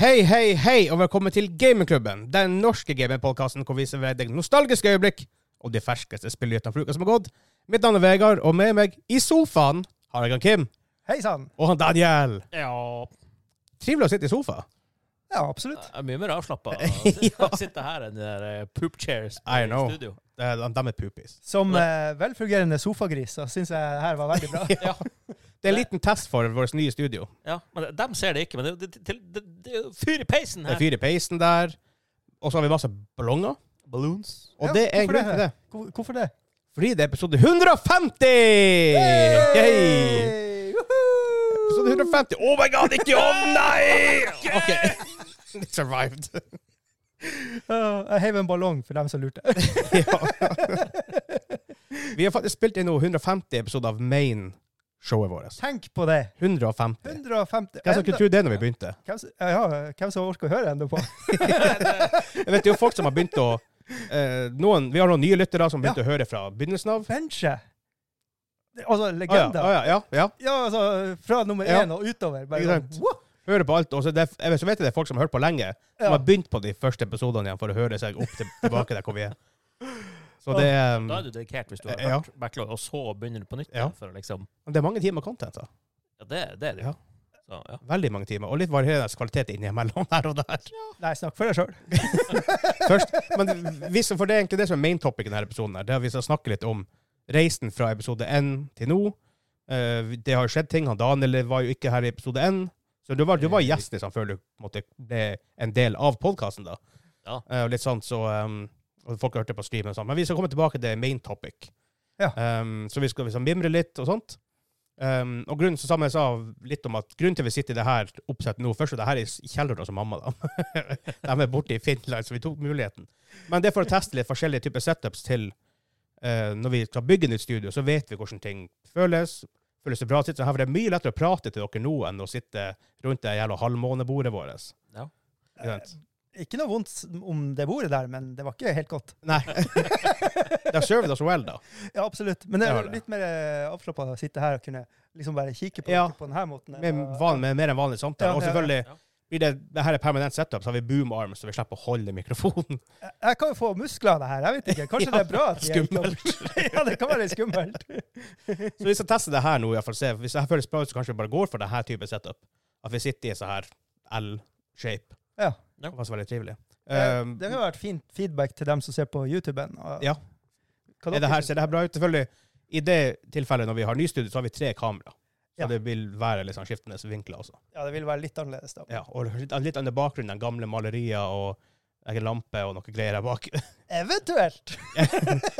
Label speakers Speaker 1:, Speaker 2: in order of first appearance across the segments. Speaker 1: Hei, hei, hei, og velkommen til Gamingklubben, den norske gamingpodkasten hvor vi serverer deg nostalgiske øyeblikk og de ferskeste spillnyhetene fra uka som har gått. Mitt navn er Vegard, og med meg i sofaen har jeg han Kim
Speaker 2: Hei sann!
Speaker 1: og han Daniel.
Speaker 3: Ja,
Speaker 1: Trivelig å sitte i sofa.
Speaker 2: Ja, absolutt.
Speaker 3: jeg er mye mer avslappa
Speaker 1: Ja.
Speaker 3: å sitte her enn de der eh, poop chairs
Speaker 1: I know.
Speaker 3: i studio.
Speaker 1: Eh, De de er pupis.
Speaker 2: Som eh, velfungerende sofagris så syns jeg det her var veldig bra.
Speaker 3: Ja,
Speaker 1: Det er en liten test for vårt nye studio.
Speaker 3: ja, men dem ser det ikke, men det, det, det, det, det er jo fyr i peisen
Speaker 1: Det er
Speaker 3: her.
Speaker 1: fyr i peisen der, og så har vi masse ballonger.
Speaker 3: Balloons.
Speaker 1: Og
Speaker 2: Ja,
Speaker 1: det er en
Speaker 2: hvorfor
Speaker 1: grunn til det.
Speaker 2: Hvor, hvorfor det?
Speaker 1: Fordi det er episode 150! Yay!
Speaker 2: Hey! Woohoo!
Speaker 1: Episode 150. Oh my god, ikke i ovnen, nei! OK. Survived.
Speaker 2: Ja, jeg heiv en ballong for dem som lurte.
Speaker 1: Vi har faktisk spilt inn nå 150 episoder av main-showet vårt.
Speaker 2: Tenk på det!
Speaker 1: 150. Hvem som
Speaker 2: 150
Speaker 1: kunne
Speaker 2: enda-
Speaker 1: tro det når vi begynte?
Speaker 2: Hvem som- ja, hvem som orker å høre ennå på?
Speaker 1: Jeg vet det er jo folk som har begynt å eh, noen, Vi har noen nye lyttere som begynte å høre fra begynnelsen av.
Speaker 2: Benche! Det-
Speaker 1: Å Ah,
Speaker 2: Altså,
Speaker 1: ja,
Speaker 2: legender.
Speaker 1: å ja, ja, ja.
Speaker 2: ja. altså, fra nummer
Speaker 1: Ja.
Speaker 2: én og utover. Bare,
Speaker 1: Ikke sant?
Speaker 2: sånn, wow!
Speaker 1: Hører på alt. Og så, det, jeg vet, så vet jeg det er folk som har hørt på lenge, som
Speaker 2: Ja.
Speaker 1: har begynt på de første episodene igjen for å høre seg opp til, tilbake der hvor vi er. Så det, eh,
Speaker 3: Da er du dedikert hvis du har
Speaker 1: Ja.
Speaker 3: hørt backlog, og så begynner du på nytt.
Speaker 1: Ja.
Speaker 3: da, For å liksom,
Speaker 1: det er mange timer content. Da.
Speaker 3: ja, det, det er det
Speaker 1: Ja.
Speaker 3: jo. Så, ja.
Speaker 1: Veldig mange timer. Og litt varierende kvalitet innimellom her og der.
Speaker 2: Nei, snakk for deg sjøl.
Speaker 1: Først, men vi, som- for det er egentlig det som er main topic i denne episoden. her, det er at Vi skal snakke litt om reisen fra episode 1 til nå. Eh, vi- det har jo skjedd ting. Han Daniel var jo ikke her i episode 1. Så du var, du var gjest liksom, før du på en måte, ble en del av podkasten. da.
Speaker 3: Ja.
Speaker 1: Eh, og litt sånn, så, um, og folk hørte på streamen og sånn. Men vi skal komme tilbake til main topic.
Speaker 2: Ja.
Speaker 1: Um, så vi skal liksom mimre litt og sånt. Um, og grunnen, så som jeg sa litt om at grunnen til vi sitter i det her oppsettet nå Først er det her i s- kjelleren hos mamma. da. De er borte i Finland, så vi tok muligheten. Men det er for å teste litt forskjellige typer setups til eh, når vi skal bygge nytt studio, så vet vi hvordan ting føles. Føles det bra å sitte sånn her? For det er mye lettere å prate til dere nå enn å sitte rundt det jævla halvmånebordet vårt.
Speaker 3: Ja.
Speaker 1: Ikke sant?
Speaker 2: Ikke noe vondt s- om det bordet der, men det var ikke helt godt.
Speaker 1: Nei. det har served oss well, da.
Speaker 2: Ja, absolutt. Men
Speaker 1: Det
Speaker 2: det er
Speaker 1: var
Speaker 2: jo
Speaker 1: det.
Speaker 2: litt mer avslappa å sitte her og kunne liksom bare kikke på
Speaker 1: Ja.
Speaker 2: dere på denne måten. enn
Speaker 1: Med,
Speaker 2: å-
Speaker 1: van, med mer enn vanlig samtale.
Speaker 2: Ja,
Speaker 1: og
Speaker 2: ja, ja.
Speaker 1: selvfølgelig
Speaker 3: Ja.
Speaker 1: blir det, det her er permanent setup, så har vi boom arm, så vi slipper å holde mikrofonen.
Speaker 2: Jeg- Jeg kan jo få muskler av det her, jeg vet ikke. Kanskje det er bra at vi er Ikke... ja, det kan være litt skummelt.
Speaker 1: Så vi skal teste det her nå, i hvert fall se. Hvis det her føles bra, ut, så kanskje vi bare går for det her type setup. At vi sitter i sånn her L-shape.
Speaker 2: Ja.
Speaker 1: Det passer veldig trivelig.
Speaker 2: Eh,
Speaker 1: Um,
Speaker 2: Det har vært fint feedback til dem som ser på YouTuben. og-
Speaker 1: Ja. er
Speaker 2: Hva
Speaker 1: det
Speaker 2: dere
Speaker 1: her,
Speaker 2: syns?
Speaker 1: ser det her bra ut? Selvfølgelig, i det tilfellet når vi har nystudio, så har vi tre kamera. Så
Speaker 2: Ja.
Speaker 1: det vil være litt sånn skiftende vinkler også.
Speaker 2: Ja, det vil være litt annerledes da.
Speaker 1: Ja, og litt, litt annen bakgrunn enn gamle malerier og egen lampe og noen greier her bak.
Speaker 2: Eventuelt!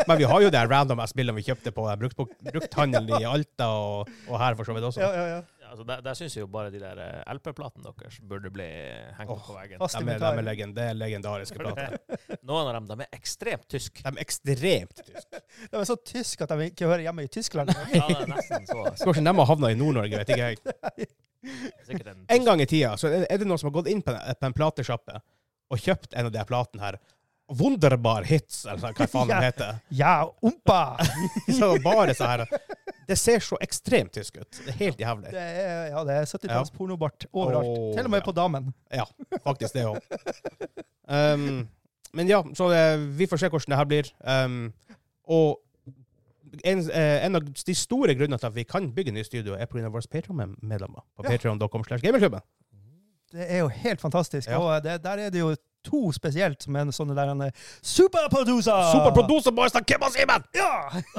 Speaker 1: Men vi har jo det her random ass-bildet vi kjøpte på den brukt- brukthandelen i Alta og, og her for så vidt også.
Speaker 2: Ja, ja, ja.
Speaker 3: Ja, Altså, der, der syns jeg jo bare de der eh, LP-platene deres burde bli hengt
Speaker 1: Åh,
Speaker 3: opp på veggen.
Speaker 2: Fast
Speaker 1: De er, de er
Speaker 2: inventar.
Speaker 1: legend, det er legendariske plater.
Speaker 3: Noen av dem de er ekstremt tyske.
Speaker 1: De er ekstremt tyske.
Speaker 2: De er så tysk at de ikke hører hjemme i Tyskland.
Speaker 3: Ja, det er nesten så.
Speaker 1: Hvordan de har havnet i Nord-Norge, vet ikke jeg.
Speaker 3: Sikkert en
Speaker 1: En gang i tida så er det noen som har gått inn på en, på en platesjappe og kjøpt en av de her platene her. Wunderbar hits, eller sånn, hva faen de
Speaker 2: Ja.
Speaker 1: heter.
Speaker 2: Ja, ompa!
Speaker 1: Så bare så her Det ser så ekstremt tysk ut. Det er helt jævlig.
Speaker 2: Det er, ja, det er 70-talls pornobart overalt.
Speaker 1: Åh,
Speaker 2: Til og med
Speaker 1: ja.
Speaker 2: på damen.
Speaker 1: Ja, faktisk det òg. Um, men ja, så eh, vi får se hvordan det her blir. Um, og en, eh, en av de store grunnene til at vi kan bygge nye studio, er pga. våre Patreon-medlemmer. På
Speaker 2: Ja.
Speaker 1: patreon.com slash gamingklubben.
Speaker 2: Det er jo helt fantastisk.
Speaker 1: Ja.
Speaker 2: Og det, der er det jo to spesielt som er sånne der han er Superproducer!
Speaker 1: Superproducer boys av Kim og Simen!
Speaker 2: Ja!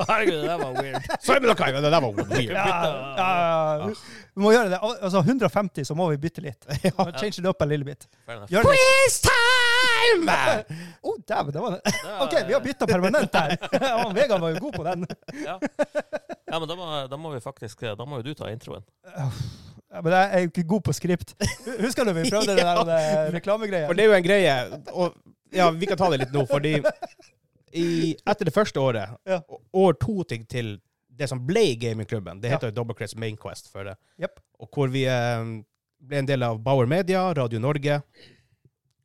Speaker 3: Herregud, det var weird.
Speaker 1: Simon og Kai! Det der var weird.
Speaker 2: Ja, ja, ja. Vi- Vi må gjøre det. Al- Altså 150, så må vi bytte litt. Change it up en lille bit.
Speaker 3: Fair enough.
Speaker 2: Gjør det. litt-
Speaker 1: Quiz time!
Speaker 2: Oh, dæven, det var det.
Speaker 3: Det var-
Speaker 2: OK, vi har bytta permanent her. Ja, han Vegard var jo god på den.
Speaker 3: Ja. ja, men da må, da må vi faktisk Da må jo du ta introen.
Speaker 2: Ja, men jeg er jo ikke god på skript. Husker du vi prøvde det der eh, reklamegreia?
Speaker 1: For det er jo en greie og, Ja, vi kan ta det litt nå, fordi i, etter det første året,
Speaker 2: Ja.
Speaker 1: å- år to til, til det som ble gamingklubben, det heter jo Double Crest Main Quest før det,
Speaker 2: Jepp.
Speaker 1: og hvor vi eh, ble en del av Bauer Media, Radio Norge,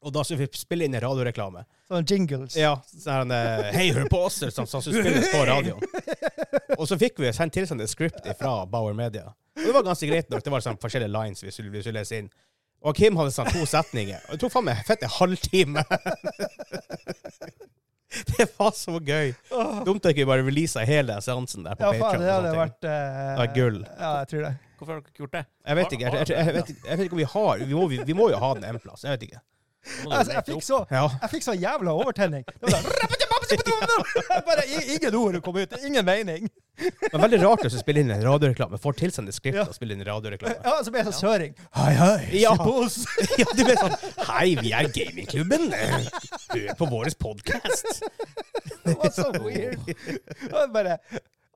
Speaker 1: og da skulle vi spille inn en radioreklame.
Speaker 2: Sånne jingles.
Speaker 1: Ja, sånn eh, Hei, hør på oss! Sånn som skulle spilles på radioen. Og så fikk vi sendt tilsendt et script fra Bauer Media. Og det var ganske greit nok. Det var sånn forskjellige lines vi skulle, vi skulle lese inn. Og Kim hadde sånn to setninger. Og Det tok faen meg fett en halvtime. det var så gøy. Dumt at vi ikke bare releasa hele seansen der på
Speaker 2: Ja, faen,
Speaker 1: Patreon
Speaker 2: det hadde
Speaker 1: og sånne ting.
Speaker 2: vært eh,
Speaker 1: Det er gull.
Speaker 2: Ja, jeg tror det.
Speaker 3: Hvorfor har dere ikke gjort det?
Speaker 1: Jeg vet ikke jeg, jeg, jeg, vet, jeg vet ikke om vi har Vi må, vi, vi må jo ha den en plass. Jeg vet ikke.
Speaker 3: Nå må dere
Speaker 2: Altså, jeg
Speaker 3: lete
Speaker 2: fikk
Speaker 3: opp.
Speaker 2: så
Speaker 1: Ja.
Speaker 2: jeg fikk så jævla overtenning. Det var sånn, da- Bare i- ingen ord kom ut. Ingen mening.
Speaker 1: Men veldig rart å spille inn en radioreklame. Får tilsendt et skript
Speaker 2: Ja.
Speaker 1: og spiller inn en radioreklame.
Speaker 2: Ja, så ble jeg så søring. Hei, hei.
Speaker 1: Ja.
Speaker 2: Se på oss.
Speaker 1: Ja, du blir sånn Hei, vi er Gamingklubben. Hør på vår podkast.
Speaker 2: Det var så weird. Det var Bare,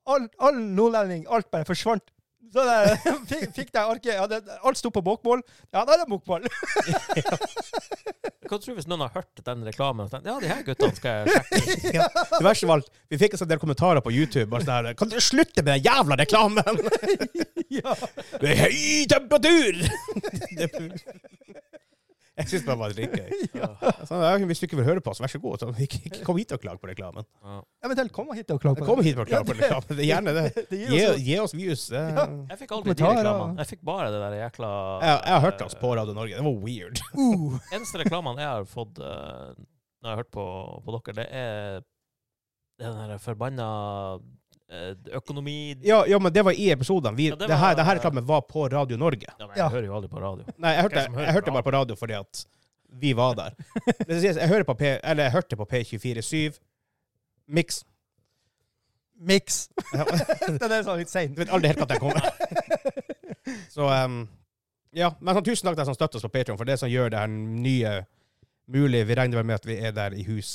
Speaker 2: all, all nordlending, alt bare forsvant. Så der, fikk, fikk jeg arket. Ja, det, alt sto på bokmål. Ja, da er det bokmål.
Speaker 3: Hva tror du hvis noen har hørt den reklamen? og tenkt, Ja, de her guttene skal jeg sjekke.
Speaker 1: Det verste var alt, vi fikk en sånn del kommentarer på YouTube. Bare sånn her, kan dere slutte med den jævla reklamen?
Speaker 2: Ja.
Speaker 1: Det er høy temperatur! Jeg syns det var dritgøy.
Speaker 3: Ja.
Speaker 1: Sånn, ja, hvis du ikke vil høre på oss, vær så god. Så ikke, ikke kom hit og klag på reklamen.
Speaker 3: Ja.
Speaker 2: Eventuelt kom hit og klag på
Speaker 1: Kom hit og klag på
Speaker 2: Ja, det-
Speaker 1: reklamen. Det er gjerne det.
Speaker 2: det gir
Speaker 1: Gi,
Speaker 2: oss-
Speaker 1: gi oss views. eh. Det-
Speaker 2: Ja.
Speaker 1: Jeg,
Speaker 3: Jeg fikk aldri de
Speaker 2: Kommentarer.
Speaker 3: reklamene. Jeg fikk bare det der jækla eh,
Speaker 1: jeg har hørt oss på Radio Norge. Det var weird.
Speaker 2: Uh,
Speaker 3: Eneste reklamene jeg har fått eh, når jeg har hørt på, på dere, det er det er den der forbanna eh, økonomi... Ja,
Speaker 1: Ja, ja men det var i episodene. Vi,
Speaker 3: Ja,
Speaker 1: det,
Speaker 3: det
Speaker 1: her,
Speaker 3: var-
Speaker 1: det her reklamen var på Radio Norge.
Speaker 3: men jeg
Speaker 2: Ja.
Speaker 3: hører jo aldri på radio.
Speaker 1: Nei, jeg hørte,
Speaker 3: Hvem som hører
Speaker 1: jeg hørte
Speaker 3: på
Speaker 1: bare på radio fordi at vi var der. Det skal sies, Jeg, hører på P, eller jeg hørte på P247. Mix.
Speaker 2: Mix.
Speaker 1: Ja.
Speaker 2: Den er sånn litt sein.
Speaker 1: Jeg vet aldri helt hva den kommer. Så um, ja, men sånn, tusen takk til deg som støtter oss på Patreon for det som gjør det her nye mulig. Vi regner vel med at vi er der i hus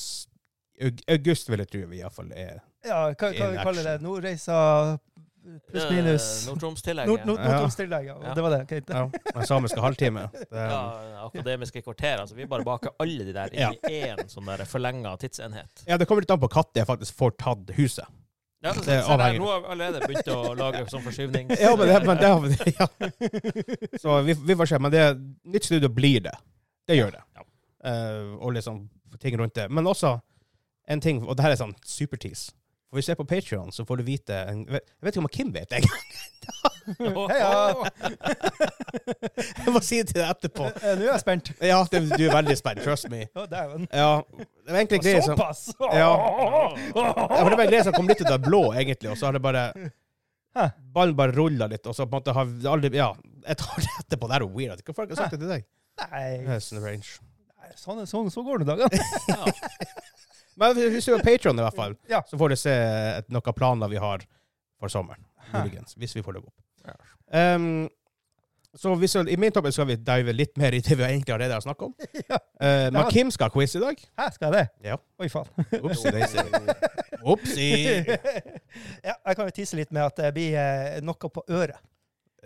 Speaker 1: aug- August vil jeg tro vi iallfall er.
Speaker 2: Ja, hva, hva vi kaller det? Nordreisa pluss minus.
Speaker 3: Eh, Nord-Troms-tillegget.
Speaker 2: Nord- Nord- Nord-Troms-tillegg, ja. Det var det. ok.
Speaker 1: Ja, den samiske halvtime. Det, um,
Speaker 3: ja, akademiske kvarter. Altså, vi bare baker alle de der
Speaker 1: Ja.
Speaker 3: inn i én sånn der forlenga tidsenhet.
Speaker 1: ja, det kommer litt an på når jeg faktisk får tatt huset.
Speaker 3: Ja, så,
Speaker 1: Det er
Speaker 3: så der,
Speaker 1: avhengig.
Speaker 3: nå har vi allerede begynt å lage sånn forskyvning.
Speaker 1: Ja, men det, men det har vi ja. Så vi, vi får se. Men det, nytt studio blir det. Det gjør det.
Speaker 3: Ja.
Speaker 1: Eh, og liksom ting rundt det. Men også en ting, og det her er sånn supertease. For hvis du er på Patreon, så får du vite en, Jeg vet ikke om Kim vet det.
Speaker 2: Heia.
Speaker 1: Jeg må si det til deg etterpå.
Speaker 2: Eh, Nå er jeg spent.
Speaker 1: Ja, det, du er veldig spent. Trust me.
Speaker 2: Å, dæven.
Speaker 1: Ja, det var egentlig en greie som,
Speaker 2: Såpass!
Speaker 1: Ja. ja, for det var en greie som kom litt ut av det blå, egentlig, og så har det bare
Speaker 2: Hæ?
Speaker 1: Ballen bare rulla litt, og så på en måte har vi aldri Ja, et år etterpå. Det er jo weird. Hva folk har sagt det til deg?
Speaker 2: Nei,
Speaker 1: Det er sånn range.
Speaker 2: sånn, sånn, så går det dagene.
Speaker 3: Ja.
Speaker 1: Men hvis du er Patron, i hvert fall,
Speaker 2: Ja.
Speaker 1: så får du se et, noen planer vi har for sommeren. Muligens. Hvis vi får det opp.
Speaker 3: Ja.
Speaker 1: Ehm, så vi skal, I min topp skal vi dive litt mer i det vi egentlig allerede har snakket om. Eh, men
Speaker 2: Ja.
Speaker 1: Kim skal ha quiz i dag.
Speaker 2: Hæ, skal jeg det?
Speaker 1: Ja.
Speaker 2: Oi, faen.
Speaker 1: Opsi daisy. Opsi.
Speaker 2: ja, jeg kan jo tisse litt med at det blir eh, noe på øret.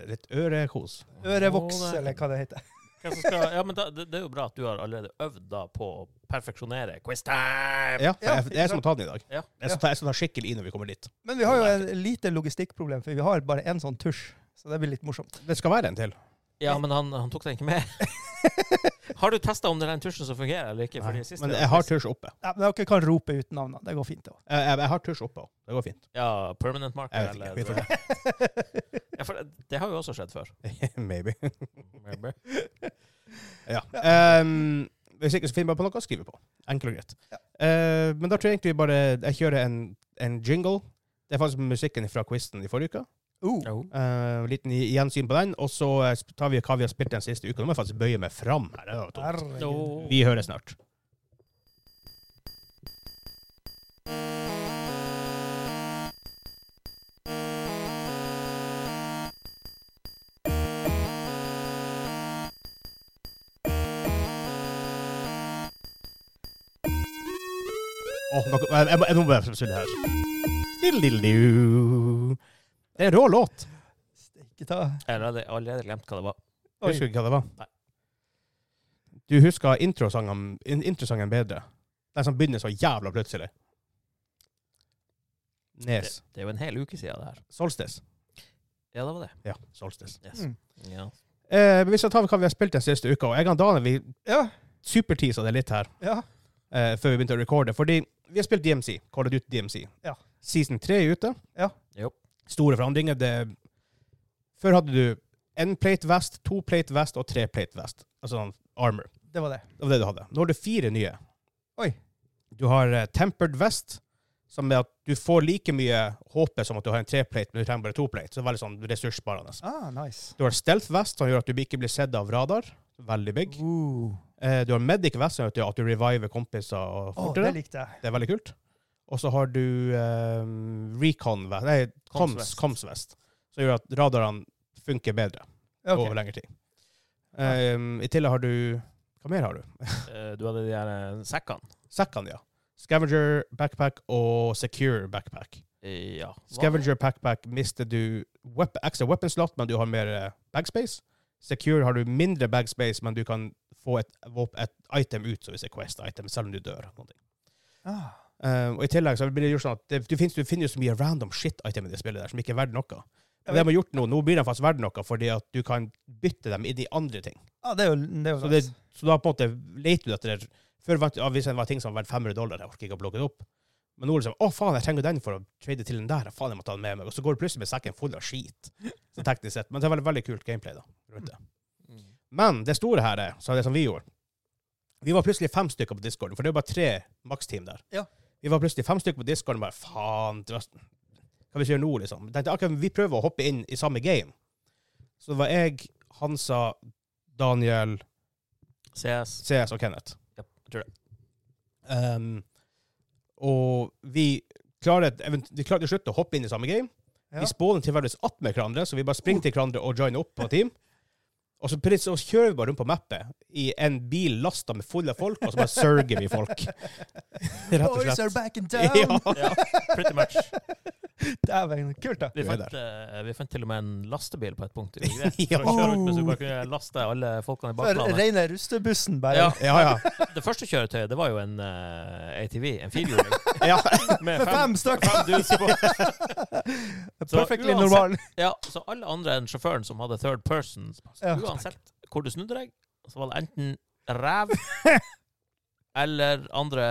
Speaker 1: Litt ørekos.
Speaker 2: Ørevoks,
Speaker 3: Å, det-
Speaker 2: eller hva det heter.
Speaker 3: Hvem som skal, ja, men da, det, det er jo bra at du har allerede øvd da på å perfeksjonere quiztime!
Speaker 1: Ja,
Speaker 2: Ja,
Speaker 1: jeg, det er jeg som må ta den i dag.
Speaker 3: Ja.
Speaker 1: Jeg skal ta, jeg skal ta skikkelig i når vi kommer dit.
Speaker 2: Men vi har jo en lite logistikkproblem, for vi har bare én sånn tusj. Så det blir litt morsomt.
Speaker 1: Det skal være en til.
Speaker 3: Ja, men han, han tok den ikke med. har du testa om det er den tusjen som fungerer eller ikke? Fordi siste
Speaker 1: Men jeg har tusj oppe.
Speaker 2: Nei, men dere kan rope ut navnene. Det går fint. da.
Speaker 1: Jeg, jeg, jeg har tusj oppe også. Det går fint.
Speaker 3: Ja, permanent marker
Speaker 1: Jeg vet
Speaker 3: eller
Speaker 1: ikke.
Speaker 3: ja, for det, det har jo også skjedd før.
Speaker 1: Vi får se. Maybe.
Speaker 3: Maybe.
Speaker 1: Ja. Ehm, hvis ikke, så finner jeg bare på noe å skrive på. Enkelt og greit. Eh, men da tror jeg egentlig bare jeg kjører en, en jingle. Det er faktisk musikken fra quizen i forrige uke.
Speaker 2: Uh,
Speaker 3: Jo.
Speaker 1: Uh, liten i- gjensyn på den. Og så eh, tar vi hva vi har spilt den siste uka. Nå må jeg faktisk bøye meg fram her. Det var dumt.
Speaker 2: herregud.
Speaker 1: Vi høres snart. Åh, nå- jeg- jeg må- jeg må bare spille her. Diddelidu. Det er en rå låt.
Speaker 2: Ikke ta
Speaker 3: Jeg har allerede- allerede glemt hva det var.
Speaker 2: Oi.
Speaker 1: Husker du ikke hva det var?
Speaker 3: Nei.
Speaker 1: Du husker introsangen, in- introsangen bedre? Den som begynner så jævla plutselig.
Speaker 3: Det,
Speaker 1: Nes.
Speaker 3: det er jo en hel uke siden det her.
Speaker 1: Solstis.
Speaker 3: Ja, det var det.
Speaker 1: Ja, solstis.
Speaker 3: Yes.
Speaker 2: Mm.
Speaker 3: Ja.
Speaker 1: Eh, men hvis jeg tar hva vi har spilt den siste uka, og jeg og Daniel vi
Speaker 2: Ja.
Speaker 1: superteasa det litt her
Speaker 2: ja.
Speaker 1: eh, før vi begynte å recorde, fordi vi har spilt DMC. Call it ut DMC.
Speaker 2: Ja.
Speaker 1: Season 3 er ute.
Speaker 2: Ja.
Speaker 3: Jo.
Speaker 1: Store forandringer. Det... Før hadde du en plate vest, to plate vest og tre plate vest. altså sånn armor.
Speaker 2: Det var det.
Speaker 1: Det var det du hadde. Nå har du fire nye.
Speaker 2: Oi.
Speaker 1: Du har eh, tempered vest, som er at du får like mye HP som at du har en treplate, men du trenger bare toplate. Så det er veldig sånn ressurssparende.
Speaker 2: Ah, nice.
Speaker 1: Du har stealth vest, som gjør at du ikke blir sett av radar. Veldig big.
Speaker 2: Uh.
Speaker 1: Eh, Du har medic vest, som gjør at du- at du reviver kompiser og
Speaker 2: Å, det
Speaker 1: fortere.
Speaker 2: likte jeg.
Speaker 1: det er veldig kult. Og så har du eh, recon vest, nei,
Speaker 3: Comms
Speaker 1: comms,
Speaker 3: vest.
Speaker 1: comms vest, som gjør at radarene funker bedre
Speaker 2: Ok.
Speaker 1: over lengre tid. Eh, I tillegg har du Hva mer har du?
Speaker 3: Eh, Du hadde de her eh, sekkene.
Speaker 1: Sekkene, ja. Scavenger backpack og secure backpack.
Speaker 3: Eh, Ja.
Speaker 1: Scavenger backpack mister du wep extra weapon slot, men du har mer eh, bagspace. Secure har du mindre bagspace, men du kan få et, våp- et item ut, så hvis det er quest item, selv om du dør. Noe.
Speaker 2: Ah.
Speaker 1: Eh, og i tillegg så blir det gjort sånn at det, du, finnes, du finner jo så mye random shit-item i det spillet der som ikke er verdt noe. Men det de har gjort nå, nå blir de faktisk verdt noe, fordi at du kan bytte dem inn i andre ting.
Speaker 2: Ah, det er jo, det er jo
Speaker 1: Så, det,
Speaker 2: nice.
Speaker 1: så da på en måte leter du etter det. Før vant, ja, hvis det var ting som var verdt 500 dollar, jeg orker ikke å plukke det opp. Men nå er det sånn, å faen, jeg trenger den for å trade til den der, ja, faen, jeg må ta den med meg. Og så går du plutselig med sekken full av skit, så teknisk sett. Men det er veldig, veldig kult gameplay da, rundt det.
Speaker 3: Mm.
Speaker 1: Men det store her er, så er det som vi gjorde. Vi var plutselig fem stykker på Discorden, for det er jo bare tre maksteam der.
Speaker 2: Ja.
Speaker 1: Vi var plutselig fem stykker på Discorden, bare faen, det var- hva vi skal gjøre nå, liksom. Jeg tenkte, akkurat, vi prøver å hoppe inn i samme game. Så det var jeg, Hansa, Daniel,
Speaker 3: CS.
Speaker 1: CS og Kenneth.
Speaker 3: Yep, jeg tror
Speaker 1: Um, og vi klarer, et event- vi klarer til slutt å hoppe inn i samme game.
Speaker 2: Ja.
Speaker 1: Vi spåner tilfeldigvis att med hverandre, så vi bare springer til hverandre og joiner opp på team. Og så, pr- så kjører vi bare rundt på mappet i en bil lasta med full av folk, og så bare sørger vi folk. Rett og
Speaker 2: Boys are
Speaker 1: slett.
Speaker 2: back in town!
Speaker 1: Ja.
Speaker 3: Ja, pretty much.
Speaker 2: Dæven, kult, da.
Speaker 3: Vi
Speaker 1: Du er
Speaker 3: fant, eh, vi fant til og med en lastebil på et punkt. i Greve,
Speaker 1: Ja.
Speaker 3: for å kjøre rundt, men Så vi bare kunne laste alle folkene i
Speaker 2: For
Speaker 3: bakplanet.
Speaker 2: Reine rustebussen, bare.
Speaker 3: Ja,
Speaker 1: Ja, ja.
Speaker 3: det første kjøretøyet det var jo en eh, ATV, en firehjuling.
Speaker 1: ja.
Speaker 2: Med
Speaker 3: Med
Speaker 2: fem stykk!
Speaker 3: fem dudes på. Så
Speaker 2: Perfectly
Speaker 3: uansett-
Speaker 2: normal.
Speaker 3: Ja, så alle andre enn sjåføren som hadde third person,
Speaker 2: Ja.
Speaker 3: uansett hvor du snudde deg, så var det enten ræv eller andre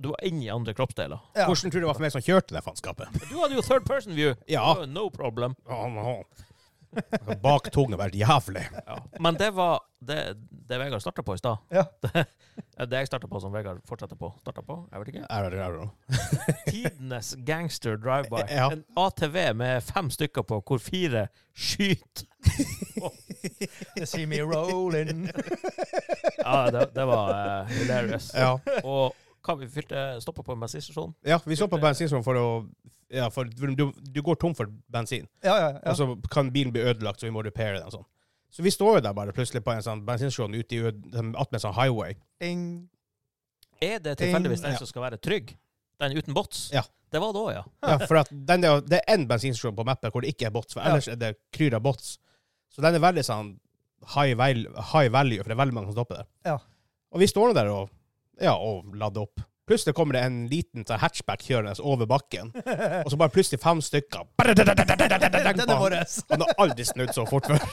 Speaker 3: Du var inne i andre kroppsdeler.
Speaker 2: Ja.
Speaker 1: Hvordan tror du det var for meg som kjørte det faenskapet?
Speaker 3: Du hadde jo third person view.
Speaker 1: Ja.
Speaker 3: Det var jo No problem.
Speaker 1: Bak tunga vært jævlig.
Speaker 3: Men det var det, det Vegard starta på i stad.
Speaker 2: Ja.
Speaker 3: Det, det jeg starta på, som Vegard fortsetter på. Starta på, jeg vet ikke.
Speaker 1: Er det, er det.
Speaker 3: Tidenes gangster drive-by.
Speaker 1: Ja.
Speaker 3: En ATV med fem stykker på, hvor fire skyter.
Speaker 2: You see me rolling.
Speaker 3: Ja, det, det var eh, hilarious.
Speaker 1: Ja.
Speaker 3: Og hva vi fylte stoppa på med sist sesjon?
Speaker 1: Ja, vi så på bensinstasjonen for å Ja, for du, du går tom for bensin,
Speaker 2: Ja, ja, ja.
Speaker 1: og så kan bilen bli ødelagt, så vi må repaire den og sånn. Så vi står jo der bare plutselig på en sånn bensinstasjon ute i ød- dem- attmed en sånn highway.
Speaker 2: Ding.
Speaker 3: Er det tilfeldigvis den
Speaker 1: Ja.
Speaker 3: som skal være trygg? Den uten bots?
Speaker 1: Ja.
Speaker 3: Det var det òg, ja.
Speaker 1: Ja, for at den er, det er én bensinstasjon på mappet hvor det ikke er bots, for
Speaker 2: Ja.
Speaker 1: ellers er det kryr av bots. Så den er veldig sånn high value, high value for det er veldig mange som stopper der.
Speaker 2: Ja.
Speaker 1: Og vi står nå der og, ja, og lader opp. Plutselig kommer det en liten sånn hatchback kjørende over bakken, og så bare plutselig fem stykker.
Speaker 2: Den er vår.
Speaker 1: Han har aldri snudd så fort før.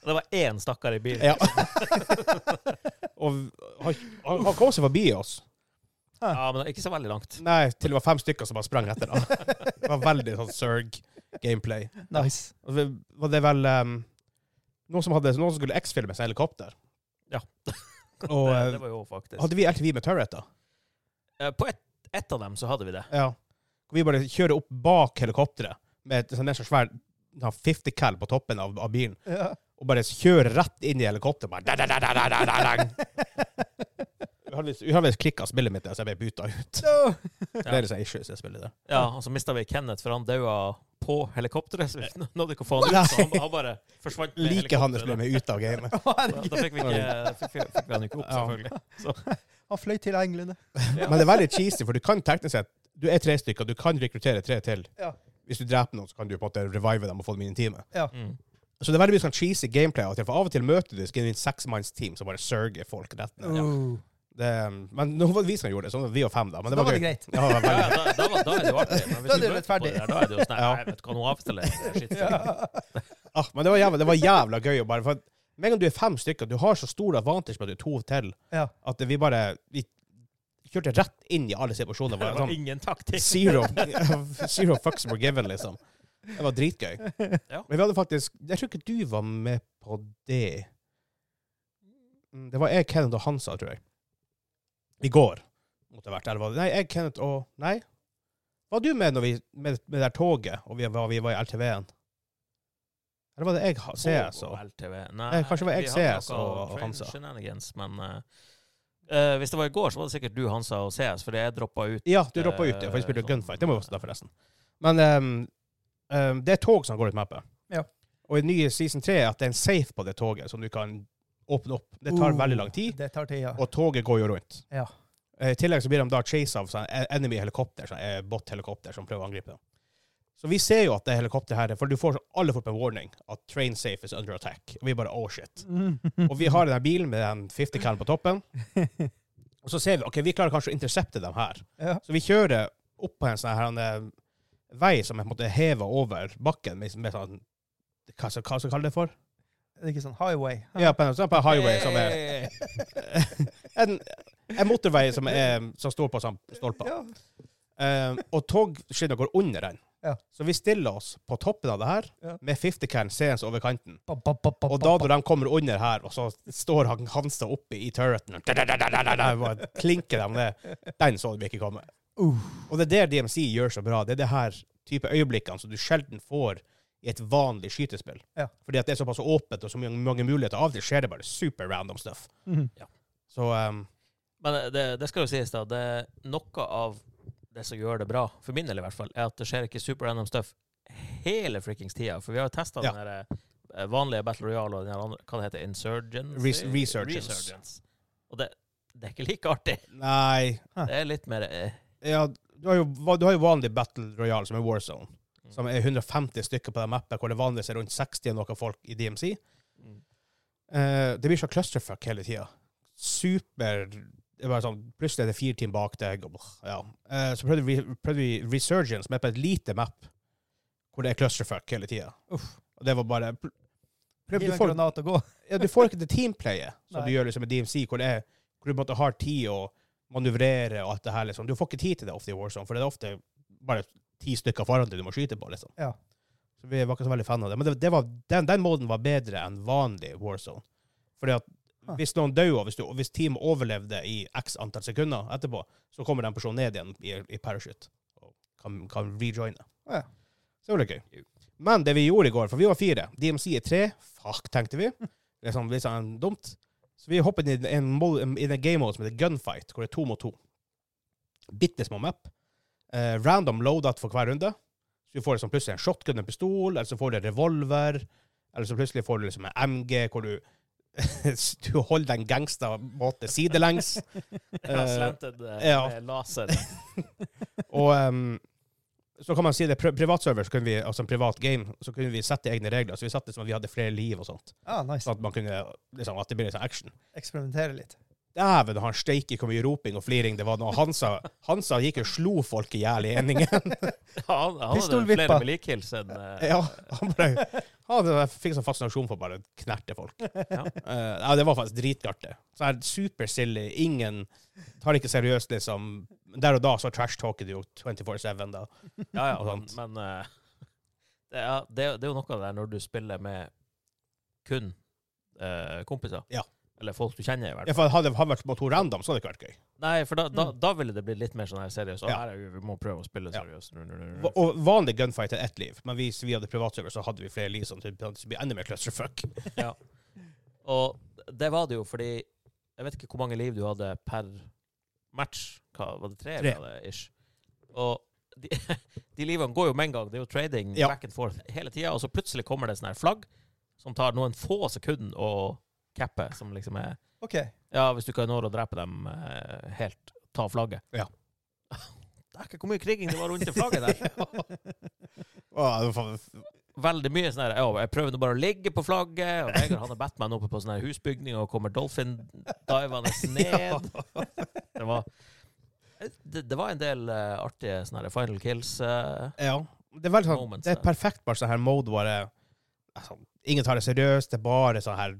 Speaker 3: Det var én stakkar i bilen.
Speaker 1: Ja. og han, han, han kom seg forbi oss.
Speaker 3: Ja, men det er ikke så veldig langt.
Speaker 1: Nei, til det var fem stykker som bare sprang etter ham. Det var veldig sånn Zerg-gameplay.
Speaker 2: Nice.
Speaker 1: Og det var det vel ehm, noen, som hadde, noen som skulle X-filme seg helikopter.
Speaker 3: Ja.
Speaker 1: Og
Speaker 3: det,
Speaker 1: eh,
Speaker 3: det var jo faktisk
Speaker 1: hadde vi LTV med turreter?
Speaker 3: Eh, På ett et av dem så hadde vi det.
Speaker 1: Ja. Hvor vi bare kjører opp bak helikopteret med et sånn en sånn svær sånn 50 cal på toppen av, av bilen,
Speaker 2: Ja.
Speaker 1: og bare kjører rett inn i helikopteret. Bare da, da, da, da, da, da, da, da. Vi hadde visst- Vi hadde visst klikka spillet mitt, så jeg ble bytta ut.
Speaker 2: Så-
Speaker 1: Flere sånne issues i det spillet der.
Speaker 3: Ja, Og så mista vi Kenneth, for han daua på helikopteret. Så vi nå- nådde ikke å få han ut, så han, han bare forsvant med
Speaker 1: Like Hannes ble
Speaker 3: helikopteret.
Speaker 1: med ut av gamet.
Speaker 2: Å,
Speaker 3: Da, da
Speaker 2: Herregud,
Speaker 3: fikk vi, ikke, fikk, vi- fikk vi han ikke opp,
Speaker 1: Ja.
Speaker 3: selvfølgelig.
Speaker 2: han fløy til englene.
Speaker 1: Men det er veldig cheesy, for du kan teknisk sett Du er tre stykker, du kan rekruttere tre til.
Speaker 2: Ja.
Speaker 1: Hvis du dreper noen, så kan du på en måte revive dem og få dem inn i teamet.
Speaker 3: Mm.
Speaker 1: Så det er veldig mye sånn cheesy gameplay. av og til, For av og til møter du skal inn i et seksmannsteam som bare sørger folk rett ned.
Speaker 2: Oh.
Speaker 1: Det, men nå var det vi som gjorde det, så vi og fem, da. Men
Speaker 2: Så
Speaker 1: det
Speaker 2: da
Speaker 1: var,
Speaker 2: var det
Speaker 1: gøy.
Speaker 2: greit.
Speaker 1: Ja, det var
Speaker 3: Ja,
Speaker 1: veldig-
Speaker 3: ja, da, da, var- da er det jo artig. Men hvis
Speaker 2: Da er det
Speaker 3: du møter på
Speaker 2: rettferdig.
Speaker 3: det der, Da er det jo sånn
Speaker 1: Ja.
Speaker 3: Jeg vet hva, nå avstiller jeg skitt.
Speaker 1: ah, men det var jævla, det var jævla gøy å bare for at Med en gang du er fem stykker, du har så stor advantage med at du er to til,
Speaker 2: Ja.
Speaker 1: at vi bare Vi kjørte rett inn i alle situasjoner.
Speaker 3: Det
Speaker 1: Bare,
Speaker 3: var
Speaker 1: sånn,
Speaker 3: ingen taktikk.
Speaker 1: Zero, zero fucks were given, liksom. Det var dritgøy.
Speaker 3: Ja.
Speaker 1: Men vi hadde faktisk Jeg tror ikke du var med på det. Mm, Det var jeg, Kenneth og Hansa, tror jeg. I går måtte det ha vært. Eller var det- Nei, jeg, Kenneth og Nei. Var du med når vi, med, med det der toget, og vi var, vi var i LTV-en? Eller var det jeg, ha- CS?
Speaker 3: Og
Speaker 1: Og,
Speaker 3: LTV. Nei,
Speaker 1: Nei, altså. Eh, kanskje det var
Speaker 3: vi hadde
Speaker 1: XCS
Speaker 3: noe
Speaker 1: og- og
Speaker 3: shen-
Speaker 1: Hansa.
Speaker 3: Shenanigans, men eh, eh, hvis det var i går, så var det sikkert du, Hansa og CS, fordi jeg droppa ut.
Speaker 1: ja, du droppa ut, ja, for vi spilte
Speaker 3: Eh,
Speaker 1: gunfight. Det må jo også da, forresten. Men ehm, ehm, det er tog som går ut mappet.
Speaker 2: Ja.
Speaker 1: Og i nye season 3 er at det er en safe på det toget som du kan åpne opp. Det tar
Speaker 2: Uh,
Speaker 1: veldig lang tid.
Speaker 2: Det tar tid, ja.
Speaker 1: Og toget går jo rundt.
Speaker 2: Ja.
Speaker 1: Eh, I tillegg så blir de da chase av sånn enemy-helikopter, sånn eh, bot-helikopter, som prøver å angripe dem. Så vi ser jo at det helikopteret her For du får så alle får på en warning at train safe is under attack. Og vi bare oh shit.
Speaker 2: Mm.
Speaker 1: Og vi har den her bilen med den 50 cal på toppen. Og så ser vi ok, vi klarer kanskje å intercepte dem her.
Speaker 2: Ja.
Speaker 1: Så vi kjører opp på en sånn her eh, vei som er på en måte heva over bakken med, med sånn hva, hva skal vi kalle det for?
Speaker 2: Det er ikke sånn highway.
Speaker 1: Ja, på en, sånn på en highway som er
Speaker 3: Hey!
Speaker 1: en, en motorvei som, er, som står på sånn stolper.
Speaker 2: Ja.
Speaker 1: Eh, og togskinna går under den.
Speaker 2: Ja.
Speaker 1: Så vi stiller oss på toppen av det her
Speaker 2: Ja.
Speaker 1: med 50 can seende over kanten.
Speaker 2: Ba, ba, ba, ba,
Speaker 1: Og
Speaker 2: ba,
Speaker 1: da
Speaker 2: ba.
Speaker 1: når de kommer under her, og så står han Hansa oppe i turreten og da-da-da-da-da-da, bare Klinker dem ned. Den så vi ikke komme.
Speaker 2: Uh,
Speaker 1: Og det er det DMC gjør så bra. Det er det her type øyeblikkene som du sjelden får i et vanlig skytespill.
Speaker 2: Ja.
Speaker 1: Fordi at det er såpass åpent og så mange, mange muligheter. Av og til skjer det bare super random stuff.
Speaker 2: mhm.
Speaker 1: Så um,
Speaker 3: Men eh, det, det skal jo sies, da. Det er noe av det som gjør det bra, for min del i hvert fall, er at det skjer ikke super random stuff hele frikkings tida. For vi har jo testa
Speaker 1: Ja.
Speaker 3: den her eh, vanlige Battle Royale og den her andre, hva det heter Insurgents?
Speaker 1: Res- Resurgence.
Speaker 3: Og det, det er ikke like artig.
Speaker 1: nei
Speaker 3: Det er litt mer eh,
Speaker 1: ja, du, har jo, du har jo vanlig Battle Royale, som er Warzone. Som er 150 stykker på den mappen, hvor det vanligvis er rundt 60 og noen folk i DMC. Eh, det blir så clusterfuck hele tida. Super det var sånn, Plutselig er det fire team bak deg. Og, ja. Eh, så prøvde vi, prøvde vi Resurgence, som er på et lite map, hvor det er clusterfuck hele tida. Og det var bare pl-
Speaker 2: Hiv
Speaker 1: du,
Speaker 2: en
Speaker 1: får,
Speaker 2: granat og gå.
Speaker 1: ja, du får ikke det teamplayet som
Speaker 2: Nei.
Speaker 1: du gjør liksom med DMC, hvor, det er, hvor du måtte ha tid å manøvrere og alt det her. liksom. Du får ikke tid til det ofte i Warzone, for det er ofte bare ti stykker foran deg du må skyte på. liksom.
Speaker 2: Ja.
Speaker 1: Så vi var ikke så veldig fan av det. Men det, det var, den, den måten var bedre enn vanlig Warzone. Fordi at
Speaker 2: Ah.
Speaker 1: hvis noen dør, og hvis, du- og hvis teamet overlevde i x antall sekunder etterpå, så kommer den personen ned igjen i, i parachute og kan, kan rejoine.
Speaker 2: Ah, ja.
Speaker 1: Så det var gøy. Men det vi gjorde i går, for vi var fire, DMC er tre, fuck, tenkte vi. Det er sånn, litt sånn dumt. Så vi hoppet inn i en, mol- i en game mode som heter Gunfight, hvor det er to mot to. Bitte små map. Eh, random loadout for hver runde. Så du får liksom plutselig en shotgun, en pistol, eller så får du en revolver, eller så plutselig får du liksom en MG, hvor du, du holder den gangstermåte sidelengs. Eh,
Speaker 3: slanted
Speaker 1: ja.
Speaker 3: med laser.
Speaker 1: og ehm, så kan man si det, pri- privatserver, så kunne vi, altså en privat game, så kunne vi sette egne regler, så vi satte det som at vi hadde flere liv og sånt,
Speaker 2: Ah, nice.
Speaker 1: sånn at man kunne, liksom, at det ble litt sånn action.
Speaker 2: Eksperimentere litt.
Speaker 1: Dæven, han steik i hvor mye roping og fliring det var nå. Hansa, Hansa gikk og slo folk i hjel i eningen.
Speaker 3: Ja, han, han hadde
Speaker 2: Pistolvippa.
Speaker 3: flere med likhils enn eh,
Speaker 1: Ja, han bare han hadde- fikk sånn fascinasjon for bare å knerte folk.
Speaker 3: Ja.
Speaker 1: Eh, ja, det var faktisk dritartig. Så her, super silly, ingen tar ikke seriøst, liksom. Der og da så trash-talker du jo 24-7 da.
Speaker 3: Ja, ja,
Speaker 1: Og
Speaker 3: men,
Speaker 1: sånt.
Speaker 3: men eh, det, er, det, er- det er jo noe av det der når du spiller med kun eh, kompiser.
Speaker 1: Ja.
Speaker 3: Eller folk du kjenner, i hvert
Speaker 1: Ja,
Speaker 3: fall.
Speaker 1: for hadde det vært mot to random, så hadde det ikke vært gøy.
Speaker 3: Nei, for da, da,
Speaker 2: Mm.
Speaker 3: da ville det blitt litt mer sånn her seriøst. Å,
Speaker 1: Ja.
Speaker 3: her er vi, vi må prøve å spille
Speaker 1: Ja.
Speaker 3: seriøst.
Speaker 1: Va- Og vanlig gunfight er ett liv, men hvis vi hadde privatserver, så hadde vi flere liv, sånn at det blir enda mer clusterfuck.
Speaker 3: Og det var det jo fordi Jeg vet ikke hvor mange liv du hadde per match. Hva, var det tre?
Speaker 1: Tre.
Speaker 3: Var det, ish? Og de, de livene går jo med en gang. Det er jo trading
Speaker 1: Ja.
Speaker 3: back and forth hele tida, og så plutselig kommer det sånn her flagg som tar noen få sekunder å cappe, som liksom er
Speaker 2: OK.
Speaker 3: Ja, hvis du ikke når å drepe dem eh, helt, ta flagget.
Speaker 1: Ja.
Speaker 3: Det er ikke hvor mye kriging det var rundt det flagget der.
Speaker 1: Å, det var faen-
Speaker 3: Veldig mye sånn her ja, Jeg prøver nå bare å ligge på flagget, og Vegard han er Batman oppe på sånn her husbygning, og kommer dolphin-divende ned. Det var det, det var en del eh, artige sånne her final kills. eh.
Speaker 1: Ja. Det er veldig sånn
Speaker 3: Moments,
Speaker 1: Det er
Speaker 3: ja.
Speaker 1: perfekt bare sånn her mode hvor det- altså, ingen tar det seriøst, det er bare sånn her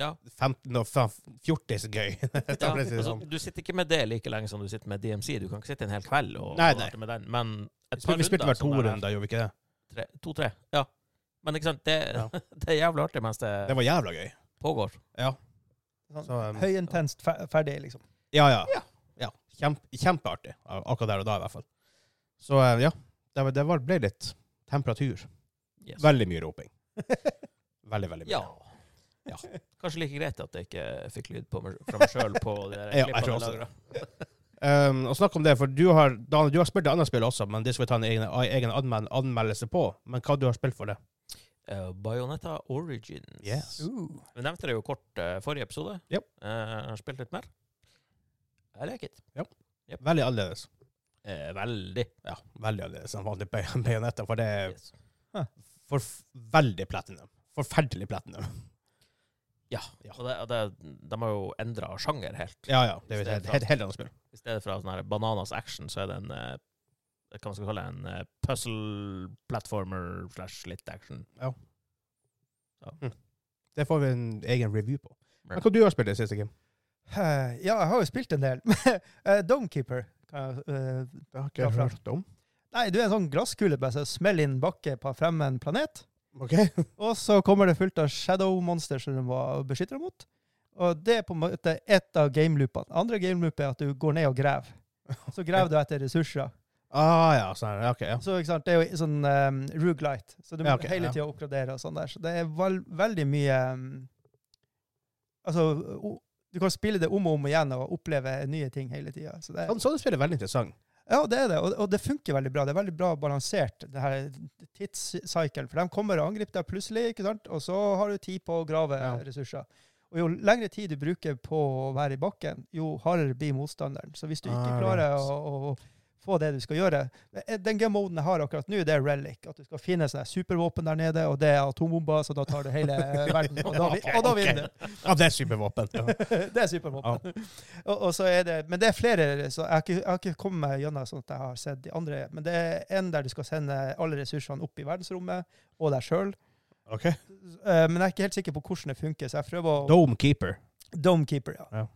Speaker 3: ja.
Speaker 1: 15 og 40 gøy.
Speaker 3: ja.
Speaker 1: Da blir det
Speaker 3: altså,
Speaker 1: sånn.
Speaker 3: Du sitter ikke med det like lenge som du sitter med DMC. Du kan ikke sitte en hel kveld og,
Speaker 1: Nei,
Speaker 3: og
Speaker 1: nei.
Speaker 3: være med den. Men et par
Speaker 1: Vi spilte
Speaker 3: runder
Speaker 1: hver to
Speaker 3: sånn der-
Speaker 1: runder, gjorde vi ikke det?
Speaker 3: Tre- To-tre. Ja. Men ikke sant, det,
Speaker 1: Ja.
Speaker 3: det er jævlig artig mens det,
Speaker 1: Det var jævla gøy.
Speaker 3: pågår.
Speaker 2: Sånn,
Speaker 1: Så, um,
Speaker 2: Høyintenst, fe- ferdig, liksom.
Speaker 1: Ja, ja.
Speaker 3: Ja.
Speaker 1: ja. Kjempe, kjempeartig. Akkurat der og da, i hvert fall. Så eh, ja, det, var- det var- ble litt temperatur.
Speaker 3: Yes.
Speaker 1: Veldig mye roping. Veldig, veldig mye.
Speaker 3: Ja.
Speaker 1: Ja.
Speaker 3: Kanskje like greit at jeg ikke fikk lyd på meg, fra meg sjøl på de der
Speaker 1: Ja, jeg
Speaker 3: klippene
Speaker 1: tror
Speaker 3: jeg
Speaker 1: også det.
Speaker 3: lagret.
Speaker 1: Um, og snakk om det, for du har, Daniel, du har spilt et annet spill også, men det skal vi ta en egen, egen anmel anmeldelse på. Men hva du har spilt for det?
Speaker 3: Eh, Bayonetta Origins.
Speaker 1: Yes.
Speaker 3: Vi nevnte det jo kort eh, forrige episode.
Speaker 1: Yep.
Speaker 3: Eh, jeg har spilt litt mer. I like it.
Speaker 1: Veldig annerledes.
Speaker 3: Eh, veldig.
Speaker 1: Ja, veldig annerledes enn vanlig Bay- Bayonetta, for det er
Speaker 3: Yes.
Speaker 1: for veldig platinum. Forferdelig platinum. Ja.
Speaker 3: Og det, og det, de har jo endra sjanger helt.
Speaker 1: Ja, ja. Det er jo et helt- helt annet spill.
Speaker 3: I stedet for sånn her bananas action, så er det en eh, hva man skal kalle det, en eh, puzzle platformer slash litt action.
Speaker 1: Det får vi en egen review på. Men hva du har spilt i det siste, Kim?
Speaker 2: Eh, Ja, jeg har jo spilt en del. Eh, Domekeeper. kan jeg, eh,
Speaker 1: Det har
Speaker 2: ikke jeg hørt
Speaker 1: om.
Speaker 2: Nei, du er en sånn glasskule bare som smeller inn bakke på fremme en planet.
Speaker 1: OK.
Speaker 2: Og så kommer det fullt av shadow-monster som du må beskytte deg mot. Og det er på en måte ett av gameloopene. Andre gameloop er at du går ned og graver. Så graver du etter ressurser.
Speaker 1: Ah, ja. Sånn, her. ok, ja.
Speaker 2: Så ikke sant, Det er jo sånn um, rugelight, så du må
Speaker 1: Ja, ok,
Speaker 2: hele
Speaker 1: ja.
Speaker 2: tida oppgradere og sånn der. Så det er vel, veldig mye um, Altså, o- du kan spille det om og om igjen og oppleve nye ting hele tida. Så det er,
Speaker 1: Sånn, sånn spill er veldig interessant.
Speaker 2: Ja, det er det, og, og det funker veldig bra. Det er veldig bra balansert, det her tidscycle. For de kommer og angriper deg plutselig, ikke sant? og så har du tid på å grave
Speaker 1: Ja.
Speaker 2: ressurser. Og jo lengre tid du bruker på å være i bakken, jo hardere blir motstanderen. Så hvis du ikke
Speaker 1: Ah,
Speaker 2: klarer
Speaker 1: right.
Speaker 2: å, å få det du skal gjøre eh, Den game-moden jeg har akkurat nå, det er relic. At du skal finne sånne supervåpen der nede, og det er atombomber, så da tar du hele verden. Og da, vi- og da vinner du.
Speaker 1: Ja, det er supervåpen. Ja.
Speaker 2: det er supervåpen. og, og så er det, men det er flere, så jeg har ikke, jeg har ikke kommet meg gjennom sånn at jeg har sett de andre. Men det er en der du skal sende alle ressursene opp i verdensrommet, og deg sjøl.
Speaker 1: OK.
Speaker 2: Men jeg er ikke helt sikker på hvordan det funker, så jeg prøver å
Speaker 1: Domekeeper.
Speaker 2: Domekeeper, ja.
Speaker 1: Ja.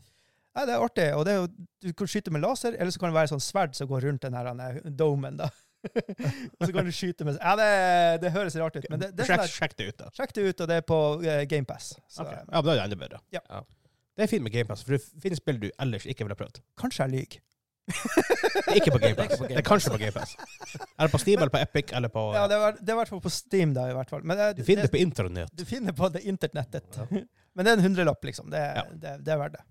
Speaker 2: Nei, det er artig. og det er jo, Du kan skyte med laser, eller så kan det være sånn sverd som går rundt den her denne domen. da. og så kan du skyte med Ja, det, det høres rart ut, men det, det er sånn
Speaker 1: Sjekk sjekk
Speaker 2: der-
Speaker 1: det ut, da.
Speaker 2: Sjekk det ut, og det er på eh, GamePass.
Speaker 1: Ok. Ja, men da er det enda bedre.
Speaker 2: Ja.
Speaker 3: Ja.
Speaker 1: Det er fint med GamePass, for det finnes spill du ellers ikke ville ha prøvd.
Speaker 2: Kanskje jeg lyver.
Speaker 1: Det er ikke på GamePass.
Speaker 3: Det er ikke på
Speaker 1: Det er kanskje på GamePass. Eller på Steam, eller på Epic, eller på
Speaker 2: Ja, det var- det er i hvert fall på Steam, da. i hvert fall. Men det,
Speaker 1: Du finner det
Speaker 2: det,
Speaker 1: på internett.
Speaker 2: du finner på det internettet.
Speaker 1: Ja.
Speaker 2: Men det er en hundrelapp, liksom. Det,
Speaker 1: Ja.
Speaker 2: det, det er verdt det.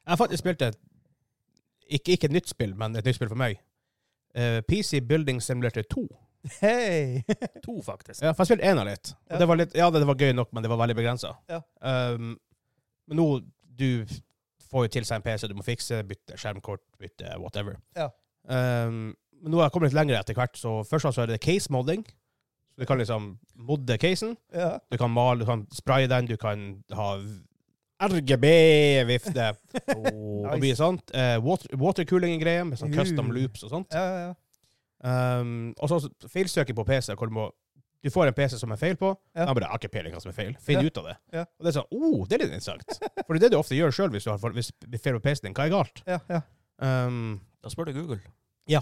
Speaker 1: Jeg har faktisk spilt et ikke, ikke et nytt spill, men et nytt spill for meg. Eh, PC Building Simulator 2.
Speaker 2: Hei!
Speaker 3: To, faktisk.
Speaker 1: Ja, for jeg spilte én av litt. Og
Speaker 2: Ja.
Speaker 1: det var litt. Ja, det var gøy nok, men det var veldig begrensa.
Speaker 2: Ja.
Speaker 1: Um, men nå du får jo til seg en PC du må fikse, bytte skjermkort, bytte whatever.
Speaker 2: Ja.
Speaker 1: Um, men nå har jeg kommet litt lenger etter hvert, så først og fremst så er det case modding. Så du kan liksom modde casen.
Speaker 2: Ja.
Speaker 1: Du kan male, du kan spraye den, du kan ha RGB-vifte og mye sånt. Eh, water, Watercooling-greier med sånn custom
Speaker 2: Uh.
Speaker 1: loops og sånt.
Speaker 2: Ja, ja, ja.
Speaker 1: Um, og så feilsøking på PC. Hvor du, må, du får en PC som er feil på.
Speaker 2: Ja.
Speaker 1: Da bare, jeg har ikke peiling hva som er feil. Finn
Speaker 2: Ja.
Speaker 1: ut av det.
Speaker 2: Ja.
Speaker 1: Og det er sånn, oh, det er litt interessant. For det er det du ofte gjør sjøl hvis du har hvis det er feil på PC-en din. Hva er galt?
Speaker 2: ja, ja.
Speaker 1: Um,
Speaker 3: Da spør du Google.
Speaker 1: ja,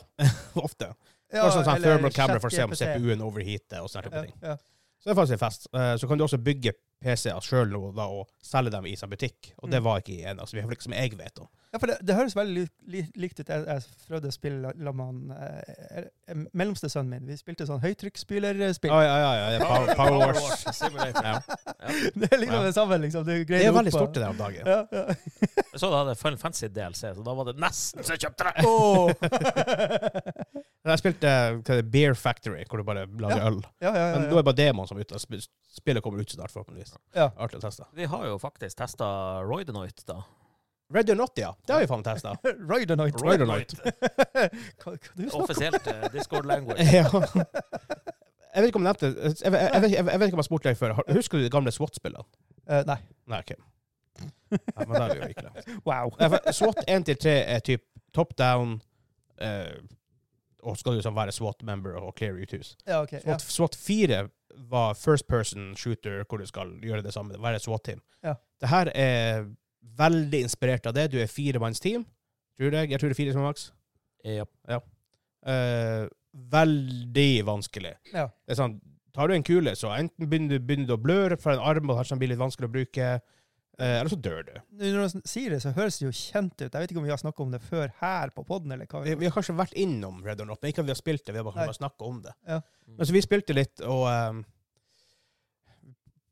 Speaker 1: ofte.
Speaker 2: ja
Speaker 1: Bare sånn, sånn
Speaker 2: eller
Speaker 1: thermal camera for å se om
Speaker 2: ChatGPT.
Speaker 1: CPU-en overheater og sånne
Speaker 2: Ja,
Speaker 1: type ting.
Speaker 2: ja.
Speaker 1: Så det er faktisk en fest. Eh, så kan du også bygge PC-er sjøl nå da, og selge dem i sånn butikk. Og det
Speaker 2: Mm.
Speaker 1: var ikke i en, altså, vi har liksom jeg vet om.
Speaker 2: ja, for det, det høres veldig lik- lik- likt ut. Jeg, jeg prøvde å spille la- la man, eh, eh, mellomste sønnen min. Vi spilte sånn høytrykksspylerspill.
Speaker 1: Ja, ja, ja, Ah, ja, det er Power, power Wars.
Speaker 3: Simulator.
Speaker 1: Ja.
Speaker 2: Det er liksom
Speaker 1: Ja.
Speaker 2: det samme, liksom. Du
Speaker 1: Det
Speaker 2: greier
Speaker 1: er veldig
Speaker 2: opp,
Speaker 1: stort
Speaker 2: og-
Speaker 1: det der om dagen.
Speaker 2: Ja, ja.
Speaker 3: Jeg så det hadde Final Fantasy DLC, så da var det nesten så jeg kjøpte det!
Speaker 2: Åh.
Speaker 1: Jeg spilte eh, hva er det, Beer Factory, hvor du bare lager øl.
Speaker 2: ja, ja,
Speaker 1: Men
Speaker 2: ja,
Speaker 1: nå er
Speaker 2: ja.
Speaker 1: det bare demoen som er ute. og sp- Spillet kommer ut snart, forhåpentligvis.
Speaker 2: Ja.
Speaker 1: Artig å teste.
Speaker 3: Vi har jo faktisk testa Roydenoit, da.
Speaker 1: Red or Not, ja. Det har vi faen testa.
Speaker 2: Rydenoid.
Speaker 1: Roydenoid.
Speaker 2: Hva, hva du snakker
Speaker 3: Offisielt eh, Discord language.
Speaker 1: ja. Jeg vet ikke om jeg nevnte Jeg, jeg, jeg, vet- jeg, jeg vet ikke om jeg har spurt deg før. Har- Husker du de gamle SWAT-spillene?
Speaker 2: Eh, Nei.
Speaker 1: Nei, OK. Nei, men da er vi jo ikke glemt.
Speaker 2: Wow.
Speaker 1: Nei, for SWAT 1-3 er typ top down, eh, og skal du liksom være SWAT-member og clear ut hus.
Speaker 2: Ja, ok. Ja.
Speaker 1: SWAT, SWAT 4 var first person shooter, hvor du skal gjøre det samme, være et SWAT-team.
Speaker 2: Ja.
Speaker 1: Det her er veldig inspirert av det. Du er firemannsteam, tror jeg. Jeg tror det er fire som er maks.
Speaker 3: Ja.
Speaker 1: Eh, veldig vanskelig.
Speaker 2: Ja.
Speaker 1: Det sånn, er sånn, tar du en kule, så enten begynner du, begynner du å blø fra en arm, og kanskje den blir litt vanskelig å bruke. Eh, eller så dør du.
Speaker 2: Når du sier det, så høres det jo kjent ut. Jeg vet ikke om vi har snakka om det før her på poden, eller hva.
Speaker 1: Vi, vi har kanskje vært innom Red or Not, men ikke at vi har spilt det. Vi har bare,
Speaker 2: Nei.
Speaker 1: bare snakket om det.
Speaker 2: Ja.
Speaker 1: Men så vi spilte litt, og ehm,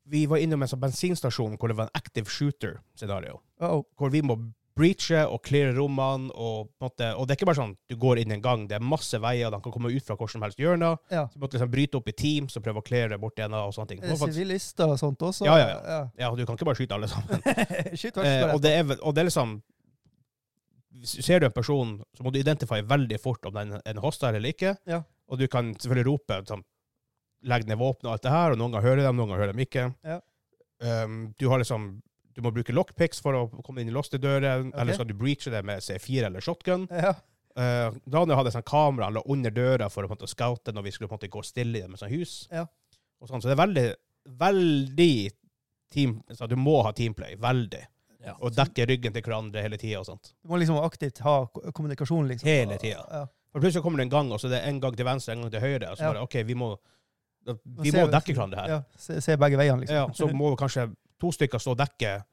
Speaker 1: vi var innom en sånn bensinstasjon hvor det var en active shooter-scenario.
Speaker 2: Uh -oh.
Speaker 1: Hvor vi må breache og cleare rommene, og, på en måte, og det er ikke bare sånn du går inn en gang, det er masse veier, de kan komme ut fra hvor som helst hjørne.
Speaker 2: Ja.
Speaker 1: Så vi måtte liksom bryte opp i teams og prøve å cleare bort en og sånne ting.
Speaker 2: Er det
Speaker 1: Det var faktisk,
Speaker 2: Sivilister Eh, og sånt også?
Speaker 1: Ja, ja, ja, du kan ikke bare skyte alle sammen.
Speaker 2: Skyt
Speaker 1: Eh,
Speaker 2: hvertfall.
Speaker 1: og, det er, vel- og det er liksom Ser du en person, så må du identify veldig fort om den er en hoster eller ikke.
Speaker 2: Ja.
Speaker 1: Og du kan selvfølgelig rope sånn, Legg ned våpenet og alt det her, og noen ganger hører de, noen ganger hører de ikke.
Speaker 2: Ja.
Speaker 1: Um, du har liksom Du må bruke lockpicks for å komme inn i låste dører,
Speaker 2: Ok.
Speaker 1: eller skal du breache det med C4 eller shotgun.
Speaker 2: Ja.
Speaker 1: Uh, Daniel hadde sånn kamera eller under døra for å på en måte scoute når vi skulle på en måte gå stille i det med sånn hus.
Speaker 2: Ja.
Speaker 1: Og sånn, så det er veldig, veldig team, så Du må ha teamplay. Veldig.
Speaker 3: Ja.
Speaker 1: Og dekke ryggen til hverandre hele tida og sånt.
Speaker 2: Du må liksom aktivt ha ko- kommunikasjon, liksom.
Speaker 1: Hele tida.
Speaker 2: Ja.
Speaker 1: Og plutselig kommer det en gang, og så er det en gang til venstre, en gang til høyre. Og så
Speaker 2: Ja.
Speaker 1: bare OK, vi må, vi
Speaker 2: Og se-
Speaker 1: må dekke hverandre her.
Speaker 2: Ja, se, se begge veiene, liksom.
Speaker 1: Ja, så må kanskje to stykker stå og dekke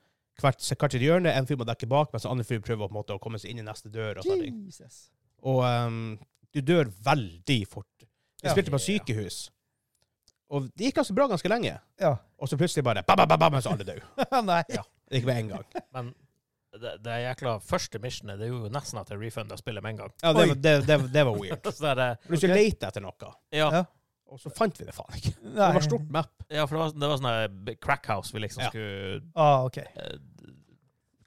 Speaker 1: hvert hvert sitt hjørne. En fyr må dekke bak, mens den andre fyr prøver på en måte å komme seg inn i neste dør. og sånne ting.
Speaker 2: Jesus.
Speaker 1: Og ehm, du dør veldig fort. Vi
Speaker 2: Ja.
Speaker 1: spilte på
Speaker 3: Ja.
Speaker 1: sykehus, og det gikk ganske bra ganske lenge.
Speaker 2: Ja.
Speaker 1: Og så plutselig bare bam, bam, bam, bam, så alle døde.
Speaker 2: Nei.
Speaker 1: Ja. Det gikk med en gang.
Speaker 3: Men det, det jækla første missionet det gjorde jo nesten at jeg refunda spillet med en gang.
Speaker 1: Ja, det,
Speaker 2: Oi.
Speaker 1: var- det, det, det var weird.
Speaker 3: Så der,
Speaker 1: Plutselig
Speaker 2: Ok.
Speaker 1: lette etter noe,
Speaker 3: ja,
Speaker 2: Ja.
Speaker 1: og så fant vi det faen ikke.
Speaker 2: Nei.
Speaker 1: Det var stort map.
Speaker 3: ja, for det var, det var sånn her crackhouse vi liksom
Speaker 1: Ja.
Speaker 3: skulle
Speaker 2: Ah, ok.
Speaker 3: eh,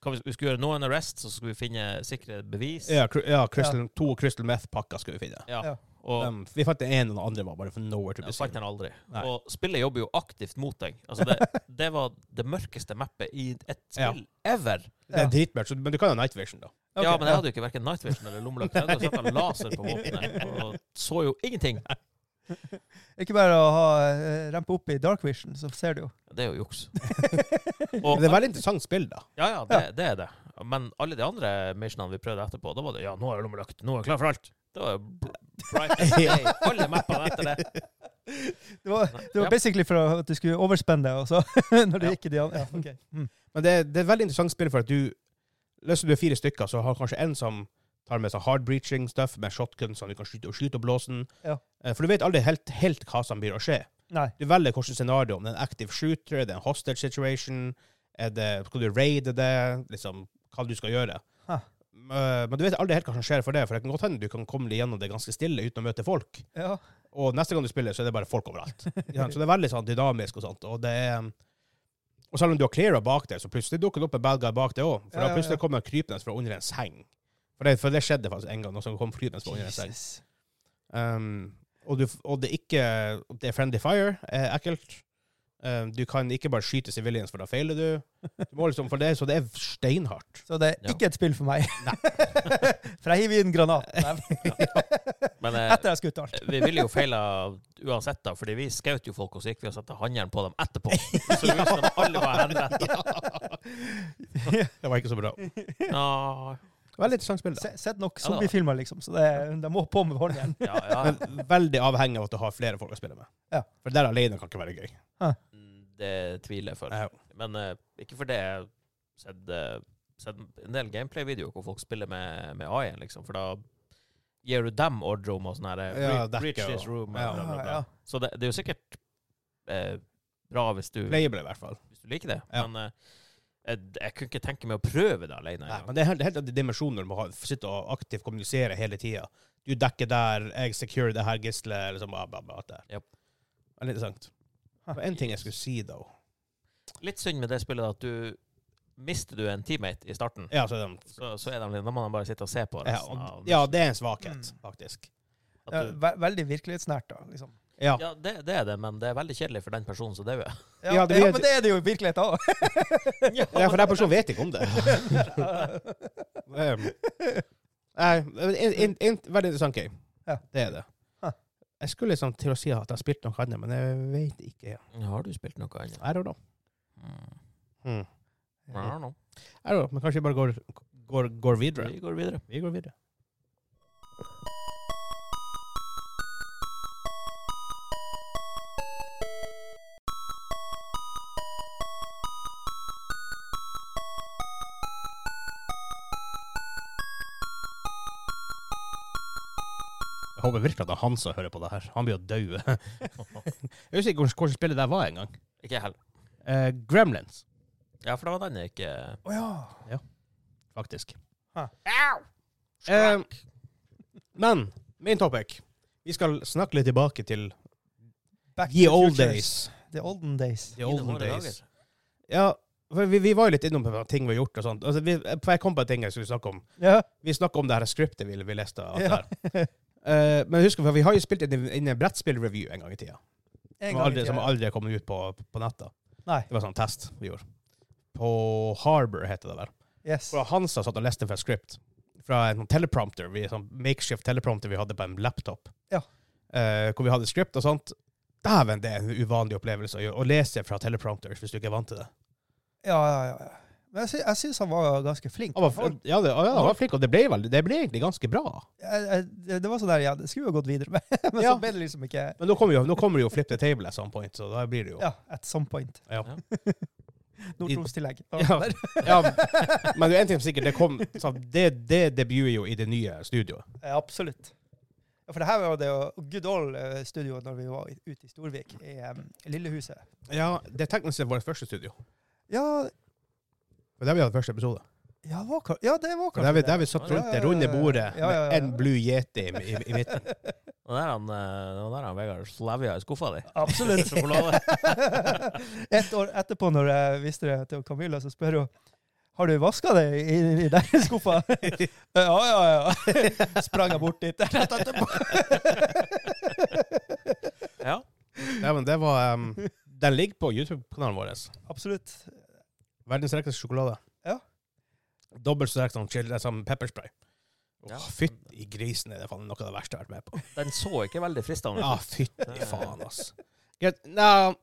Speaker 3: hva vi, vi skulle gjøre noen arrest, så skulle vi finne sikre bevis.
Speaker 1: Ja, cr- ja, crystal, to Crystal Meth-pakker skulle vi finne.
Speaker 3: Ja.
Speaker 2: Ja.
Speaker 3: Og
Speaker 1: Um, vi fant den ene, og den andre var bare for nowhere to
Speaker 3: ja,
Speaker 1: be
Speaker 3: fant
Speaker 1: seen.
Speaker 3: den aldri.
Speaker 1: Nei.
Speaker 3: Og spillet jobber jo aktivt mot deg. Altså det, det var det mørkeste mappet i et spill ever.
Speaker 1: Det er
Speaker 2: Ja.
Speaker 1: dritmørkt, så- men du kan jo night vision, da.
Speaker 2: Ok,
Speaker 3: ja, men jeg hadde jo ikke verken Night Vision eller lommelykk. Jeg hadde jo satt en laser på våpenet og så jo ingenting.
Speaker 2: Ikke bare å ha, eh, rampe opp i dark vision, så ser du jo.
Speaker 3: Det er jo juks.
Speaker 1: Men
Speaker 3: Og,
Speaker 1: det er veldig interessant spill, da.
Speaker 3: ja, ja, det, det er det. Men alle de andre missionene vi prøvde etterpå, da var det ja, nå er jeg lommelykk, nå er jeg klar for alt. Det var jo br- bright as day. Alle mappene etter det.
Speaker 2: Det var, det var
Speaker 3: Ja.
Speaker 2: basically for å- at du skulle overspenne deg, og så når du
Speaker 3: Ja.
Speaker 2: gikk i de andre. Ja, ok. Mm.
Speaker 1: Men det, det er veldig interessant spill for at du Løser du fire stykker, så har kanskje en som tar med seg hard breaching stuff med shotgun, sånn at du kan skyte og skyte og blåse den.
Speaker 2: Ja.
Speaker 1: Eh, For du vet aldri helt, helt hva som blir å skje.
Speaker 2: Nei.
Speaker 1: Du velger hvilket scenario. Om det er en active shooter, er det en hostage situation, er det, skal du raide det, liksom, hva du skal gjøre.
Speaker 2: Ha.
Speaker 1: Eh, Men du vet aldri helt hva som skjer for det, for det kan godt hende du kan komme deg gjennom det ganske stille uten å møte folk.
Speaker 2: Ja.
Speaker 1: Og neste gang du spiller, så er det bare folk overalt. Ja, så det er veldig sånn dynamisk og sånt. Og det er Og selv om du har cleara bak deg, så plutselig dukker det opp en bad guy bak deg òg. For
Speaker 2: Ja, ja,
Speaker 1: da
Speaker 2: ja.
Speaker 1: plutselig kommer han krypende fra under en seng. For det, for det skjedde faktisk en gang, noen som kom krypende fra under en seng.
Speaker 2: Jesus.
Speaker 1: Um, og, du, og det er ikke Det er friendly fire, er ekkelt. Um, du kan ikke bare skyte civilians, for da feiler du. du må liksom, for det, så det er steinhardt.
Speaker 2: Så det
Speaker 3: Ja.
Speaker 2: er ikke et spill for meg. for jeg hiver i en granat Nei.
Speaker 3: Men eh,
Speaker 2: etter jeg har skutt alt.
Speaker 3: vi ville jo feila uansett, da, fordi vi skjøt jo folk, og så gikk vi og satte håndjern på dem etterpå. Så vi visste at alle var henrettet.
Speaker 1: Det var ikke så bra.
Speaker 3: Ja,
Speaker 1: Veldig interessant spill. da.
Speaker 2: Se- Sett nok zombiefilmer, liksom, så det, de må på med håndjern.
Speaker 3: ja, ja.
Speaker 1: Men veldig avhengig av at du har flere folk å spille med.
Speaker 2: Ja.
Speaker 1: For der alene kan ikke være gøy.
Speaker 3: Mm, Det tviler jeg for.
Speaker 1: Ja.
Speaker 3: Men eh, ikke for det. Jeg har sett, eh, sett en del gameplay-videoer hvor folk spiller med, med AI, liksom, for da gir du dem ordre om å sånn her eh,
Speaker 1: Ja,
Speaker 3: re-
Speaker 1: dekke
Speaker 3: Reach this
Speaker 1: og-
Speaker 3: room.
Speaker 1: ja.
Speaker 3: bla, bla, bla.
Speaker 2: Ja, ja.
Speaker 3: Så det, det er jo sikkert eh, bra hvis du,
Speaker 1: Playable, i hvert fall.
Speaker 3: hvis du liker det,
Speaker 1: Ja.
Speaker 3: men eh, jeg, jeg kunne ikke tenke meg å prøve det alene.
Speaker 1: Nei,
Speaker 3: engang.
Speaker 1: men det er helt, helt andre dimensjoner du må ha, sitte og aktivt kommunisere hele tida. Du dekker der, jeg securer det her gisselet, liksom bla, bla, bla. alt det der.
Speaker 3: Japp.
Speaker 1: Veldig interessant.
Speaker 2: Ha.
Speaker 1: Og en ting jeg skulle si, da.
Speaker 3: Litt synd med det spillet at du mister du en teammate i starten,
Speaker 1: Ja, så er det,
Speaker 3: så, så er de, litt- da må de bare sitte og se på
Speaker 1: ja,
Speaker 3: resten
Speaker 1: og,
Speaker 3: av
Speaker 1: ja, det er en svakhet, faktisk.
Speaker 3: at
Speaker 2: Ja,
Speaker 3: du,
Speaker 2: ve veldig virkelighetsnært, da. liksom.
Speaker 1: Ja.
Speaker 3: ja det, det er det, men det er veldig kjedelig for den personen som dauer.
Speaker 2: Ja,
Speaker 1: Ja,
Speaker 2: ja,
Speaker 1: det blir-
Speaker 2: men det er det jo i virkeligheten òg.
Speaker 1: ja, for den personen vet ikke om det. Um, Nei, en, en, en, veldig interessant game.
Speaker 2: Ja.
Speaker 1: Det er det.
Speaker 2: Ha.
Speaker 1: Jeg skulle liksom til å si at jeg spilte noe annet, men jeg vet ikke.
Speaker 3: Har du spilt noe annet?
Speaker 1: I don't know.
Speaker 3: Mm.
Speaker 1: Hmm.
Speaker 3: I don't know.
Speaker 1: I don't know. Men kanskje vi bare går, går, går videre.
Speaker 3: Vi går videre.
Speaker 1: Vi går videre. Jeg håper virkelig at det er han som hører på det her. Han blir jo død. jeg husker ikke hvordan- hvordan spillet der var engang.
Speaker 3: Ikke jeg heller.
Speaker 1: Uh, Gremlins,
Speaker 3: Ja, for det var den jeg ikke
Speaker 2: Å ja.
Speaker 1: faktisk.
Speaker 3: Skrakk.
Speaker 1: Eh, Men main topic. Vi skal snakke litt tilbake til
Speaker 2: Back
Speaker 1: the
Speaker 2: to
Speaker 1: old
Speaker 2: futures.
Speaker 1: days.
Speaker 2: The olden days.
Speaker 1: The
Speaker 3: I det
Speaker 1: olden
Speaker 3: våre
Speaker 1: days.
Speaker 3: dager.
Speaker 1: Ja, for vi, vi var jo litt innom på ting vi har gjort og sånt. Altså, vi, for jeg kom på en ting jeg skulle snakke om.
Speaker 2: Ja.
Speaker 1: Vi snakka om det her skriptet vi, vi leste. av
Speaker 2: Ja.
Speaker 1: det her. Eh, men husk, for vi har jo spilt inn en- inn en brettspillreview en gang i tida.
Speaker 2: En
Speaker 1: Som
Speaker 2: gang i
Speaker 1: aldri,
Speaker 2: tida.
Speaker 1: som aldri kom ut på, på nettet.
Speaker 2: Nei.
Speaker 1: Det var sånn test vi gjorde. På Harbour heter det vel.
Speaker 2: Yes.
Speaker 1: Hvor Hansa satt og leste fra et script. Fra en teleprompter, vi, sånn makeshift teleprompter vi hadde på en laptop.
Speaker 2: Ja.
Speaker 1: Eh, hvor vi hadde script og sånt. Dæven, det er en uvanlig opplevelse å, gjøre, å lese fra teleprompter hvis du ikke er vant til det.
Speaker 2: Ja, ja, ja, ja. Men jeg, sy jeg syns han var ganske flink.
Speaker 1: Han var,
Speaker 2: Han-
Speaker 1: ja, det, ja, han var flink, og det ble, vel, det ble egentlig ganske bra.
Speaker 2: jeg, jeg, det- det var sånn der, ja, det skulle jo gått videre med, men
Speaker 1: Ja.
Speaker 2: så ble det liksom ikke
Speaker 1: Men nå kommer jo, nå kommer jo flip the table at some point, så da blir det jo
Speaker 2: Ja, at some point.
Speaker 1: Ja.
Speaker 2: Nord-Troms-tillegg.
Speaker 1: Ja. Ja, men det er en ting som sikkert, det kom så Det, det debuter jo i det nye studioet.
Speaker 2: Ja, absolutt. Ja, for det her var jo det jo good old eh, studio når vi var i- ute i Storvik, i em, Lillehuset.
Speaker 1: Ja, det er teknisk sett vårt første studio.
Speaker 2: Ja,
Speaker 1: Det er der vi hadde første episode.
Speaker 2: ja, var, ka- ja det var
Speaker 1: Og Der vi,
Speaker 2: kanskje
Speaker 1: der vi satt
Speaker 3: Ja,
Speaker 1: rundt det
Speaker 2: ja,
Speaker 1: runde
Speaker 2: ja, ja.
Speaker 1: bordet
Speaker 2: Ja, ja, ja,
Speaker 1: med
Speaker 2: ja.
Speaker 1: en blue yeti i, i, i midten.
Speaker 3: Og der han, eh, det var der han Vegard slavia i skuffa di.
Speaker 2: Absolutt.
Speaker 3: Sjokolade.
Speaker 2: Et år etterpå, når jeg viste det til Camilla, så spør hun har du vaska det i, i den skuffa. ja, ja, ja. Sprang jeg bort dit rett etterpå.
Speaker 3: Ja.
Speaker 1: Nei, men det var um, Den ligger på YouTube-kanalen vår.
Speaker 2: Absolutt.
Speaker 1: Verdens sterkeste sjokolade.
Speaker 2: Ja.
Speaker 1: Dobbelt så sterk som, chili- som pepperspray. Åh,
Speaker 3: Ja.
Speaker 1: Fytti grisen, det er faen noe av det verste jeg har vært med på.
Speaker 3: Den så ikke veldig fristende
Speaker 1: Ja,
Speaker 3: ut.
Speaker 1: fytti faen, ass. Greit, Nei,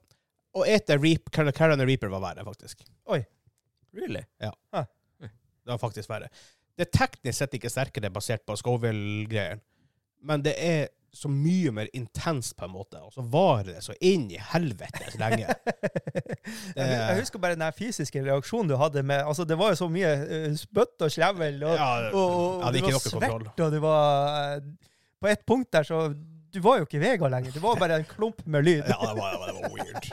Speaker 1: å ete Reap, Car- Carolina Reaper var verre, faktisk.
Speaker 3: Really?
Speaker 1: Det var faktisk verre. Det er teknisk sett ikke sterkere basert på Scoville-greier, men det er så mye mer intenst, på en måte, og så varer det så inn i helvete så lenge.
Speaker 2: Jeg, jeg husker bare den der fysiske reaksjonen du hadde med altså Det var jo så mye eh, spytt og slevel, og,
Speaker 1: Ja,
Speaker 2: og, og
Speaker 1: jeg hadde
Speaker 2: du
Speaker 1: ikke
Speaker 2: var
Speaker 1: noe kontroll.
Speaker 2: svett, og du var eh, På et punkt der, så Du var jo ikke Vega lenger. Du var bare en klump med lyd.
Speaker 1: Ja, det var, det var weird.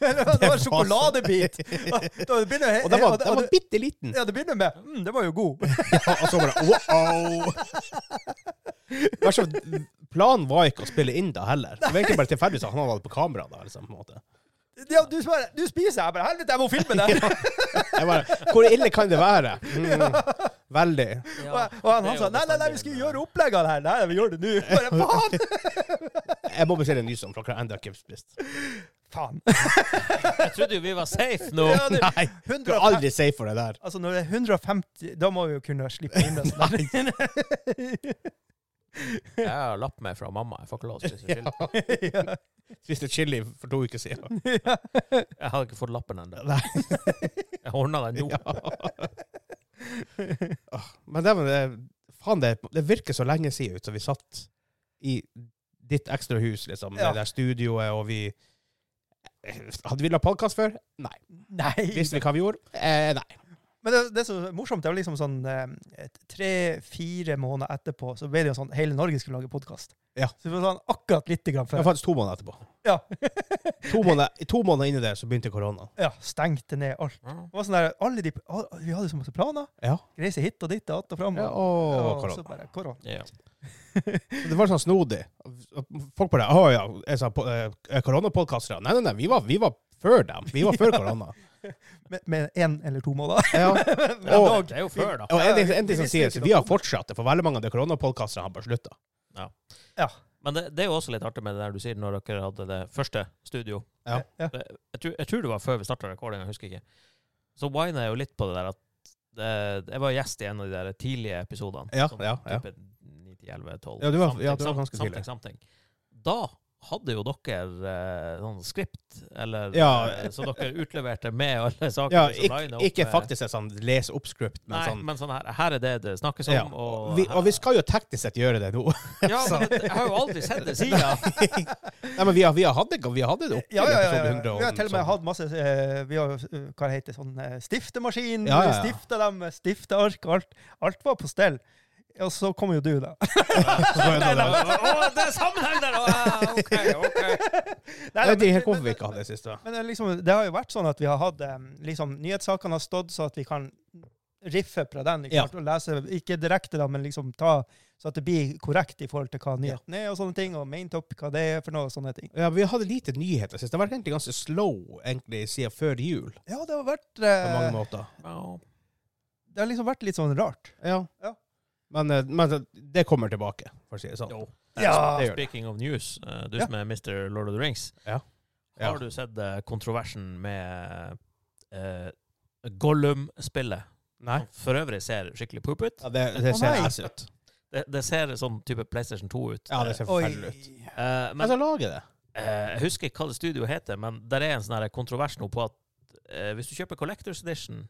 Speaker 2: det var en
Speaker 1: så-
Speaker 2: sjokoladebit! Og, da begynner,
Speaker 1: Og den var,
Speaker 2: og- og-
Speaker 1: den var bitte liten.
Speaker 2: Ja, det begynner med mm, det var jo god.
Speaker 1: Og så bare wow! Vær så- Planen var ikke å spille inn da heller. Det var egentlig bare tilfeldigvis at han hadde det på kamera. da, liksom, på en måte.
Speaker 2: Ja, du, bare, du spiser, jeg bare Helvete, jeg må filme det!
Speaker 1: Jeg bare, Hvor ille kan det være? Mm, veldig.
Speaker 2: og, og han, han sa nei, nei, nei, vi skulle gjøre opplegg av det her. Nei, vi gjør det nå. Bare faen!
Speaker 1: Jeg må bestille en ny sånn, for dere har ennå ikke spist.
Speaker 2: faen.
Speaker 3: Jeg trodde jo vi var safe nå.
Speaker 2: Ja, det,
Speaker 1: Nei, du
Speaker 2: 150,
Speaker 1: er aldri safe for det der.
Speaker 2: Altså, når det er 150, da må vi jo kunne slippe inn det. sånn der.
Speaker 3: Jeg har lapp med fra mamma. Jeg får ikke lov å spise chili.
Speaker 2: ja.
Speaker 1: Spiste chili for to uker siden.
Speaker 3: Jeg hadde ikke fått lappen ennå.
Speaker 1: Nei.
Speaker 3: Jeg ordna den nå.
Speaker 1: Ja. Åh, Men det, var det, faen, det, det virker så lenge siden ut som vi satt i ditt ekstra hus, liksom, med
Speaker 2: Ja.
Speaker 1: det der studioet, og vi eh, Hadde vi lagd podkast før? Nei.
Speaker 2: Nei.
Speaker 1: Visste vi hva vi gjorde? Eh, nei.
Speaker 2: Men det, det som er morsomt, det var liksom sånn eh, tre-fire måneder etterpå, så ble det jo sånn hele Norge skulle lage podkast.
Speaker 1: Ja.
Speaker 2: Så det var sånn akkurat lite grann
Speaker 1: Det var
Speaker 2: før.
Speaker 1: faktisk to måneder etterpå.
Speaker 2: Ja.
Speaker 1: To måneder, i to måneder inni det, så begynte korona.
Speaker 2: ja. Stengte ned alt. Det var sånn der, alle de, all- Vi hadde så masse planer.
Speaker 1: Ja.
Speaker 2: Reise hit og dit og att og fram.
Speaker 1: ja
Speaker 2: og-
Speaker 1: og
Speaker 2: og så
Speaker 1: korona.
Speaker 2: bare korona.
Speaker 3: Ja.
Speaker 1: Det var sånn snodig. Folk bare Å ja, jeg sa på- eh, koronapodkastere. Nei, nei, nei, vi var, vi var før dem. Vi var før korona.
Speaker 2: Med- Med én eller to måneder.
Speaker 1: Ja.
Speaker 3: Ja,
Speaker 1: Og,
Speaker 3: det er jo før, da.
Speaker 1: og en, ting- en ting
Speaker 2: Vi
Speaker 1: som
Speaker 2: visste
Speaker 1: sies,
Speaker 2: ikke
Speaker 1: vi har fortsatt det, for veldig mange av de koronapodkasterne har bare slutta.
Speaker 3: Men det, det er jo også litt artig med det der du sier når dere hadde det første studio.
Speaker 1: Ja.
Speaker 2: Ja.
Speaker 3: Det- Jeg, tror- jeg tror det var før vi starta recordinga, jeg husker ikke. Så wina jeg jo litt på det der at det, Jeg var gjest i en av de der tidlige episodene.
Speaker 1: Ja,
Speaker 3: sånn
Speaker 1: ja, ja.
Speaker 3: type 9 til 11, 12.
Speaker 1: Ja, du var- ja, du var
Speaker 3: something,
Speaker 1: ganske tidlig.
Speaker 3: something, something. Da hadde jo dere eh, sånn skript, eller
Speaker 1: Ja.
Speaker 3: eh, Så dere utleverte med alle sakene.
Speaker 1: Ja,
Speaker 3: som
Speaker 1: ikke,
Speaker 3: line opp,
Speaker 1: ikke
Speaker 3: eh,
Speaker 1: faktisk et sånn les opp-script, men
Speaker 3: Nei,
Speaker 1: sånn
Speaker 3: men sånn her, her er det det snakkes om.
Speaker 1: ja.
Speaker 3: Og,
Speaker 1: vi, og vi skal jo teknisk sett gjøre det nå.
Speaker 3: Ja, men jeg har jo aldri sett det sida.
Speaker 1: Nei, men vi har, vi har hatt det vi har hatt det opp
Speaker 2: Ja, ja, ja, ja.
Speaker 1: episode 100 og
Speaker 2: Vi har til og med
Speaker 1: sånn.
Speaker 2: hatt masse eh, Vi har jo, eh, hva det heter sånn eh, stiftemaskin.
Speaker 1: Ja, ja, ja.
Speaker 2: Stifta dem, stifta ark. Alt, alt var på stell. Og så kommer jo du, da.
Speaker 3: Nei, nei, nei, å, det er sammenheng der! Å, OK, OK.
Speaker 2: Nei,
Speaker 1: Jeg
Speaker 2: nei,
Speaker 1: vet ikke
Speaker 2: men-
Speaker 1: helt hvorfor vi ikke hadde det sist. da.
Speaker 2: Men eh, liksom, det har jo vært sånn at vi har hatt eh, liksom, Nyhetssakene har stått så at vi kan riffe fra den. Ikke,
Speaker 1: Ja.
Speaker 2: sant? og lese, ikke direkte, da, men liksom ta så at det blir korrekt i forhold til hva nyheten er, og sånne ting, og maintop, hva det er for noe, og sånne ting.
Speaker 1: Ja, Vi hadde lite nyheter sist. Det har vært egentlig ganske slow egentlig siden før jul.
Speaker 2: Ja, det har vært
Speaker 1: på mange
Speaker 2: eh,
Speaker 1: måter.
Speaker 3: Ja.
Speaker 2: Det har liksom vært litt sånn rart.
Speaker 1: Ja.
Speaker 2: Ja.
Speaker 1: Men, eh, men det kommer tilbake, for å si det sånn.
Speaker 3: Jo.
Speaker 2: Ja.
Speaker 1: Det gjør det.
Speaker 3: Speaking of news, eh, du
Speaker 2: Ja.
Speaker 3: som er Mr. Lord of the Rings.
Speaker 1: Ja. Ja.
Speaker 3: Har du sett eh, kontroversen med eh, Gollum-spillet?
Speaker 1: Nei.
Speaker 3: Som for øvrig ser skikkelig poop ut.
Speaker 1: Ja, det, det
Speaker 2: Å,
Speaker 1: ser
Speaker 2: nei.
Speaker 1: ass ut.
Speaker 3: Det, det ser sånn type PlayStation 2 ut.
Speaker 1: Ja, det ser Altså- forferdelig ut.
Speaker 3: Eh,
Speaker 1: Jeg
Speaker 3: men
Speaker 1: skal lage det.
Speaker 3: eh, jeg husker ikke hva det studioet heter, men der er en sånn her kontrovers nå på at eh, hvis du kjøper Collectors Edition,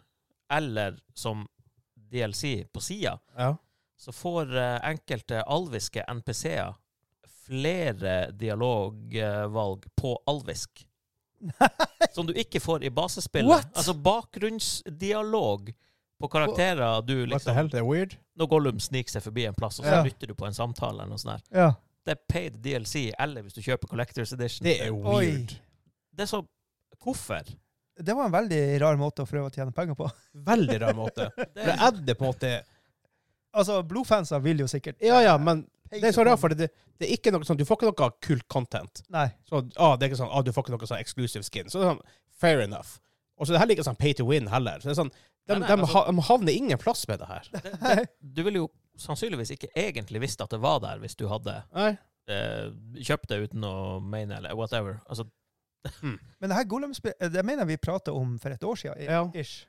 Speaker 3: eller som DLC på sida,
Speaker 1: Ja.
Speaker 3: så får eh, enkelte alviske NPC-er flere dialogvalg på alvisk. Som du ikke får i basespillet.
Speaker 2: What?
Speaker 3: Altså bakgrunnsdialog på karakterer du
Speaker 1: What the hell,
Speaker 3: liksom
Speaker 1: det er weird.
Speaker 3: Når Gollum sniker seg forbi en plass, og så
Speaker 2: Ja.
Speaker 3: lytter du på en samtale eller noe sånt. der.
Speaker 2: Ja.
Speaker 3: Det er paid DLC, eller hvis du kjøper Collectors Edition.
Speaker 1: Det er weird.
Speaker 3: Det er så Hvorfor?
Speaker 2: Det var en veldig rar måte å prøve å tjene penger på.
Speaker 1: Veldig rar måte. For
Speaker 3: Det
Speaker 1: det
Speaker 3: er,
Speaker 1: er det på en måte
Speaker 2: Altså, blodfanser vil jo sikkert
Speaker 1: Ja ja, men det er så rart, for det, det er ikke noe sånn Du får ikke noe kult content.
Speaker 2: Nei.
Speaker 1: Så ah, det er ikke sånn ah, du får ikke noe sånn exclusive skin. Så det er sånn, fair enough. Og så er det heller ikke sånn pay to win heller. Så det er sånn, de,
Speaker 3: Nei, nei,
Speaker 1: de,
Speaker 3: altså-
Speaker 1: ha- de havner ingen plass med det her.
Speaker 3: det, det, du ville jo sannsynligvis ikke egentlig visst at det var der, hvis du hadde
Speaker 1: Nei.
Speaker 3: eh, kjøpt det uten å mene eller whatever. Altså,
Speaker 2: Men det her Golem-spillet Det mener jeg vi prata om for et år siden. i-
Speaker 1: Ja.
Speaker 2: Ish.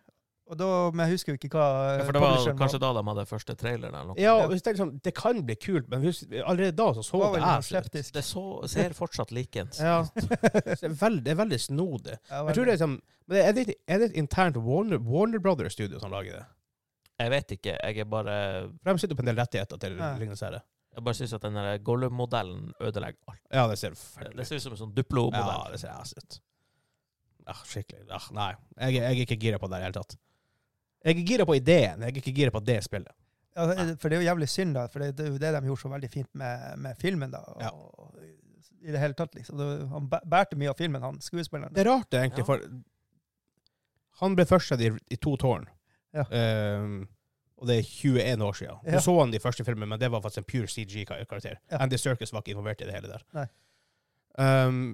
Speaker 2: Og da, men jeg husker jo ikke hva
Speaker 1: Eh,
Speaker 3: Ja, for det var kanskje da de hadde første traileren eller noe.
Speaker 1: Ja, og så tenker jeg sånn, det kan bli kult, men hvis, allerede da så, så
Speaker 2: var
Speaker 1: det
Speaker 2: vel
Speaker 1: ass ut.
Speaker 2: skeptisk.
Speaker 3: Det så, ser fortsatt likens.
Speaker 1: Ja. Så Det er veldig, det er veldig snodig.
Speaker 2: Ja,
Speaker 1: Jeg tror det er, liksom, men det er, det, et- er det et internt Warner, Warner Brothers studio som lager det?
Speaker 3: Jeg vet ikke, jeg er bare
Speaker 1: For de sitter på en del rettigheter til
Speaker 2: Ja.
Speaker 1: lignende serier.
Speaker 3: Jeg bare syns at den der Gollum-modellen ødelegger alt.
Speaker 1: Ja, det ser
Speaker 3: Det
Speaker 1: forferdelig ut.
Speaker 3: ser ut som en sånn
Speaker 1: Ja,
Speaker 3: Duplo-modell.
Speaker 1: det ser ass ut. Ja, skikkelig. Ja, nei, jeg, er- jeg er ikke gira på det i det hele tatt. Jeg er gira på ideen, jeg er ikke gira på det spillet.
Speaker 2: Ja, det- for det er jo jævlig synd, da. For det, det er jo det de gjorde så veldig fint med, med filmen, da. Og,
Speaker 1: Ja.
Speaker 2: I det hele tatt, liksom. Det, han bæ- bærte mye av filmen, han skuespilleren.
Speaker 1: Det er rart, det, egentlig,
Speaker 3: Ja.
Speaker 1: for han ble først sett i, i to tårn.
Speaker 2: Ja.
Speaker 1: Ehm, og det er 21 år siden. Du
Speaker 2: Ja.
Speaker 1: så han i første filmen, men det var faktisk en pure CG-karakter.
Speaker 2: Ja.
Speaker 1: Andy Serkis var ikke involvert i det hele der.
Speaker 2: Nei.
Speaker 1: Ehm,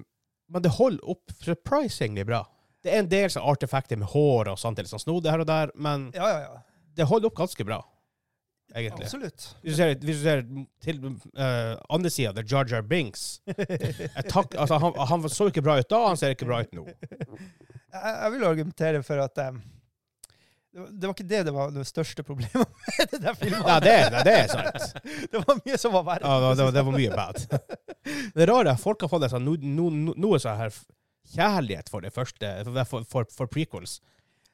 Speaker 1: men det holder opp surprisingly bra. Det er en del sånn artefakter med hår og sånt, litt sånn snodig her og der, men
Speaker 2: Ja, ja, ja.
Speaker 1: det holder opp ganske bra, egentlig.
Speaker 2: Absolutt.
Speaker 1: Hvis du ser, hvis du ser til eh, andre sida, det er Jar Jar Binks. Jeg tak, altså, han, han så ikke bra ut da, han ser ikke bra ut nå.
Speaker 2: Jeg, jeg vil argumentere for at eh, det var- det var ikke det det var det største problemet med den der filmen.
Speaker 1: Nei, det, nei, det er sant.
Speaker 2: Det var mye som var verre.
Speaker 1: Ja, det, var- det var mye bad. Det er rare er at folk har fått en sånn, no, no, no, noe sånn her kjærlighet for det første, for, for, for, for prequels.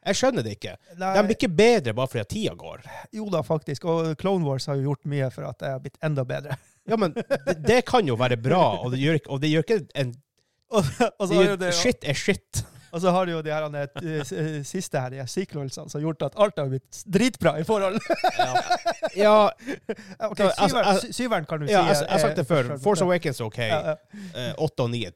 Speaker 1: Jeg skjønner det ikke. De
Speaker 2: Nei,
Speaker 1: blir ikke bedre bare fordi at tida går.
Speaker 2: jo da, faktisk. Og Clone Wars har jo gjort mye for at jeg har blitt enda bedre.
Speaker 1: Ja, men det, det kan jo være bra, og det gjør ikke, og det gjør ikke en
Speaker 2: Og, og så
Speaker 1: Altså, det
Speaker 2: har jo
Speaker 1: gjør,
Speaker 2: det,
Speaker 1: Shit er shit.
Speaker 2: og så har jo de her, han, eh, s- eh, siste her, de her sequelsene, som har gjort at alt har blitt dritbra i forhold.
Speaker 1: Ja,
Speaker 2: Ok,
Speaker 1: Så, altså,
Speaker 2: syveren,
Speaker 1: altså-
Speaker 2: sy- syveren kan du
Speaker 1: ja
Speaker 2: si. eh,
Speaker 1: jeg, jeg har sagt det før. Force Awakens
Speaker 2: Awakens.
Speaker 1: er OK.
Speaker 2: Ja, ja.
Speaker 1: Eh, Åtte og ni er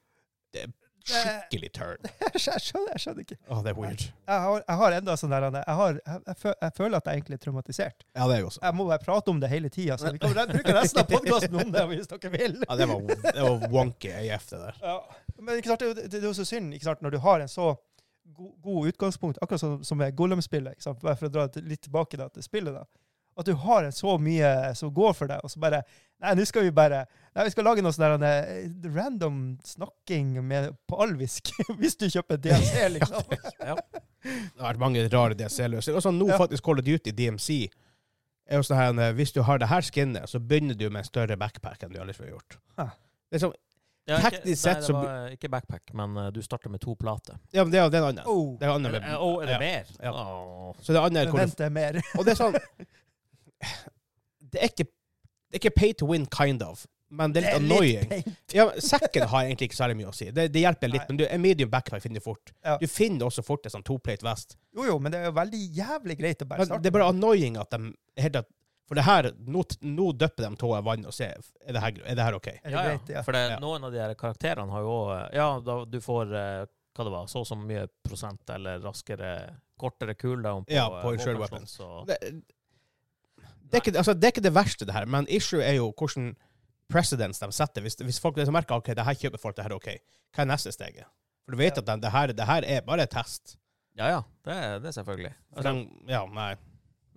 Speaker 1: det er skikkelig turn.
Speaker 2: Jeg skjønner, jeg skjønner ikke.
Speaker 1: Å, det er weird.
Speaker 2: Jeg har, jeg har enda sånn der, Anne, jeg, har, jeg, jeg, fø- jeg føler at jeg egentlig er traumatisert.
Speaker 1: Ja, det er jo også.
Speaker 2: Jeg må bare prate om det hele tida, så vi kan re- bruke resten av podkasten om det hvis dere vil.
Speaker 1: Ja, det var, det var wonky AF, det der.
Speaker 2: Ja. Men ikke sant, det, er jo- det, det er jo så synd ikke sant, når du har en så god, god utgangspunkt, akkurat som, som med Gollum-spillet, ikke sant, bare for å dra det litt tilbake da, til spillet, da, at du har en så mye som går for deg, og så bare Nei, nå skal vi bare Nei, vi skal lage noe sånn der Anne, random snakking med, på alvisk, hvis du kjøper DLC, liksom.
Speaker 1: Det har vært mange rare DLC-løsninger. Og sånn nå
Speaker 2: Ja.
Speaker 1: faktisk Call of Duty DMC er jo sånn her, eh, Hvis du har det her skinnet, så begynner du med en større backpack enn du ellers ville gjort.
Speaker 2: Huh.
Speaker 1: Det er sånn,
Speaker 3: Ja, ikke-
Speaker 1: Teknisk
Speaker 3: nei,
Speaker 1: sett
Speaker 3: det
Speaker 1: så
Speaker 3: var ikke backpack, men eh, du starter med to plater.
Speaker 1: ja, men det er jo det er en annen.
Speaker 2: Oh,
Speaker 1: Det er en annen
Speaker 3: Eh, Å, er det
Speaker 1: ja.
Speaker 3: mer?
Speaker 1: Ja.
Speaker 3: Åh.
Speaker 1: Så det er annen
Speaker 2: men
Speaker 1: hvor du,
Speaker 2: vent, det er mer.
Speaker 1: Og det er sånn Det er ikke, det er ikke pay to win, kind of. Men det er litt annoying.
Speaker 2: pain.
Speaker 1: Ja, men Sekken har egentlig ikke særlig mye å si. Det, det hjelper litt,
Speaker 2: Nei.
Speaker 1: men du, en medium backpack finner du fort.
Speaker 2: Ja.
Speaker 1: Du finner også fort en sånn toplate vest.
Speaker 2: Jo, jo, men det er jo veldig jævlig greit å bare
Speaker 1: Men
Speaker 2: starte.
Speaker 1: det er bare annoying at de helt at For det her, nå, nå døpper de tåa i vann og ser er det her, er det her OK.
Speaker 2: Er det
Speaker 3: Ja,
Speaker 2: greit?
Speaker 3: ja.
Speaker 2: Ja.
Speaker 3: For det,
Speaker 1: Ja.
Speaker 3: noen av de her karakterene har jo òg Ja, da, du får eh, hva det var, så og så mye prosent eller raskere, kortere cooldown på,
Speaker 1: Ja,
Speaker 3: eh,
Speaker 1: på insured
Speaker 3: våpen,
Speaker 1: weapons.
Speaker 3: så-
Speaker 1: Det, det, er ikke, altså, det er ikke det verste, det her, men issue er jo hvordan precedence de setter. Hvis, hvis folk liksom merker ok, det her kjøper folk, det her er OK, hva er neste steget? For du vet
Speaker 2: Ja.
Speaker 1: at den- det, her, det her er bare et test.
Speaker 3: Ja, ja. Det, er- det er selvfølgelig.
Speaker 1: For
Speaker 3: Altså,
Speaker 1: de, ja, nei.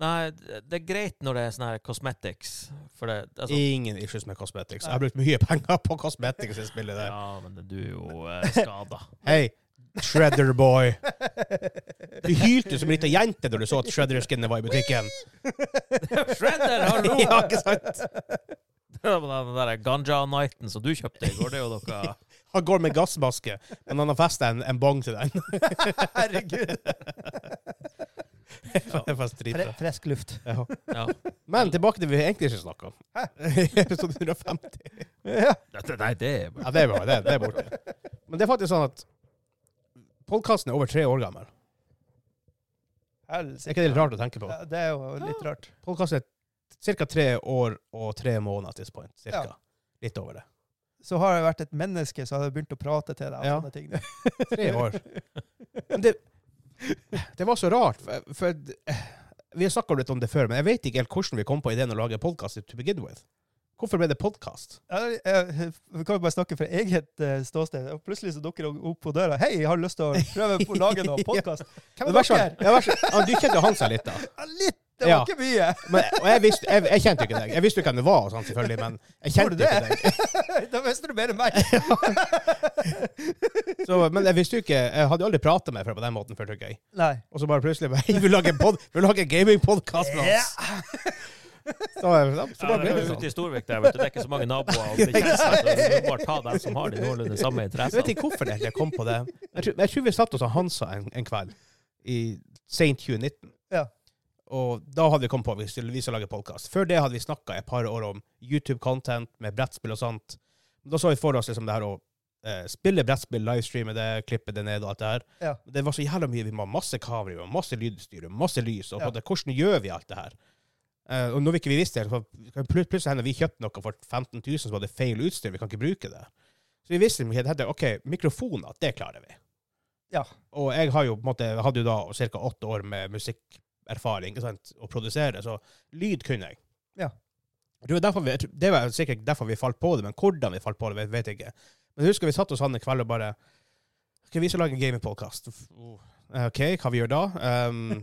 Speaker 3: nei, det er greit når det er sånne her cosmetics, for det altså,
Speaker 1: Ingen issues med cosmetics. Jeg har brukt mye penger på cosmetics i spillet. der.
Speaker 3: Ja, men du er jo eh, skada.
Speaker 1: Hei, Shredder boy. Du hylte som en liten jente da du så at Shredder-skinnet var i butikken.
Speaker 3: Shredder, hallo!
Speaker 1: Ja, ikke sant?
Speaker 3: Det var Den der Ganja Nighten som du kjøpte i går, det er jo dere
Speaker 1: Han går med gassmaske, men han har festa en, en bong til den.
Speaker 2: Herregud.
Speaker 1: Det er faktisk
Speaker 2: Fre
Speaker 1: dritbra.
Speaker 2: fresk luft.
Speaker 1: Ja.
Speaker 3: ja.
Speaker 1: Men tilbake til det vi egentlig ikke snakka om. Episode 150.
Speaker 2: Ja.
Speaker 3: Dette, Nei, det er
Speaker 1: Ja, det er bra. Det, det er borte. Men det er faktisk sånn at podkasten er over tre år gammel. Er
Speaker 2: Helsike.
Speaker 1: ikke det litt rart å tenke på?
Speaker 2: Ja, det er jo litt rart.
Speaker 1: Podkasten er ca. tre år og tre måneder til this point. Cirka.
Speaker 2: Ja.
Speaker 1: Litt over det.
Speaker 2: Så har jeg vært et menneske, så har jeg begynt å prate til deg. og
Speaker 1: Ja.
Speaker 2: sånne ting.
Speaker 1: Tre år. Men det, det var så rart, for, for vi har snakka litt om det før, men jeg vet ikke helt hvordan vi kom på ideen å lage podkast to begin with. Hvorfor ble det podkast?
Speaker 2: Ja, jeg- Vi kan jo bare snakke fra eget eh, ståsted. Og plutselig så dukker det opp på døra. 'Hei, jeg har lyst til å prøve å lage noe podkast.' Hvem
Speaker 1: sånn.
Speaker 2: er dere?
Speaker 1: Du kjente han seg litt, da.
Speaker 2: Ja, litt! Det
Speaker 1: Ja.
Speaker 2: var ikke mye.
Speaker 1: Men, og jeg, visste, jeg, jeg kjente ikke deg. Jeg visste jo hvem du var, og sånn, selvfølgelig, men jeg kjente
Speaker 2: Gjorde du
Speaker 1: ikke deg.
Speaker 2: da visste du mer enn meg.
Speaker 1: Så, men jeg visste jo ikke Jeg hadde jo aldri prata med deg før på den måten før. tror jeg.
Speaker 2: Nei.
Speaker 1: Og så bare plutselig bare, «Hei, Vi lager, pod, vi lager gamingpodkast med oss! Så, så, så
Speaker 3: Ja,
Speaker 1: bare
Speaker 3: det
Speaker 1: ble
Speaker 3: er
Speaker 1: det
Speaker 3: jo
Speaker 1: sånn.
Speaker 3: ute i Storvik der, vet du. Det er ikke så mange naboer og bekjentskaper. så Du må bare ta dem som har de noenlunde samme
Speaker 1: Jeg vet
Speaker 3: interessene.
Speaker 1: ikke hvorfor det egentlig jeg kom på det. Jeg tror, jeg tror vi satt hos han Hansa en, en kveld i sent 2019.
Speaker 2: Ja.
Speaker 1: Og da hadde vi kommet på at vi skulle, vi skulle lage podkast. Før det hadde vi snakka et par år om YouTube-content med brettspill og sånt. Da så vi for oss liksom det her å eh, spille brettspill, livestreame det, klippe det ned og alt det her.
Speaker 2: Ja.
Speaker 1: Det var så jævla mye. Vi må ha masse kamera, vi må ha masse lydstyr, vi må ha masse lys. Og
Speaker 2: Ja.
Speaker 1: det, hvordan gjør vi alt det her? Eh, og når vi ikke visste det, så plut- plutselig hender vi kjøpte noe for 15 000 som hadde feil utstyr. Vi kan ikke bruke det. Så vi visste ikke at OK, mikrofoner, det klarer vi.
Speaker 2: Ja.
Speaker 1: Og jeg har jo, på en måte, hadde jo da ca. åtte år med musikkerfaring ikke sant, å produsere, så lyd kunne jeg.
Speaker 2: Ja.
Speaker 1: Jeg tror derfor vi, jeg tror- det var sikkert derfor vi falt på det, men hvordan vi falt på det, vet, vet jeg ikke. Men jeg husker vi satt oss han en kveld og bare OK, vi skal lage en gamingpodkast. eh, OK, hva vi gjør da? Um,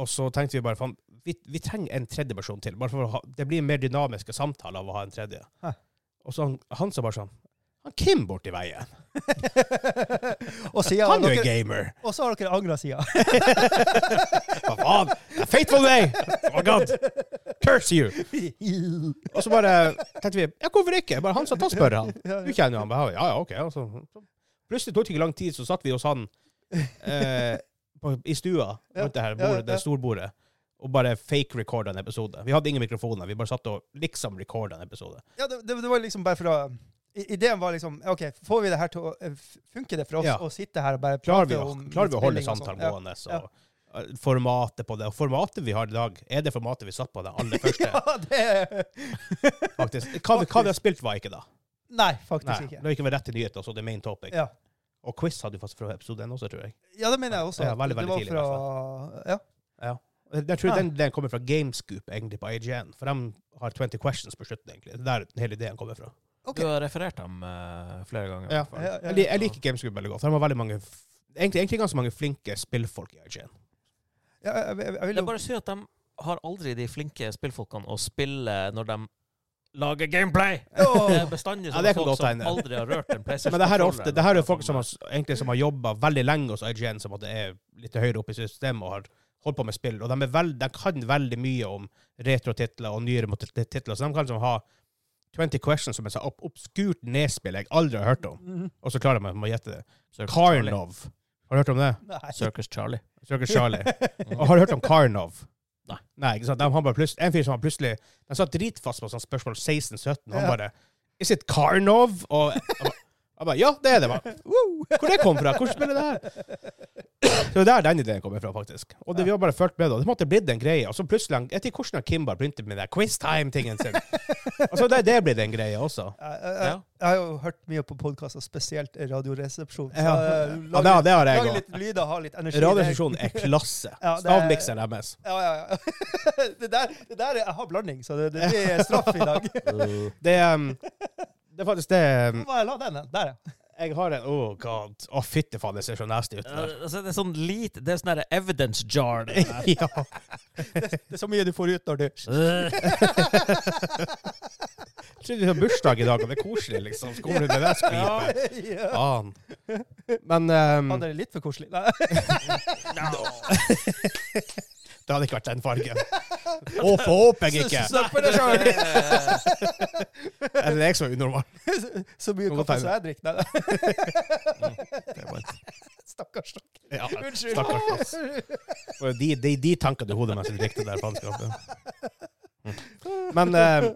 Speaker 1: og så tenkte vi bare faen, vi, vi trenger en tredje person til. Bare for å ha, det blir mer dynamiske samtaler av å ha en tredje.
Speaker 2: Hæ.
Speaker 1: Og så han, han sa bare sånn han Kim borti veien.
Speaker 2: og, siden
Speaker 1: Han er jo en
Speaker 2: dere,
Speaker 1: gamer.
Speaker 2: og så har dere angra sida.
Speaker 1: Hva faen? A Faithful day! Oh god! Curse you! Og så bare tenkte vi ja, hvorfor ikke? Bare han sa ta spør han. Du kjenner jo han. Bare, ja, ja, ok. Og så- så- Plutselig tok det ikke lang tid, så satt vi hos han eh, på, i stua
Speaker 2: Ja,
Speaker 1: rundt det her
Speaker 2: ja,
Speaker 1: bordet,
Speaker 2: ja.
Speaker 1: det storbordet, og bare fake-recorda en episode. Vi hadde ingen mikrofoner, vi bare satt og liksom recorda en episode.
Speaker 2: Ja, det, det, det var liksom bare for å i- Ideen var liksom OK, får vi det her til å eh, f- Funker det for oss
Speaker 1: Ja.
Speaker 2: å sitte her og bare
Speaker 1: Klarer
Speaker 2: prate
Speaker 1: vi å,
Speaker 2: om
Speaker 1: klarer vi å holde
Speaker 2: spilling og
Speaker 1: samtalen
Speaker 2: sånn? Ja.
Speaker 1: gående? Så, eh, Formatet på det. Og formatet vi har i dag, er det formatet vi satt på den aller første,
Speaker 2: Ja, det er-
Speaker 1: faktisk. Hva, vi- hva vi har spilt, var ikke da.
Speaker 2: Nei, faktisk
Speaker 1: Nei,
Speaker 2: ikke.
Speaker 1: da gikk vi rett til nyheter, så det er main topic.
Speaker 2: Ja.
Speaker 1: Og quiz hadde vi faktisk fra episode 1 også, tror jeg.
Speaker 2: ja, det mener jeg også.
Speaker 1: Ja, veldig, veldig
Speaker 2: det var
Speaker 1: tidlig, altså. i
Speaker 2: fra Ja.
Speaker 1: Eh, Jeg tror
Speaker 2: Ja.
Speaker 1: den, den kommer fra Gamescoop, egentlig, på IGN. For de har 20 questions på slutten, egentlig. Det er der hele ideen kommer fra.
Speaker 2: OK.
Speaker 3: Du har referert dem eh, flere ganger. i
Speaker 1: Ja.
Speaker 3: hvert fall.
Speaker 2: Ja, ja,
Speaker 1: Jeg, li- jeg liker Gamescoop veldig godt. for De har veldig mange f- Egentlig, egentlig ganske mange flinke spillfolk i IGN.
Speaker 2: Ja, jeg, jeg, jeg
Speaker 3: Det
Speaker 2: vil
Speaker 3: er
Speaker 2: jo
Speaker 3: bare synd at de har aldri de flinke spillfolkene å spille når de lager gameplay! Det er
Speaker 2: Åh,
Speaker 3: bestandig
Speaker 1: Ja,
Speaker 3: sånne
Speaker 1: det kan
Speaker 3: folk
Speaker 1: godt
Speaker 3: som
Speaker 1: hende.
Speaker 3: aldri har rørt en PlayStation.
Speaker 1: Men det her er ofte Det her er jo folk som
Speaker 3: sånn
Speaker 1: har, s- egentlig, som har jobba veldig lenge hos IGN, som at det er litt høyere oppe i systemet og har holdt på med spill. Og de, er veld, de kan veldig mye om retrotitler og nyere mot- titler, så de kan liksom ha 20 questions som er så opp, obskurt nedspill jeg aldri har hørt om.
Speaker 2: Mhm.
Speaker 1: Og så klarer man å gjette det.
Speaker 3: Circus Charlie.
Speaker 1: Karnov. Har du hørt om det?
Speaker 2: Nei.
Speaker 3: Circus Charlie.
Speaker 1: Circus Charlie. Og har du hørt om Karnov?
Speaker 3: Nei.
Speaker 1: Nei, ikke sant? De har bare plutselig, en fyr som har plutselig De satt dritfast på sånn spørsmål 16-17, og han
Speaker 2: Ja.
Speaker 1: bare Is it Karnov? Og jeg ba- jeg bare Ja, det er det. Hva- Hvor det kom fra? Hvordan spiller det her? Så det er der den ideen kommer fra, faktisk. Og det, vi har bare fulgt med, da. Det måtte blitt en greie. Og så plutselig, han- jeg vet ikke hvordan han Kimbar begynte med den quiztime-tingen sin. altså, det, det blir den greia også.
Speaker 2: Jeg, jeg, jeg,
Speaker 3: Ja.
Speaker 2: har jo hørt mye på podkaster, spesielt Radioresepsjon. Så
Speaker 1: Ja.
Speaker 2: eh,
Speaker 1: Ja, det, det har jeg
Speaker 2: lager
Speaker 1: òg.
Speaker 2: litt lyder, har litt energi.
Speaker 1: Radiostasjonen er klasse.
Speaker 2: Ja, det er-
Speaker 1: Stavmikseren deres.
Speaker 2: Det- Ja, ja, ja. det, der, det der er, Jeg har blanding, så det, det blir straff i dag.
Speaker 1: Det, um, det er faktisk det um,
Speaker 2: Hva jeg la den? da? Der, ja.
Speaker 1: Jeg har en Oh god. Å, fytti faen, det ser så nasty ut. det der.
Speaker 3: Altså, det er sånn lite Det er sånn der evidence jar. det der.
Speaker 1: ja.
Speaker 2: Det er så mye du får ut når du
Speaker 1: Jeg trodde vi hadde bursdag i dag, og det er koselig, liksom. Skolen med det skvipet.
Speaker 2: ja.
Speaker 1: Faen. Men um,
Speaker 2: Han er litt for koselig. Nei.
Speaker 1: det hadde ikke vært den fargen. Å, håper jeg ikke!
Speaker 2: Stopper det sjøl!
Speaker 1: Eller det er jeg som er unormal.
Speaker 2: Så mye
Speaker 1: Nå må
Speaker 2: kaffe
Speaker 1: jeg
Speaker 2: som jeg drikker. Nei, nei. Stakkars. stakkars.
Speaker 1: Ja,
Speaker 2: Unnskyld.
Speaker 1: stakkars. ass. Det var jo De, de, de tankene i hodet mitt som riktig der faenskapet. Men eh,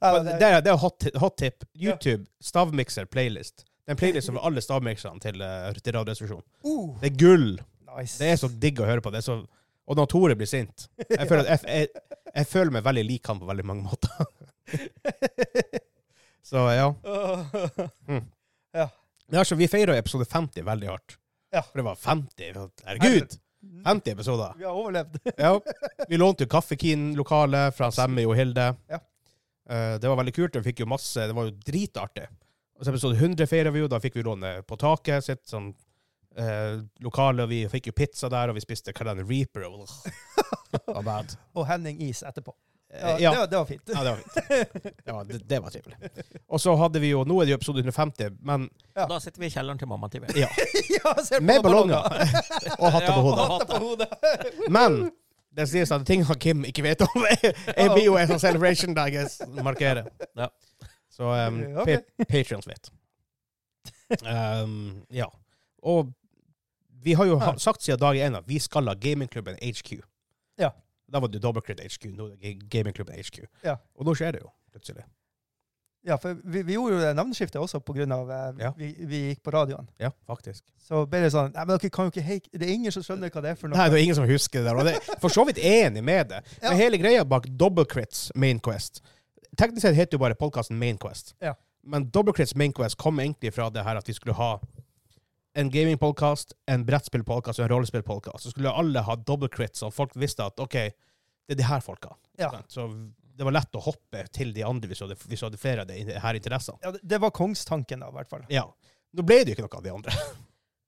Speaker 2: Ja,
Speaker 1: Men
Speaker 2: det,
Speaker 1: det er, det er hot, hot tip. YouTube, stavmikser, playlist. Det er en playlist over alle stavmikserne til, eh, til Radioresepsjonen.
Speaker 2: uh,
Speaker 1: Det er gull!
Speaker 2: nice.
Speaker 1: Det er så digg å høre på. Det er så, og når Tore blir sint Jeg føler, at jeg, jeg, jeg føler meg veldig lik han på veldig mange måter. Så ja. Mm.
Speaker 2: Ja.
Speaker 1: ja så vi feira episode 50 veldig hardt.
Speaker 2: Ja.
Speaker 1: For det var 50. Herregud! 50 episoder.
Speaker 2: Vi har overlevd.
Speaker 1: Ja. Vi lånte jo Kaffekin-lokalet fra Sammy og Hilde.
Speaker 2: Ja.
Speaker 1: Eh, Det var veldig kult. Vi fikk jo masse Det var jo dritartig. Og så episode 100 feira vi jo. Da fikk vi låne på taket sitt sånn eh, lokale, og vi fikk jo pizza der, og vi spiste Carolina Reaper. Og, var bad.
Speaker 2: Og Henning Is etterpå.
Speaker 1: Eh,
Speaker 2: Ja,
Speaker 1: ja.
Speaker 2: Det, var, det var fint.
Speaker 1: ja, det var fint. Det var, det, det var trivelig. Og så hadde vi jo Nå er det jo episode 150, men
Speaker 3: Da sitter vi i kjelleren til mamma til meg.
Speaker 1: ja,
Speaker 2: ja, ser på
Speaker 1: med ballonger
Speaker 2: ballonger.
Speaker 1: og hatter på hodet.
Speaker 3: Ja,
Speaker 2: Hatter på hodet.
Speaker 1: Men det sies at ting han Kim ikke vet om, er blir jo en sånn celebration dag jeg markerer.
Speaker 3: Ja.
Speaker 1: Så um,
Speaker 2: Eh, ok.
Speaker 1: pa- Patreons vet. Um, ja. Og vi har jo ha sagt siden dag én at vi skal ha gamingklubben HQ.
Speaker 2: Ja.
Speaker 1: Da var det Dobbeltkrydd HQ, nå er det ga- gamingklubben HQ.
Speaker 2: Ja.
Speaker 1: Og nå skjer det jo, plutselig.
Speaker 2: Ja, for vi, vi gjorde jo det navneskiftet også på grunn av eh,
Speaker 1: Ja.
Speaker 2: vi, vi gikk på radioen.
Speaker 1: Ja, faktisk.
Speaker 2: Så ble det sånn Nei, men dere kan jo ikke hei, Det er ingen som skjønner hva det er for noe.
Speaker 1: Nei, det er ingen som husker det der. Og det er for så vidt enig med det. Men
Speaker 2: Ja.
Speaker 1: hele greia bak Dobbeltkrits Mainquest Teknisk sett heter jo bare podkasten Mainquest.
Speaker 2: Ja.
Speaker 1: Men Dobbeltkrits Mainquest kom egentlig fra det her at vi skulle ha en gamingpodkast, en brettspillpodkast og en rollespillpodkast. Så skulle alle ha dobbeltkrits, og folk visste at OK, det er de her folka.
Speaker 2: Ja.
Speaker 1: Så det var lett å hoppe til de andre hvis vi hadde, hvis vi hadde flere av de her interessene.
Speaker 2: Ja, det, det var kongstanken, da, i hvert fall.
Speaker 1: Ja. Nå ble det jo ikke noe av de andre.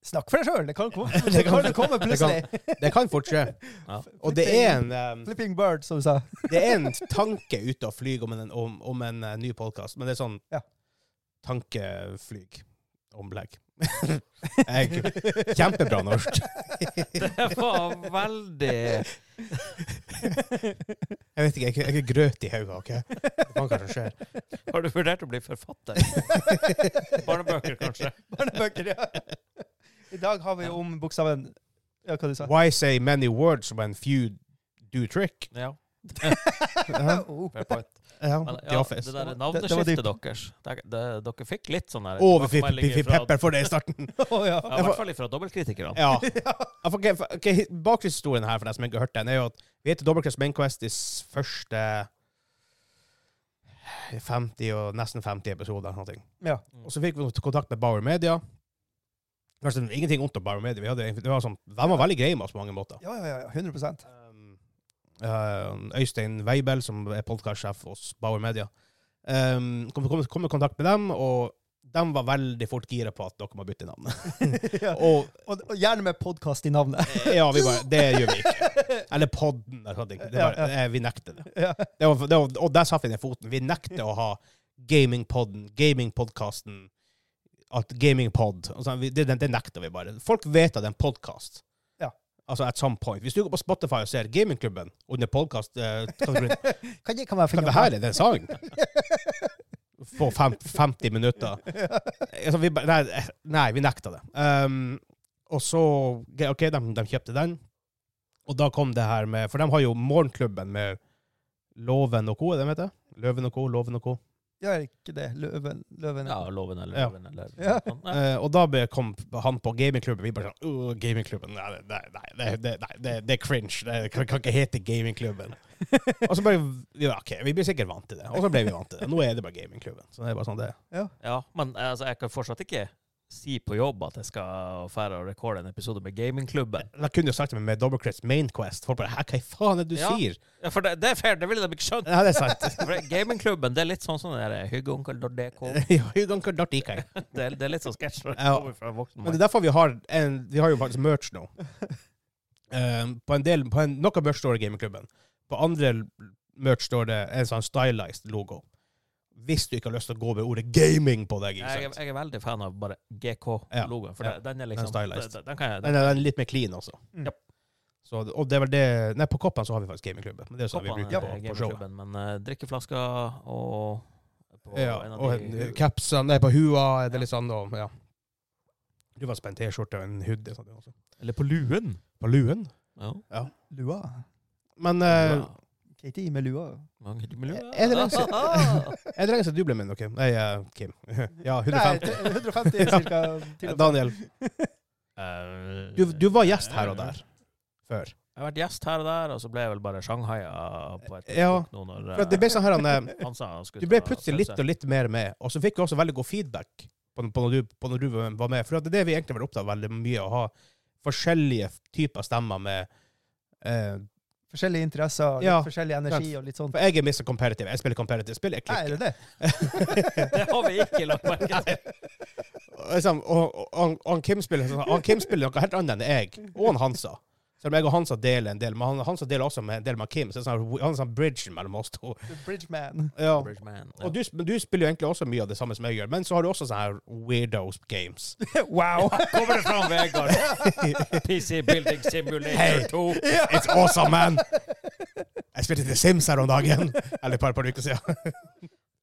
Speaker 2: Snakk for deg sjøl! Det kan komme,
Speaker 1: Det
Speaker 2: det
Speaker 1: kan-
Speaker 2: kan komme plutselig.
Speaker 1: Det kan fort skje.
Speaker 3: Ja.
Speaker 1: Og det er en eh,
Speaker 2: Flipping bird, som du sa.
Speaker 1: Det er en tanke ute og flyg om en, om, om en eh, ny podkast, men det er sånn
Speaker 2: Ja.
Speaker 1: tankeflyg. Omlegg. Jeg, kjempebra norsk.
Speaker 3: Det var veldig
Speaker 1: Jeg vet ikke, jeg, jeg er grøt i hodet, OK? Hva kan det skjer?
Speaker 3: Har du vurdert å bli forfatter? Barnebøker, kanskje?
Speaker 2: Barnebøker, ja. I dag har vi jo om bokstaven Ja, hva du sa
Speaker 1: Why say many words when few do trick?
Speaker 3: Ja.
Speaker 2: Oh.
Speaker 3: Fair point.
Speaker 1: Ja,
Speaker 3: Men,
Speaker 1: The
Speaker 3: ja,
Speaker 1: Office.
Speaker 3: det der
Speaker 2: Det-
Speaker 3: navneskiftet deres det, det, Dere fikk litt sånn der
Speaker 1: Og vi fikk vi
Speaker 3: tilbakemeldinger
Speaker 1: fikk
Speaker 3: fra-
Speaker 1: pepper for det i starten.
Speaker 2: Å, oh, ja.
Speaker 3: Ja, I hvert fall fra dobbeltkritikerne.
Speaker 1: Ja. Ja, for- ok, for- ok, Bakgrunnshistorien her, for deg som ikke har hørt den, er jo at vi heter Dobbeltkrets Mainquest i s- første 50 og nesten 50 episoder. eller noe sånt.
Speaker 2: Ja.
Speaker 1: Og så fikk vi kontakt med Bauer Media. Kanskje ingenting vondt om Bauer Media. Vi hadde, egentlig- det var sånn, de var veldig greie med oss på mange måter.
Speaker 2: ja, ja, ja. ja, 100
Speaker 1: Um, eh, Øystein Weibel, som er podkastsjef hos Bauer Media, um, kom, kom, kom i kontakt med dem, og de var veldig fort gira på at dere må bytte navn.
Speaker 2: ja.
Speaker 1: og eh,
Speaker 2: og, og gjerne med podkast i navnet.
Speaker 1: Ja, vi bare, det gjør vi ikke. Eller podden. Eller sånne ting. det bare,
Speaker 2: Ja,
Speaker 1: eh, vi nekter det.
Speaker 2: Ja.
Speaker 1: det, var, det var, og der satt vi ned foten. Vi nekter å ha gamingpodden, gamingpodkasten, at gamingpod og sånn, vi- det, det, det nekter vi bare. Folk vet at det er en podkast.
Speaker 2: Ja.
Speaker 1: Altså at some point. Hvis du går på Spotify og ser Gamingklubben under podkast eh, kategorien,
Speaker 2: Kan det kan være
Speaker 1: Hva det her er det en sang? På fem, 50 minutter. Altså, vi, bare- nei, nei, vi nekta det. Um, og så OK, de, de kjøpte den. Og da kom det her med For de har jo Morgenklubben med Loven og co., er det de heter? Løven og co., Loven og co.
Speaker 2: Ja, er ikke det. Løven. løven
Speaker 3: Ja, Loven eller
Speaker 1: Ja.
Speaker 3: Loven eller
Speaker 2: Ja.
Speaker 3: Nei.
Speaker 1: Eh, og da ble- kom han på gamingklubben. Vi bare sånn «Åh, Gamingklubben, nei, nei, nei, nei, det- nei det, det er cringe. Det kan, kan ikke hete gamingklubben. og så bare ja, OK, vi blir sikkert vant til det. Og så ble vi vant til det. Nå er det bare gamingklubben. Så det er bare sånn det er.
Speaker 3: Ja, men altså, jeg kan fortsatt ikke si på jobb at jeg skal fære og rekorde en episode med gamingklubben.
Speaker 1: Da kunne du sagt det med Double Crest Main Quest. Folk bare Hæ, hva i faen er det du
Speaker 3: Ja.
Speaker 1: sier?
Speaker 3: Ja, for det, det er fair, det ville de ikke skjønt.
Speaker 1: Ja, det er sant.
Speaker 3: For gamingklubben, det er litt sånn som den der hyggeonkel.dk.
Speaker 1: Ja, you don't got dirty guy.
Speaker 3: Det, er- det er litt sånn sketsj. når det
Speaker 1: Ja.
Speaker 3: kommer fra en voksen
Speaker 1: Men det
Speaker 3: mann.
Speaker 1: er derfor vi har en, Vi har jo faktisk merch nå. Um, på en del, på en, noe merch står det gamingklubben. På andre merch står det en sånn stylized logo. Hvis du ikke har lyst til å gå med ordet gaming på deg.
Speaker 3: Jeg,
Speaker 1: ikke
Speaker 3: er-
Speaker 1: sant?
Speaker 3: jeg er veldig fan av bare GK-logoen, for
Speaker 1: Ja.
Speaker 3: det- den er
Speaker 1: Den
Speaker 3: liksom
Speaker 1: er stylized.
Speaker 3: Den, den kan jeg,
Speaker 1: Den er, den er litt mer clean også.
Speaker 2: Mm.
Speaker 3: Japp.
Speaker 1: Så, og det er vel det Nei, på Koppen så har vi faktisk gamingklubben. Men det er sånn vi
Speaker 3: Koppene
Speaker 1: bruker
Speaker 3: er
Speaker 1: på, på showet.
Speaker 3: gamingklubben, men eh, drikkeflasker og på
Speaker 1: Ja,
Speaker 3: en av
Speaker 1: og
Speaker 3: de-
Speaker 1: en- capsen Nei, på hua er det
Speaker 3: Ja.
Speaker 1: litt sånn, og ja. Du var spent T-skjorte og en hoodie. Sånn, også.
Speaker 3: Eller på luen.
Speaker 1: På luen.
Speaker 3: Ja.
Speaker 2: Lua.
Speaker 1: Men eh,
Speaker 3: Ja.
Speaker 2: Katie med lua.
Speaker 3: Mange miljøer.
Speaker 1: Er det lenge er det lenge siden du ble med noe? Nei, eh, Kim. Ja, 150.
Speaker 2: Nei, 150 cirka. til og med.
Speaker 1: Daniel,
Speaker 3: Eh,
Speaker 1: du, du var gjest her og der før.
Speaker 3: Jeg har vært gjest her og der, og så ble jeg vel bare shanghaia på et
Speaker 1: Ja,
Speaker 3: tidspunkt nå når
Speaker 1: For at det ble sånn her, han, eh,
Speaker 3: eh, han sa han skulle
Speaker 1: du ble
Speaker 3: ta
Speaker 1: plutselig litt
Speaker 3: pause.
Speaker 1: og litt mer med, og så fikk vi også veldig god feedback på, på, når, du, på når du var med. For at det er det vi egentlig har vært opptatt av veldig mye, å ha forskjellige typer stemmer med eh,
Speaker 2: Forskjellige interesser, litt
Speaker 1: Ja.
Speaker 2: forskjellig energi og litt sånn sånt.
Speaker 1: For jeg er mest competitive. Jeg spiller competitive spill. Jeg
Speaker 2: Nei,
Speaker 1: klikker.
Speaker 2: er det det?
Speaker 3: Det har vi ikke lagt merke til.
Speaker 1: Og Liksom, og, og, og, han Kim spiller, sånn- han Kim spiller noe helt annet enn jeg, og han Hansa. Selv om jeg og Hansa deler en del, men han, Hansa deler også med en del med Kim. Så det er sånn, han er sånn bridge mellom oss to.
Speaker 2: The Bridgeman.
Speaker 1: Ja.
Speaker 3: Bridgeman. Ja.
Speaker 1: Og du, men du spiller jo egentlig også mye av det samme som jeg gjør, men så har du også sånne her weirdos games.
Speaker 2: wow!
Speaker 3: Kommer det fram, Vegard? PC Building Simulator
Speaker 1: Hey.
Speaker 3: 2.
Speaker 1: It's awesome, man! Jeg spilte The Sims her om dagen. Eller et par, par uker siden.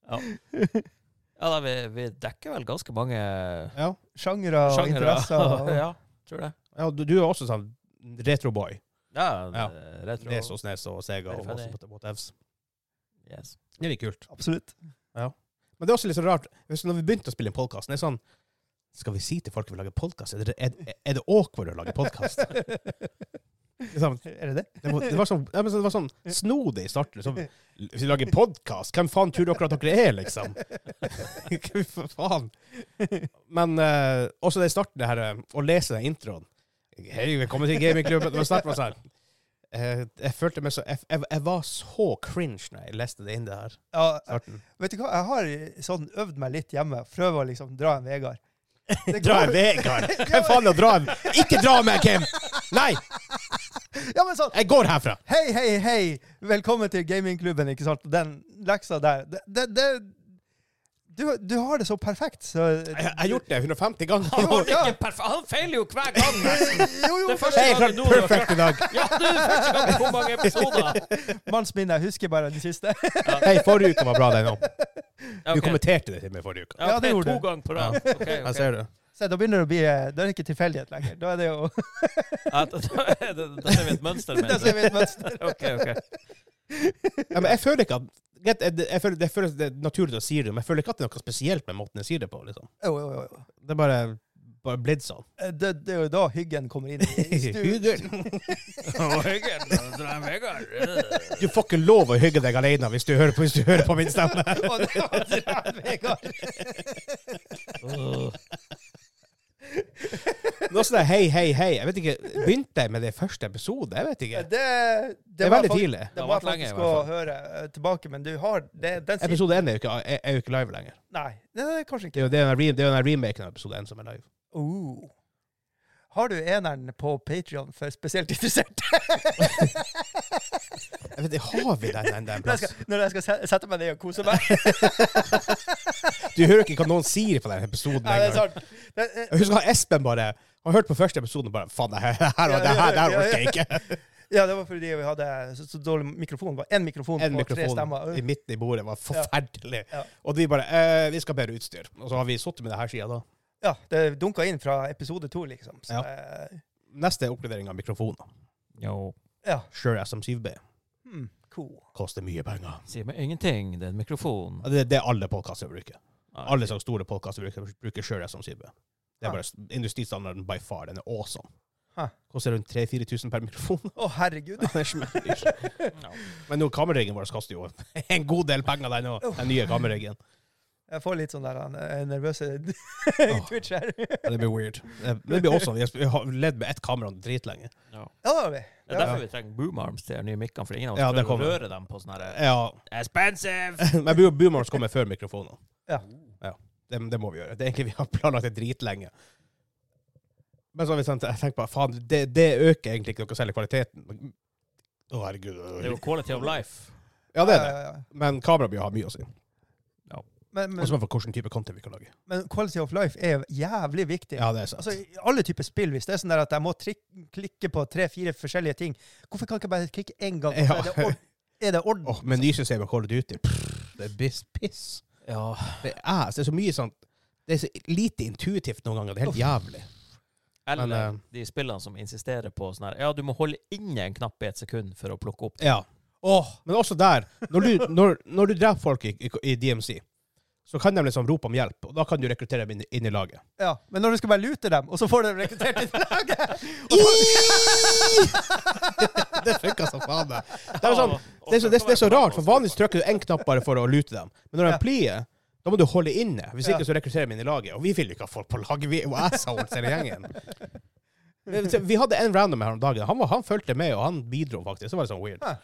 Speaker 3: Ja, ja da, vi, vi dekker vel ganske mange
Speaker 1: Ja,
Speaker 2: Sjangere og
Speaker 3: sjangere.
Speaker 2: interesser. Og,
Speaker 3: Ja, tror det.
Speaker 1: ja du, du er også sånn retroboy.
Speaker 3: Ja,
Speaker 1: Ja.
Speaker 3: retro.
Speaker 1: Nes og Snes og Sega og
Speaker 3: Veldig
Speaker 1: også whatevs.
Speaker 3: Yes.
Speaker 1: Det er litt kult.
Speaker 2: Absolutt.
Speaker 1: Men det er også litt så rart, hvis når vi begynte å spille inn podkasten, er det sånn Skal vi si til folk at vi lager podkast? Er, det- er, er det awkward å lage podkast? Liksom,
Speaker 2: Er det det?
Speaker 1: Det var, det var, sånn, ja, men så det var sånn snodig i starten. Liksom. Hvis vi lager podkast, hvem faen tror dere at dere er, liksom? Hva faen? Men eh, også det i starten, det her, eh, å lese den introen Hei, velkommen til gamingklubben. Det var snart var sånn. eh, jeg følte meg så jeg, jeg, jeg var så cringe når jeg leste det inn det her.
Speaker 2: Ja,
Speaker 1: Starten.
Speaker 2: vet du hva? Jeg har sånn øvd meg litt hjemme. Prøver å liksom dra en Vegard. Det
Speaker 1: Dra en
Speaker 2: går-
Speaker 1: Vegard! Hvem faen er å dra en Ikke dra meg, Kim! Nei!
Speaker 2: Ja, men sånn,
Speaker 1: Jeg går herfra!
Speaker 2: hei, hei, hei! Velkommen til gamingklubben, ikke sant? Den leksa der. Det, det, det, du, du har det så perfekt, så...
Speaker 1: Jeg jeg har gjort det 150
Speaker 3: Han,
Speaker 1: ganger.
Speaker 3: har det
Speaker 2: Ja.
Speaker 3: ikke perfekt. han feiler jo hver gang! nesten.
Speaker 2: Jo, jo,
Speaker 3: Det er
Speaker 2: for
Speaker 3: første
Speaker 1: Jeg
Speaker 3: gang
Speaker 1: klarte
Speaker 3: nå du har
Speaker 1: perfekt i dag.
Speaker 3: Ja, det er første gang på mange episoder!
Speaker 2: mannsminnet, jeg husker bare de siste.
Speaker 1: Hei, forrige uke var bra, den òg.
Speaker 3: Ja,
Speaker 1: Du
Speaker 3: ok.
Speaker 1: kommenterte det til meg forrige uke.
Speaker 3: Ja,
Speaker 2: Ja,
Speaker 3: ok,
Speaker 2: det gjorde
Speaker 3: to
Speaker 2: du.
Speaker 3: ganger på rad.
Speaker 1: Ja.
Speaker 3: Ok, ok.
Speaker 1: Jeg ser det.
Speaker 2: Så da begynner det å bli... eh, Da er det ikke tilfeldighet lenger. Da er det jo...
Speaker 3: Ja, da- da- da- Da ser vi et mønster. mener
Speaker 2: Da
Speaker 3: du.
Speaker 2: ser vi et mønster.
Speaker 3: Ok, ok.
Speaker 1: Ja, men jeg føler ikke at Greit, jeg, jeg føler, jeg føler det er naturlig å si det, men jeg føler ikke at det er noe spesielt med måten jeg sier det på. liksom.
Speaker 2: Jo, jo, jo, jo.
Speaker 1: Det er bare, bare blitt sånn.
Speaker 2: Eh, Det, det er jo da hyggen kommer inn. i stu-
Speaker 1: Hyggen.
Speaker 3: Og Vegard, da- da er Vegard.
Speaker 1: Du får ikke lov å hygge deg alene hvis du hører på, hvis du hører på min stemme.
Speaker 2: Og det var dra en Vegard.
Speaker 3: Åh.
Speaker 1: Nå sånn der, hei, hei, hei. Jeg vet ikke, Begynte jeg med det i første episode? Jeg vet ikke.
Speaker 2: Det, det,
Speaker 1: Det er
Speaker 2: var
Speaker 1: veldig
Speaker 2: fakt-
Speaker 1: tidlig.
Speaker 2: Det
Speaker 3: har
Speaker 2: må
Speaker 3: vært
Speaker 2: jeg
Speaker 3: lenge, i
Speaker 2: faktisk å
Speaker 3: hvert
Speaker 2: høre eh, tilbake, men du har det, den siste...
Speaker 1: Episode én er, jo ikke- er er jo ikke live lenger.
Speaker 2: Nei, det er
Speaker 1: Det
Speaker 2: kanskje ikke.
Speaker 1: er jo det er den re- det er jo den remaken av episode én som er live.
Speaker 2: Oh. Har du eneren på Patreon for spesielt interesserte?
Speaker 1: Jeg vet, ikke, har vi den enda en
Speaker 2: Når jeg
Speaker 1: plass?
Speaker 2: skal, når jeg skal se- sette meg ned og kose meg?
Speaker 1: Du hører ikke hva noen sier på den episoden
Speaker 2: Nei, det er
Speaker 1: engang.
Speaker 2: sant. Det, eh,
Speaker 1: Jeg husker han Espen bare Han hørte på første episode og bare Faen, det her, det her, det her, det her orker jeg ikke.
Speaker 2: ja, det var fordi vi hadde så, så dårlig mikrofon. Det var én mikrofon
Speaker 1: En
Speaker 2: på tre
Speaker 1: mikrofon
Speaker 2: stemmer.
Speaker 1: i midten i bordet var forferdelig.
Speaker 2: Ja.
Speaker 1: Og vi bare eh, Vi skal bedre utstyr. Og så har vi sittet med det her sida da.
Speaker 2: Ja, det dunka inn fra episode to, liksom. Så,
Speaker 1: Ja.
Speaker 2: eh,
Speaker 1: Neste er oppgradering av mikrofoner.
Speaker 3: Jo.
Speaker 2: ja.
Speaker 1: Sure SM7B.
Speaker 2: Hmm, cool.
Speaker 1: Koster mye penger.
Speaker 3: Sier meg ingenting. Det er en mikrofon.
Speaker 1: Det, det er alle podkaster bruker.
Speaker 3: Ja,
Speaker 1: Alle sånne store podkaster bruker, bruker sjøl som Sibbe. Det
Speaker 2: Ah.
Speaker 1: er bare s- industristandarden by far. Den er awesome.
Speaker 2: Ah.
Speaker 1: Koster rundt 3000-4000 per mikrofon.
Speaker 2: Å, herregud.
Speaker 1: Den er smekkdyr.
Speaker 3: Ja.
Speaker 1: Men nå, kamerariggen vår koster jo en god del penger, den òg. Den nye kamerariggen.
Speaker 2: Jeg får litt sånn der han er nervøs twitch her.
Speaker 1: Ja, Det blir weird. Det det blir awesome. Vi har ledd med ett kamera dritlenge.
Speaker 3: Ja.
Speaker 2: Ja, da, vi.
Speaker 3: Det er derfor vi trenger boomarms til de nye mikkene, for ingen av oss
Speaker 1: Ja, det
Speaker 3: prøver å
Speaker 1: kommer.
Speaker 3: røre dem på sånn her
Speaker 1: Ja.
Speaker 3: Expensive!
Speaker 1: Men Bo- boomers kommer før mikrofonene.
Speaker 2: Ja.
Speaker 1: ja. Det, det må vi gjøre. Det er egentlig Vi har planlagt det dritlenge. Men så har vi tenkt, jeg tenkt på, faen, det, det øker egentlig ikke noe særlig kvaliteten. Å, herregud.
Speaker 3: Det er jo quality of life.
Speaker 1: Ja, det er det.
Speaker 2: Ja, ja, ja.
Speaker 1: Men kamera blir å ha mye å si.
Speaker 2: Men,
Speaker 1: Og
Speaker 2: men,
Speaker 1: så for hvilken type content vi kan lage.
Speaker 2: men quality of life er jævlig viktig.
Speaker 1: Ja, det er sant.
Speaker 2: Altså, i alle typer spill, hvis det er sånn der at jeg må trik klikke på tre-fire forskjellige ting, hvorfor kan jeg ikke bare klikke én gang, og så er det,
Speaker 1: Ja.
Speaker 2: ord er det orden?
Speaker 1: Åh, men nysystemet Call of Duty, pff, det er biss, piss.
Speaker 3: Ja.
Speaker 1: Det er ass. Det er så mye sånn Det er så lite intuitivt noen ganger. Det er helt jævlig.
Speaker 3: Eller
Speaker 1: Men, eh,
Speaker 3: de spillene som insisterer på sånn her Ja, du må holde inne en knapp i et sekund for å plukke opp.
Speaker 1: Ja. Men også der, når du, når, når du dreper folk i, i, i DMC, så kan de liksom rope om hjelp, og da kan du rekruttere dem inn, inn i laget.
Speaker 2: Ja, men når du skal bare lute dem, og så får du dem rekruttert til laget
Speaker 1: det funka som faen, det. Det er, sånn, det, er så, det, er- det er så rart, for vanligvis trykker du én knapp bare for å lute dem. Men når
Speaker 2: Ja.
Speaker 1: de plier, da må du holde inne. Hvis
Speaker 2: Ja.
Speaker 1: ikke så rekrutterer de inn i laget. Og vi vil jo ikke ha folk på laget. Vi er jo assholes hele gjengen. Men se, Vi hadde en random her om dagen. Han, var, han fulgte med, og han bidro faktisk. Så var det sånn weird.
Speaker 2: Hæ.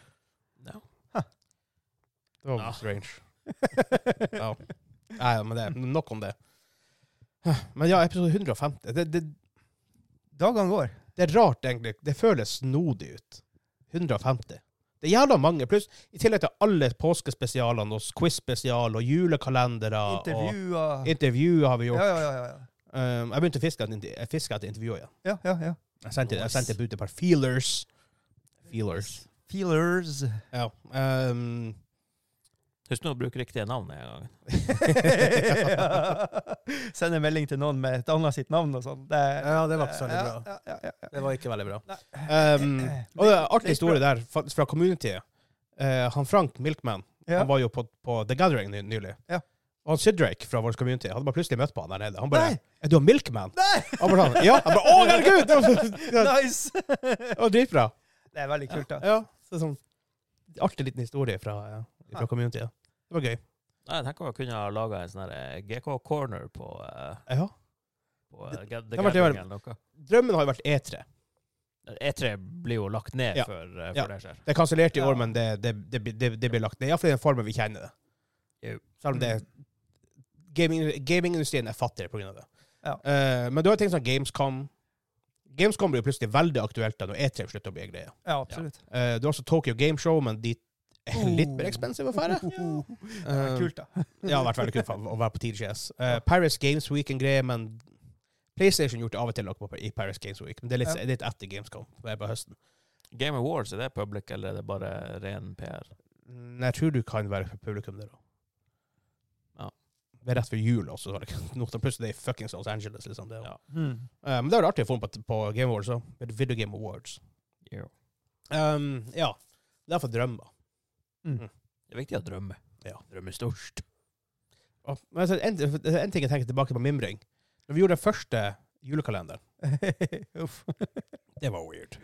Speaker 3: Ja.
Speaker 2: Hæ.
Speaker 1: Det var
Speaker 3: Ja.
Speaker 1: strange. Ja. Nei, men det, nok om det. Men ja, episode 150. Det, det,
Speaker 2: Dagene går.
Speaker 1: det er rart, egentlig. Det føles snodig ut. 150. Det er jævla mange. Pluss i tillegg til alle påskespesialene og quiz-spesial og julekalendere og
Speaker 2: Intervjuer
Speaker 1: intervjuer har vi
Speaker 2: Ja,
Speaker 1: gjort.
Speaker 2: ja, ja. ja, ja.
Speaker 1: Um, jeg begynte å fiske etter, jeg fisker etter intervjuer igjen.
Speaker 2: ja, ja, ja.
Speaker 1: Jeg sendte, jeg
Speaker 3: Nice.
Speaker 1: sendte bud til et par feelers. Feelers.
Speaker 2: Feelers.
Speaker 1: Ja. Um,
Speaker 3: Husk nå å bruke riktige navn en gang.
Speaker 2: ja. Sende melding til noen med et annet sitt navn og sånn. Det,
Speaker 1: ja, det var ikke så veldig bra.
Speaker 2: Ja, ja, ja, ja.
Speaker 1: Det var ikke veldig bra.
Speaker 2: Nei.
Speaker 1: Um, og det er en artig historie der fa- fra communityet. Eh, han Frank Milkman
Speaker 2: Ja.
Speaker 1: Han var jo på, på The Gathering ny- nylig.
Speaker 2: Ja.
Speaker 1: Og han Sidrake fra vår community hadde bare plutselig møtt på han der nede. Han bare
Speaker 2: Nei!
Speaker 1: Er du han Milkman?
Speaker 2: Nei!
Speaker 1: Han bare sånn, ja. Han bare, Å, herregud! Det var, det
Speaker 2: Nice! det
Speaker 1: var dritbra.
Speaker 2: er veldig kult, da.
Speaker 1: Ja, så sånn artig liten historie fra, eh, fra communityet. Det var gøy.
Speaker 3: Nei, jeg tenker jeg kunne ha laga en sånn her eh, GK Corner på, eh,
Speaker 1: Ja.
Speaker 3: på eh, Ga- The
Speaker 1: Det var- det
Speaker 3: Gathering
Speaker 1: var-
Speaker 3: eller noe.
Speaker 1: Drømmen har jo vært E E3.
Speaker 3: E3 blir jo lagt ned
Speaker 1: Ja.
Speaker 3: før, eh, før
Speaker 1: Ja.
Speaker 3: det skjer.
Speaker 1: Det er kansellert i
Speaker 2: Ja.
Speaker 1: år, men det, det, det, det, det blir lagt ned. Iallfall i den formen vi kjenner det.
Speaker 3: Jo.
Speaker 1: Selv om det gaming, Gamingindustrien er fattigere pga. det.
Speaker 2: Ja.
Speaker 1: Eh, men du har ting som Gamescom. Gamescom blir jo plutselig veldig aktuelt da når E3 slutter å bli en greie.
Speaker 2: Ja, absolutt.
Speaker 1: Eh, du har også Tokyo Game Show, men de er
Speaker 2: Oh.
Speaker 1: litt mer expensive å fære. Eh,
Speaker 2: Kult, da.
Speaker 1: ja, det har vært veldig kult for- å være på TGS. Eh, Paris Games Week en greie, men PlayStation gjorde det av og til noe på- i Paris Games Week. Men det er litt,
Speaker 2: Ja.
Speaker 1: litt etter Gamescom. Det er på høsten.
Speaker 3: Game Awards, er det public, eller er det bare ren PR?
Speaker 1: Mm, Jeg tror du kan være for publikum der òg.
Speaker 3: Ja.
Speaker 1: Det er rett før jul også. så er det ikke noe- Plutselig er det i fuckings Los Angeles. liksom det. er jo-
Speaker 3: Ja.
Speaker 2: Hmm.
Speaker 1: Eh, men det var artig å få den på, på Game Awards òg. Video Game Awards.
Speaker 3: Jo.
Speaker 1: Um, ja. Det er for drømmer.
Speaker 3: Det er viktig å drømme.
Speaker 1: Ja.
Speaker 3: Drømme størst.
Speaker 1: Og, men altså, en, en ting jeg tenker tilbake på mimring. Når vi gjorde den første julekalenderen,
Speaker 2: Uff.
Speaker 1: det var weird.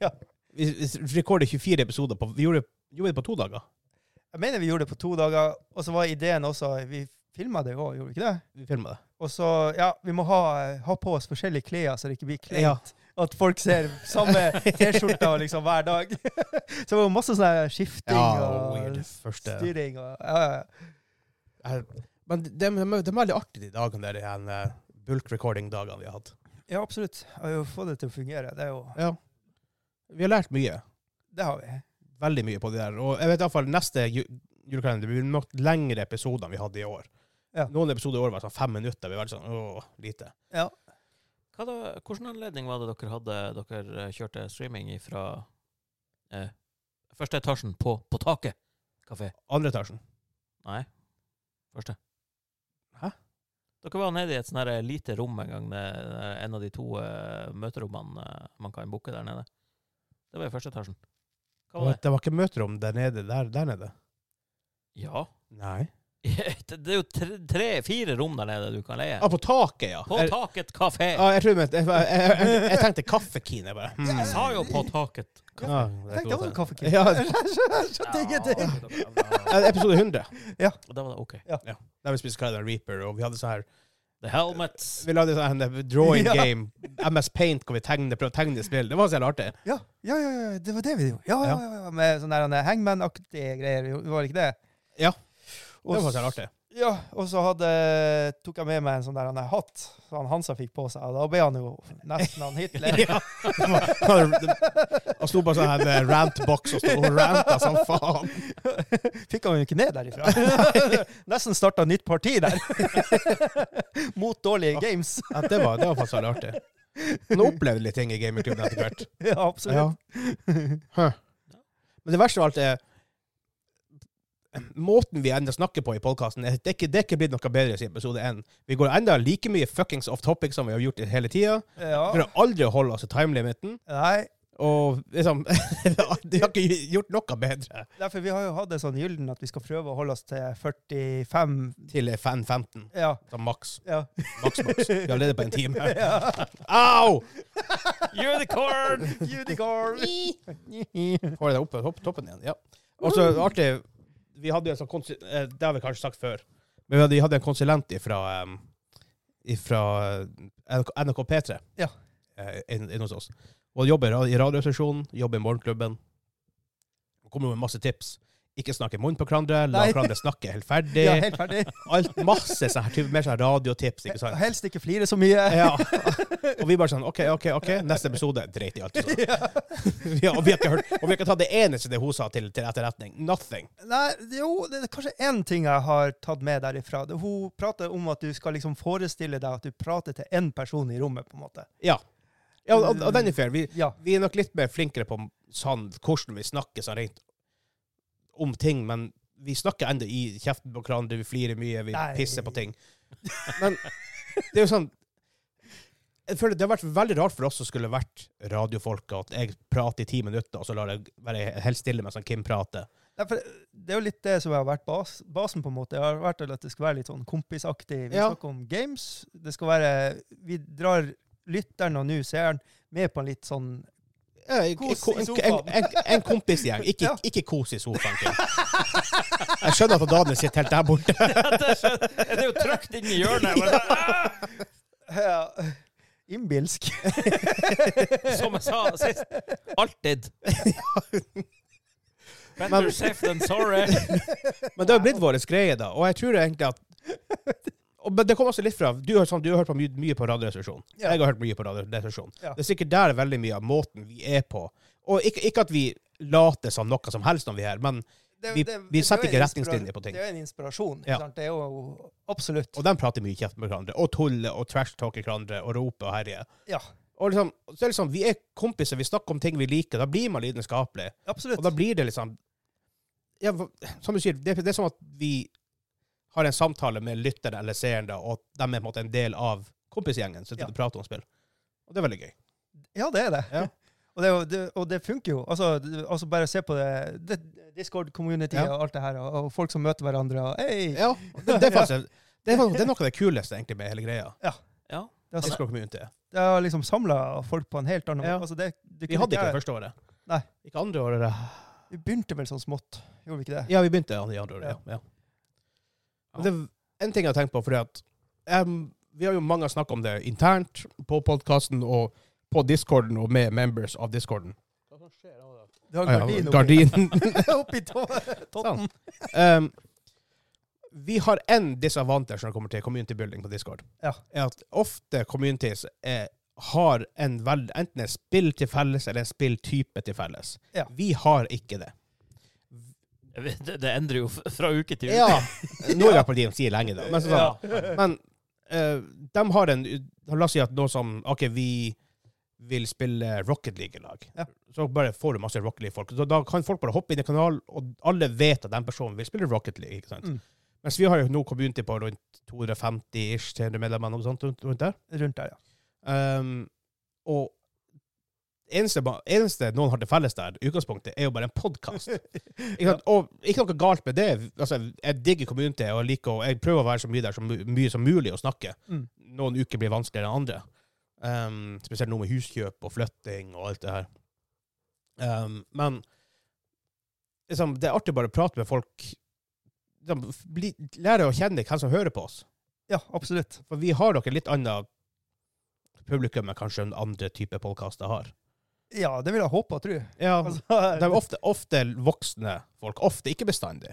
Speaker 2: ja.
Speaker 1: Vi, vi rekordet 24 episoder på Vi gjorde, gjorde det på to dager.
Speaker 2: Jeg mener vi gjorde det på to dager, og så var ideen også Vi filma det jo, gjorde vi ikke det?
Speaker 1: Vi filma det.
Speaker 2: Og så, ja, vi må ha, ha på oss forskjellige klær, så det ikke blir kleint.
Speaker 1: Ja.
Speaker 2: At folk ser samme T-skjorta liksom hver dag. så det var jo masse sånn her skifting
Speaker 1: Ja,
Speaker 2: og
Speaker 1: weird. Første
Speaker 2: styring og ja, ja.
Speaker 1: Jeg- Men de, de, de er veldig artige, de dagene der, de her, eh, bulk recording-dagene vi har hatt.
Speaker 2: ja, absolutt. Jeg har jo fått det til å fungere. Det, er jo,
Speaker 1: Ja. Vi har lært mye.
Speaker 2: det har vi.
Speaker 1: Veldig mye på det der. Og jeg vet iallfall neste ju- julekalender blir nok lengre episoder enn vi hadde i år.
Speaker 2: Ja.
Speaker 1: Noen episoder i år var sånn fem minutter. Vi var litt sånn åh, lite.
Speaker 2: Ja.
Speaker 3: Hva da, hvordan anledning var det dere hadde dere eh, kjørte streaming fra eh, første etasjen på, på taket kafé?
Speaker 1: Andre etasjen.
Speaker 3: Nei, første.
Speaker 1: Hæ?
Speaker 3: Dere var nede i et sånn her lite rom en gang, det er en av eh, de to eh, møterommene eh, man kan booke der nede. Det var i første etasjen. Hva
Speaker 1: Det var, det var ikke møterom der nede. Der, der nede.
Speaker 3: Ja.
Speaker 1: Nei.
Speaker 3: Det det er jo tre- tre-fire rom der nede du kan leie.
Speaker 1: Ah, på taket, ja.
Speaker 3: På
Speaker 1: Jeg-
Speaker 3: taket kafé.
Speaker 1: Ja, jeg, tror jeg, mente- jeg, jeg, jeg, jeg tenkte kaffekine, bare. Hmm.
Speaker 3: Jeg sa jo på taket.
Speaker 1: Ja,
Speaker 2: Jeg tenkte det var en kaffekinn.
Speaker 1: Ja.
Speaker 2: Jeg skjønte ingenting.
Speaker 3: Ja,
Speaker 1: Eh, Episode 100,
Speaker 3: Da var det OK.
Speaker 1: der vi spiste Carolina Reaper, og vi hadde sånn her
Speaker 3: The Helmets.
Speaker 1: Vi lagde sånn her drawing
Speaker 2: Ja.
Speaker 1: game, MS Paint, hvor vi tegnet, prøvde å tegne spill. Det var så jævlig artig.
Speaker 2: Ja, ja, ja, ja, det var det vi gjorde. Ja, ja, ja, ja, Med sånne der, eh, hangman-aktige greier, jo, var det ikke det?
Speaker 1: Ja.
Speaker 2: Og
Speaker 1: Det var
Speaker 2: s-
Speaker 1: så jævlig artig.
Speaker 2: Ja, og så hadde, tok jeg med meg en sånn der han er hatt, som han Hansa fikk på seg. Og da ble han jo nesten han Hitler.
Speaker 1: Ja. Det var- det- Han sto på sånn her eh, rant-boks og sto og ranta som faen.
Speaker 2: Fikk han jo ikke ned derifra. nesten starta nytt parti der. Mot dårlige games.
Speaker 1: Ja, det, var, det var faktisk jævlig artig. Han opplevde litt ting i gamingklubben etter hvert.
Speaker 2: Ja, absolutt.
Speaker 1: Hæ. Men det verste av alt er Måten vi ennå snakker på i podkasten, det er ikke, det er ikke blitt noe bedre siden episode 1. Vi går ennå like mye fuckings off topic som vi har gjort hele tida. Vi
Speaker 2: Ja.
Speaker 1: har aldri holdt oss til timelimiten.
Speaker 2: Nei,
Speaker 1: Og liksom Vi har ikke gjort noe bedre
Speaker 2: derfor vi har jo hatt det sånn gyllen at vi skal prøve å holde oss til 45
Speaker 1: til 5.15,
Speaker 2: Ja.
Speaker 1: som maks.
Speaker 2: ja.
Speaker 1: Maks, maks. Vi har ledet på en time.
Speaker 2: ja.
Speaker 1: Au!
Speaker 3: Unicorn!
Speaker 2: Unicorn!
Speaker 1: Får jeg det opp på topp- toppen igjen. Ja. Og så artig Vi hadde jo en sånn konsul... eh, Det har vi kanskje sagt før. Men vi hadde, vi hadde en konsulent ifra, em, ifra eh, NRK NRK P3
Speaker 2: Ja.
Speaker 1: eh, inn, inn hos oss. Og jobber i ra- i radiostasjonen, jobber i morgenklubben. Og kommer med masse tips. Ikke snakke munn på hverandre, la
Speaker 2: Nei.
Speaker 1: hverandre snakke helt ferdig.
Speaker 2: Ja, helt ferdig.
Speaker 1: Alt masse sånn her type, mer sånn radiotips, ikke sant?
Speaker 2: Helst ikke flire så mye.
Speaker 1: Ja. Og vi bare sånn OK, OK, ok, neste episode. Dreit i alt. Sånn. Ja, og, vi har ikke hørt, og vi har ikke tatt det eneste det hun sa til, til etterretning. Nothing.
Speaker 2: Nei, det- jo, det er kanskje én ting jeg har tatt med derifra. Det- Hun prater om at du skal liksom forestille deg at du prater til én person i rommet, på en måte.
Speaker 1: Ja, ja og, og den er fair. Vi,
Speaker 2: Ja.
Speaker 1: vi er nok litt mer flinkere på sånn, hvordan vi snakker sånn rent om ting, men vi snakker ennå i kjeften på hverandre, vi flirer mye, vi
Speaker 2: Nei.
Speaker 1: pisser på ting. Men det er jo sånn jeg føler Det har vært veldig rart for oss som skulle vært radiofolk, at jeg prater i ti minutter, og så lar jeg være helt stille mens han Kim prater.
Speaker 2: Nei, for det er jo litt det som har vært bas, basen, på en måte. Det har vært at det skal være litt sånn kompisaktig. Vi
Speaker 1: Ja.
Speaker 2: snakker om games. Det skal være Vi drar lytteren og nå seeren med på en litt sånn
Speaker 1: Ja, en-
Speaker 2: Kos i
Speaker 1: en-
Speaker 2: sofaen.
Speaker 1: En, en, en kompisgjeng. Ikke,
Speaker 2: Ja.
Speaker 1: ikke kos i sofaen. Kim. Jeg skjønner at Daniel sitter helt der borte.
Speaker 3: Det er så- det er jo trykt inn i hjørnet. Men, ah!
Speaker 2: ja, Innbilsk.
Speaker 3: Som jeg sa sist. Alltid. Better
Speaker 1: Men-
Speaker 3: safe than sorry.
Speaker 1: Men det har blitt vår greie, da. Og jeg tror egentlig at og, men Det kommer også litt fra Du har, sånn, du har hørt på mye, mye på Radioresepsjonen.
Speaker 2: Ja.
Speaker 1: Jeg har hørt mye på Radioresepsjonen.
Speaker 2: Ja.
Speaker 1: Det er sikkert der veldig mye av måten vi er på. Og ikke, ikke at vi later som noe som helst når vi er her, men
Speaker 2: Det-
Speaker 1: Vi-
Speaker 2: det-
Speaker 1: vi
Speaker 2: det er
Speaker 1: setter
Speaker 2: jo en
Speaker 1: ikke
Speaker 2: inspira-
Speaker 1: retningslinjer på ting.
Speaker 2: Det er jo en inspirasjon. ikke
Speaker 1: Ja.
Speaker 2: Sant? Det er jo absolutt.
Speaker 1: Og de prater mye kjeft med hverandre, og tuller og trash-talker hverandre og roper og herjer.
Speaker 2: Ja,
Speaker 1: Og liksom, så er det liksom, Vi er kompiser, vi snakker om ting vi liker. Da blir man lidenskapelig.
Speaker 2: absolutt.
Speaker 1: Og da blir det liksom ja, hva- Som du sier, det, det er som at vi har en samtale med lytteren eller seeren, da, og at de er på en måte en del av kompisgjengen som
Speaker 2: Ja.
Speaker 1: prater om spill. Og det er veldig gøy.
Speaker 2: Ja, det er det.
Speaker 1: Ja.
Speaker 2: Og, det er jo- det og det funker jo. Altså, det- altså bare se på det, det Discord-community
Speaker 1: Ja.
Speaker 2: og alt det her, og, og folk som møter hverandre og Hei!
Speaker 1: Ja, det, det, er faktisk, det, er, faktisk- det er noe av det kuleste egentlig med hele greia.
Speaker 3: Ja.
Speaker 2: Det, har-
Speaker 1: Discord Community.
Speaker 2: det har liksom samla folk på en helt annen måte.
Speaker 1: Ja.
Speaker 2: Altså, det, det
Speaker 1: Vi
Speaker 2: kunne
Speaker 1: hadde ikke det
Speaker 2: jeg-
Speaker 1: første året.
Speaker 2: Nei.
Speaker 1: Ikke andre året. da.
Speaker 2: Vi begynte vel sånn smått, gjorde vi ikke det?
Speaker 1: Ja, vi begynte i andre året, ja. ja. Men det er en ting jeg har tenkt på, fordi at em, vi har jo mange snakket om det internt på podkasten og på discorden og med members av discorden. Hva som skjer da?
Speaker 2: Det har
Speaker 1: Ja,
Speaker 2: gardin oppi,
Speaker 1: Gardinen.
Speaker 2: oppi tå- totten.
Speaker 1: um, vi har en disavantage når det kommer til community building på Discord.
Speaker 2: Ja.
Speaker 1: Er at ofte communities er, har en veld, enten et spill til felles eller en spilltype til felles.
Speaker 2: Ja.
Speaker 1: Vi har ikke det.
Speaker 3: Det, det endrer jo f- fra uke til uke.
Speaker 1: Ja. Nå er jeg på DMC lenge, da. Men, sånn,
Speaker 3: Ja.
Speaker 1: men eh, de har en La oss si at noe som OK, vi vil spille Rocket League i lag.
Speaker 2: Ja.
Speaker 1: Så bare får du masse Rocket League-folk. Så Da kan folk bare hoppe inn i kanalen, og alle vet at den personen vil spille Rocket League. ikke sant?
Speaker 2: Mm.
Speaker 1: Mens vi har jo nå community på rundt 250-ish, 300 medlemmer, noe sånt rundt rundt der.
Speaker 2: Rundt der, ja.
Speaker 1: Um, og Ehm, eneste, ba- eneste noen har til felles der, i utgangspunktet, er jo bare en podkast. Og ikke noe galt med det. Altså, jeg digger community, og jeg, liker, å- jeg prøver å være så mye der som, mu- mye som mulig å snakke.
Speaker 2: Mm.
Speaker 1: Noen uker blir vanskeligere enn andre. Ehm, spesielt nå med huskjøp og flytting og alt det her. Ehm, men liksom, det er artig bare å prate med folk. Liksom, bli, lære å kjenne hvem som hører på oss.
Speaker 2: Ja, absolutt.
Speaker 1: For vi har nok et litt annet publikum enn kanskje en andre type podkaster har.
Speaker 2: Ja, det vil jeg håpe og tro.
Speaker 1: Ja,
Speaker 2: Altså,
Speaker 1: De er ofte, ofte voksne folk. Ofte, ikke bestandig.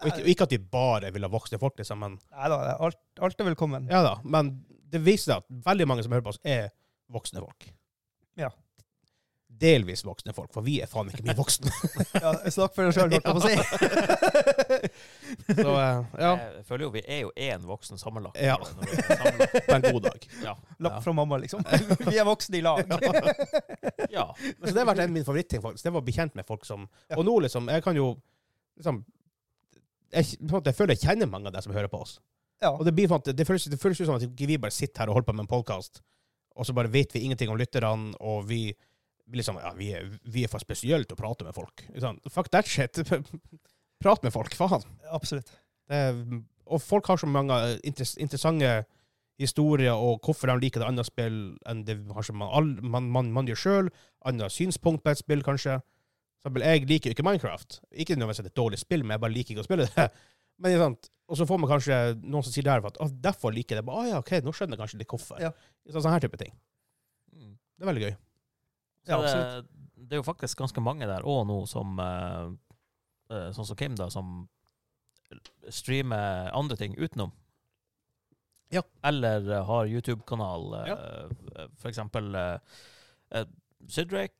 Speaker 1: Og ikke, og ikke at vi bare vil ha voksne folk, liksom, men,
Speaker 2: Nei da, det er alt, alt er velkommen.
Speaker 1: ja da, men det viser seg at veldig mange som hører på oss, er voksne folk.
Speaker 2: Ja.
Speaker 1: Delvis voksne folk, for vi er faen ikke mye voksne.
Speaker 2: Ja, snakk for deg sjøl, holdt jeg på å si.
Speaker 1: Så eh, ja,
Speaker 3: Jeg føler jo vi er jo én voksen sammenlagt.
Speaker 1: Ja.
Speaker 3: Når vi er sammenlagt.
Speaker 1: på en god dag.
Speaker 3: Ja.
Speaker 2: Lapp
Speaker 1: Ja.
Speaker 2: fra mamma, liksom. Vi er voksne i lag.
Speaker 3: ja.
Speaker 1: Men Så det har vært en av mine favoritting, faktisk. Det var å bli kjent med folk som Og nå, liksom, jeg kan jo liksom, jeg, på en måte, jeg føler jeg kjenner mange av deg som hører på oss.
Speaker 2: Ja.
Speaker 1: Og det, blir, på en måte- det, føles, det føles jo som at ikke vi bare sitter her og holder på med en podkast, og så bare vet vi ingenting om lytterne, og vi vi liksom, ja, vi er, vi er for spesielle til å prate med folk. Ikke sant? Fuck that shit. Prat med folk, faen.
Speaker 2: Absolutt.
Speaker 1: Det er, og folk har så mange eh, interess, interessante historier, og hvorfor de liker det andre spill enn det kanskje man, all, man, man, man gjør sjøl. Andre synspunkt på et spill, kanskje. For eksempel, jeg liker jo ikke Minecraft. Ikke nødvendigvis at det er et dårlig spill, men jeg bare liker ikke å spille det. Men det er sant. Og så får man kanskje noen som sier det her, for at, «Å, derfor liker jeg det. Bare, «Å ja, ok, nå skjønner jeg kanskje litt hvorfor.
Speaker 2: Ja.
Speaker 1: Sånn, sånn her type ting.
Speaker 3: Mm.
Speaker 1: Det er veldig gøy.
Speaker 3: Så
Speaker 2: Ja,
Speaker 3: det, det er jo faktisk ganske mange der òg nå som eh, eh, Sånn som Kim, da, som streamer andre ting utenom.
Speaker 1: Ja.
Speaker 3: Eller eh, har YouTube-kanal, eh,
Speaker 1: Ja.
Speaker 3: eh, for eksempel uh, Sidrek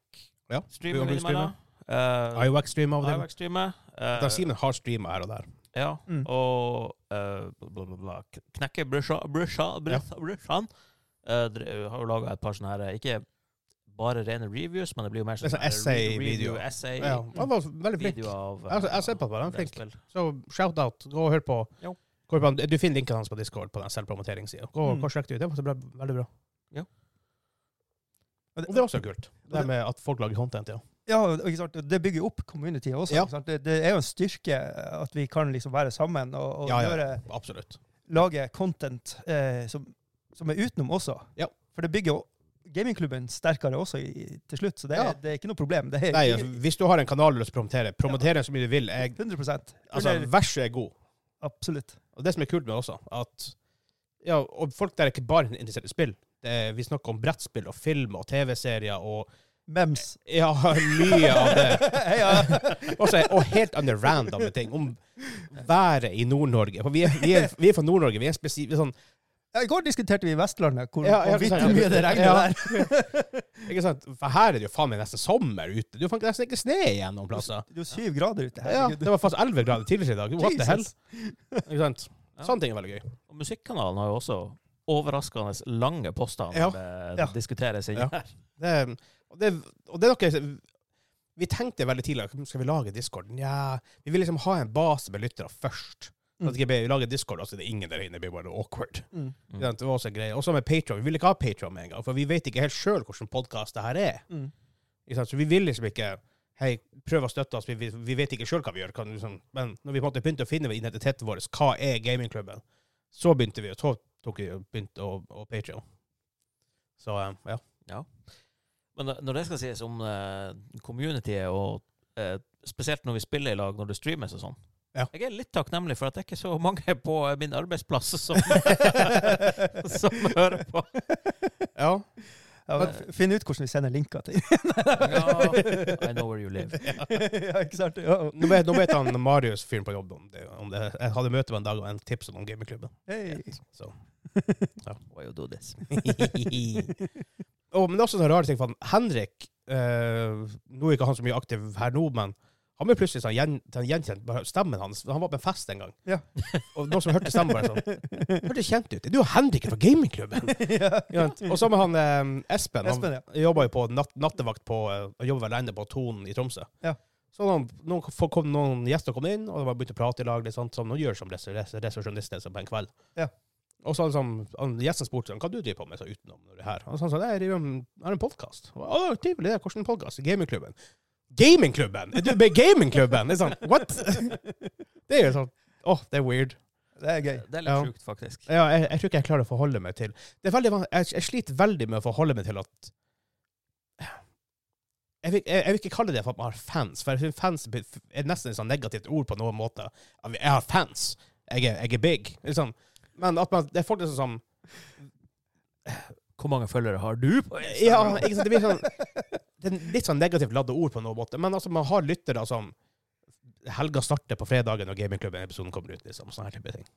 Speaker 1: Ja,
Speaker 3: streamer
Speaker 1: Bjørn Brun
Speaker 3: innimellom. Uh,
Speaker 1: IOX streamer av og til.
Speaker 3: Ivac streamer. eh,
Speaker 1: Da Simen har streamer her og der.
Speaker 3: ja,
Speaker 2: Mm.
Speaker 3: og uh, bla, bla, bla. K- Knekke Brushan Eh, Har jo laga et par sånne her eh, Ikke bare rene reviews, men det blir jo mer
Speaker 1: Det er
Speaker 3: sånn
Speaker 1: sånn essay-videoer. Ja, han var veldig flink.
Speaker 3: av
Speaker 1: Jeg har- jeg har sett på det, han er
Speaker 3: en del
Speaker 1: flink.
Speaker 3: spill.
Speaker 1: Så shout-out. Gå og hør på.
Speaker 3: Jo.
Speaker 1: Gå på han- Du finner linken hans på Discord på den selvpromoteringssida. Gå
Speaker 2: Mm.
Speaker 1: gå og sjekk det ut. Det var så bra, veldig bra.
Speaker 2: Og
Speaker 1: Og det er også kult. Det
Speaker 2: det-
Speaker 1: der med at folk lager content, ja.
Speaker 2: Ja, og ikke sant? det bygger opp communityet også.
Speaker 1: Ja.
Speaker 2: Ikke sant? Det, det er jo en styrke at vi kan liksom være sammen og, og
Speaker 1: Ja, ja.
Speaker 2: Gjøre,
Speaker 1: Absolutt.
Speaker 2: lage content eh, som, som er utenom også.
Speaker 1: Ja.
Speaker 2: For det bygger jo gamingklubben sterkere også i, til slutt, så det er,
Speaker 1: Ja.
Speaker 2: det er ikke noe problem. Det er
Speaker 1: Nei, altså, hvis du har en kanal du har lyst til å promotere, promoter den så mye du vil. Jeg,
Speaker 2: 100
Speaker 1: altså,
Speaker 2: Eller-
Speaker 1: verset er god.
Speaker 2: Absolutt.
Speaker 1: Og det som er kult med det også, at ja, og folk der er ikke bare interessert i spill. Det er, vi snakker om brettspill og film og TV-serier og
Speaker 2: Mems.
Speaker 1: Ja, mye av det.
Speaker 2: ja.
Speaker 1: Også, og helt andre randomme ting. Om været i Nord-Norge. For vi er, vi er, vi er fra Nord-Norge. Vi er en spesiv... Sånn,
Speaker 2: I går diskuterte vi Vestlandet, hvor
Speaker 1: Ja, ja, ikke
Speaker 2: vanvittig
Speaker 1: sant?
Speaker 2: mye det regner
Speaker 1: Ja.
Speaker 2: der.
Speaker 1: Ikke sant? For her er det jo faen meg nesten sommer ute. Du fant nesten ikke sne igjen noen plasser.
Speaker 2: Det er jo syv grader ute.
Speaker 1: Ja,
Speaker 2: herregud.
Speaker 1: det var faktisk 11 grader tidligere i dag. What the hell?
Speaker 2: Jesus.
Speaker 1: Ikke sant?
Speaker 3: Ja.
Speaker 1: Sånne ting er veldig gøy.
Speaker 3: Og musikkanalen har jo også overraskende lange poster
Speaker 1: Ja.
Speaker 3: når det
Speaker 2: Ja.
Speaker 3: diskuteres inni
Speaker 1: Ja.
Speaker 3: her.
Speaker 1: Det, og, det, og det er noe Vi tenkte veldig tidlig at, Skal vi lage Discord? Nja Vi vil liksom ha en base med lyttere først. Så at ikke vi lager Discord, altså det er ingen der inne. Det blir bare awkward.
Speaker 2: Mm.
Speaker 1: Ikke sant? Det var også en greie. Også med Patreon. Vi vil ikke ha Patreon med en gang, for vi vet ikke helt sjøl hvilken podkast det her er.
Speaker 2: Mm.
Speaker 1: Ikke sant? Så vi vil liksom ikke Hei, prøv å støtte oss, vi, vi, vi vet ikke sjøl hva vi gjør. Kan, liksom. Men når vi på en måte begynte å finne identiteten vår, hva er gamingklubben, så begynte vi, og så tok vi og begynte å, å Patreon. Så eh, ja.
Speaker 3: Men når det skal sies om eh, communityet, og eh, spesielt når vi spiller i lag, når det streames og sånn
Speaker 1: Ja.
Speaker 3: Jeg er litt takknemlig for at det er ikke så mange på eh, min arbeidsplass som, som hører på.
Speaker 1: ja.
Speaker 2: Ja, men f- Finn ut hvordan vi sender linker til.
Speaker 3: Ja, I know where you live.
Speaker 2: ja, ikke sant? Ja.
Speaker 1: Nå, vet, nå vet han Marius, fyren på jobb, om det, om det. Jeg hadde møte med en dag og en tips om gamingklubben.
Speaker 2: Hei.
Speaker 1: Så.
Speaker 3: Why you do this?
Speaker 1: og, men det er også sånn rar ting, for han Henrik eh, Nå er ikke han så mye aktiv her nå, men han ble plutselig sånn gjen, sånn gjenkjent bare stemmen hans. Han var på en fest en gang,
Speaker 2: Ja.
Speaker 1: og noen som hørte stemmen, bare sånn Hørtes kjent ut. Er du Henrik fra gamingklubben? Ikke sant? og så med han eh, Espen. Han
Speaker 2: Espen, ja.
Speaker 1: jobba jo på natt, nattevakt på eh, og jobber vel ennå på Tonen i Tromsø.
Speaker 2: Ja.
Speaker 1: Så noen, noen, folk kom, noen gjester kom inn, og de bare begynte å prate i lag, litt sånn, som de gjør som res- res- resepsjonister så på en kveld.
Speaker 2: Ja.
Speaker 1: Og så liksom, han, gjesten spurte sånn, hva du driver på med så utenom det her. Og så han sa «Nei, jeg driver med- jeg har en podkast. Å, trivelig. det. Hvordan podkast? Gamingklubben. Gamingklubben! Er du med i gamingklubben? Det er sånn, what? Det er jo sånn Åh, det er weird.
Speaker 2: Det er gøy.
Speaker 3: Det er litt
Speaker 1: Ja.
Speaker 3: sjukt, faktisk.
Speaker 1: Ja, jeg, jeg tror ikke jeg klarer å forholde meg til Det er veldig van- jeg, jeg sliter veldig med å forholde meg til at jeg vil, jeg, jeg vil ikke kalle det for at man har fans, for jeg synes fans be- er nesten et sånn negativt ord på noen måte. At vi- Jeg har fans. Jeg er, jeg er big. Liksom. Men at man, det er folk som som-
Speaker 3: Hvor mange følgere har du på
Speaker 1: Ja,
Speaker 3: Instagram?
Speaker 1: ikke sant? Det blir sånn Det er en litt sånn negativt ladde ord på noen måte. Men altså, man har lyttere som Helga starter på fredagen når gamingklubben-episoden kommer ut. Liksom, sånne her type ting.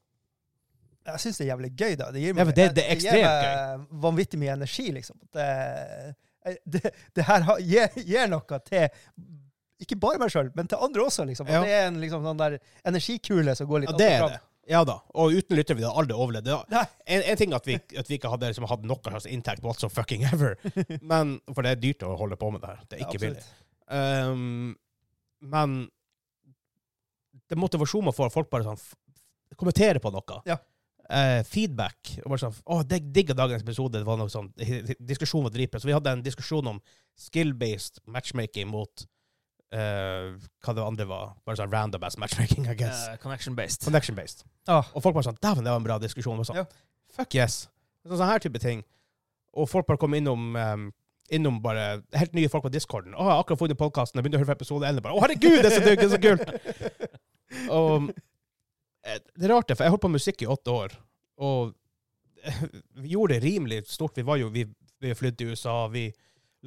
Speaker 2: Jeg syns det er jævlig gøy, da. Det gir
Speaker 1: Ja, for det- det er
Speaker 2: gir
Speaker 1: ekstremt
Speaker 2: meg vanvittig mye energi, liksom. Det, jeg- det, det her har- gir, gir noe til ikke bare meg sjøl, men til andre også, liksom. At
Speaker 1: Ja.
Speaker 2: Det er en liksom, sånn der energikule som går litt
Speaker 1: Ja,
Speaker 2: opp
Speaker 1: det
Speaker 2: og
Speaker 1: er
Speaker 2: fram.
Speaker 1: det. Ja da. Og uten lyttere ville det aldri overlevd. Det
Speaker 2: Nei.
Speaker 1: var- En, en ting at vi, at vi ikke hadde liksom, hatt noe slags inntekt whatso fucking ever. Men, for det er dyrt å holde på med det her. Det er
Speaker 2: Ja,
Speaker 1: ikke
Speaker 2: absolutt.
Speaker 1: billig. Ehm, men det er motivasjon man får. Folk bare sånn f- kommenterer på noe.
Speaker 2: Ja.
Speaker 1: Eh, feedback. Og bare sånn, å, det digger dagens episode. Det var noe sånn, diskusjon var dritbra. Så vi hadde en diskusjon om skill-based matchmaking mot eh, hva det andre var. Bare sånn random-ass matchmaking, I guess.
Speaker 3: Eh, Connection-based.
Speaker 1: Connection-based.
Speaker 2: Ah.
Speaker 1: Og folk bare sånn Dæven, det var en bra diskusjon. Og Sånn,
Speaker 2: Ja.
Speaker 1: Fuck yes. Sånn, sånn her type ting. Og folk bare kom innom um, Innom bare helt nye folk på discorden. Å, jeg har akkurat funnet podkasten, jeg begynte å høre på episode 11. Bare, å, herregud, det er så digg, det er så kult! og eh, det er rart, det, for jeg holdt på med musikk i åtte år, og vi gjorde det rimelig stort. Vi var jo Vi, vi flydde til USA, vi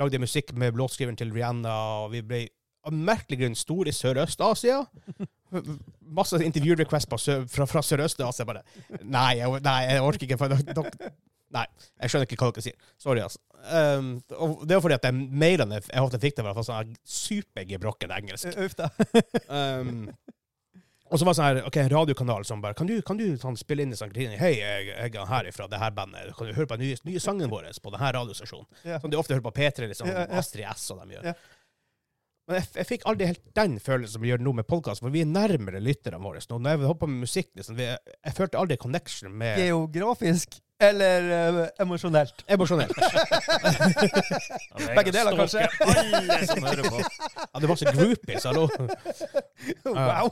Speaker 1: lagde musikk med låtskriveren til Rihanna, og vi ble av merkelig grunn store i Sørøst-Asia masse intervju-requests på sø- fra, fra Sørøst-Asia. Bare nei jeg, nei, jeg orker ikke. For dere, dere- nei, jeg skjønner ikke hva dere sier. Sorry, altså. Um, og det er fordi at de mailene jeg ofte fikk, det var fra sånn her supergebrokken engelsk.
Speaker 2: Uff da.
Speaker 1: Um, og så var det sånn her, ok, en radiokanal som bare Kan du, kan du sånn, spille inn en sånn greie? Hei, jeg, jeg er herifra, det her bandet. Kan du høre på den nye, nye sangen vår på denne radiostasjonen?
Speaker 2: Ja.
Speaker 1: Som de ofte hører på P3, liksom,
Speaker 2: Ja, ja.
Speaker 1: Astrid S og de gjør.
Speaker 2: Ja.
Speaker 1: Men jeg, jeg fikk aldri helt den følelsen som vi gjør nå med podkast, for vi er nærmere lytterne våre. nå. Når jeg holdt på med musikk, liksom, vi, jeg følte aldri connection med
Speaker 2: Geografisk eller eh, emosjonelt?
Speaker 1: Emosjonelt.
Speaker 3: Ja, det er
Speaker 2: Begge
Speaker 3: jeg
Speaker 2: deler, kanskje?
Speaker 3: stalker Alle som hører på.
Speaker 1: Ja, det var så groupies, hallo.
Speaker 2: Wow!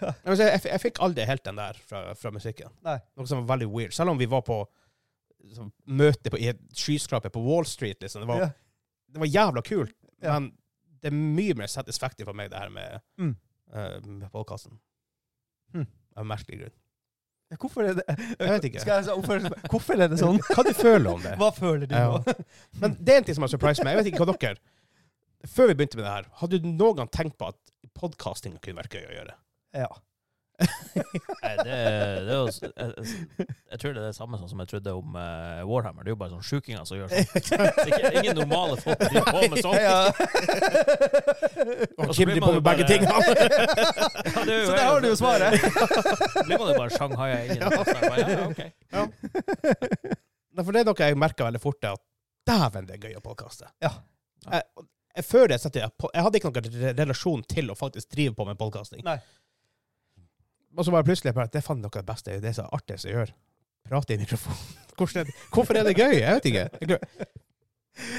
Speaker 1: Ja, men så Jeg, jeg fikk aldri helt den der fra, fra musikken.
Speaker 2: Nei.
Speaker 1: Noe som var veldig weird. Selv om vi var på så, møte på, i et skyskraper på Wall Street, liksom. Det var,
Speaker 2: Ja.
Speaker 1: det var jævla kult,
Speaker 2: Ja.
Speaker 1: men det er mye mer satisfactory for meg, det her med,
Speaker 2: Mm.
Speaker 1: eh, med podkasten.
Speaker 2: Mm.
Speaker 1: Av en merkelig grunn.
Speaker 2: Hvorfor er det
Speaker 1: Jeg vet ikke.
Speaker 2: Skal jeg så oppføre meg- Hvorfor er det sånn?
Speaker 1: Hva du føler om det?
Speaker 2: Hva føler du
Speaker 1: Ja.
Speaker 2: nå?
Speaker 1: Men det er en ting som har surprised meg. Jeg vet ikke hva dere Før vi begynte med det her, hadde du noen gang tenkt på at podcasting kunne vært gøy å gjøre?
Speaker 2: Ja.
Speaker 3: Nei, det, det er jo, s- jeg, jeg tror det er det samme sånn som jeg trodde om eh, Warhammer. Det er jo bare sånne sjukinger som gjør sånn. Så ikke, ingen normale folk driver på med sånt.
Speaker 2: ja.
Speaker 1: Og
Speaker 3: Og så
Speaker 1: Kim driver
Speaker 3: blir man
Speaker 1: på med
Speaker 3: jo
Speaker 1: begge
Speaker 3: bare-
Speaker 1: tingene!
Speaker 3: Ja, det er jo-
Speaker 2: Så der har du jo svaret.
Speaker 3: Blir man jo bare shanghaia inn i det. Ja, ja, ok.
Speaker 1: Nei, for det er noe jeg merker veldig fort, er at dæven, det er gøy å podkaste.
Speaker 2: Ja.
Speaker 1: Jeg, jeg, før det satte jeg på Jeg hadde ikke noen re- relasjon til å faktisk drive på med podkasting.
Speaker 2: Nei.
Speaker 1: Og så bare plutselig bare, Det er faen noe av det beste, det er så artig som jeg gjør. Prate i mikrofonen. Hvordan er det, hvorfor er det gøy? Jeg vet ikke. Jeg glem-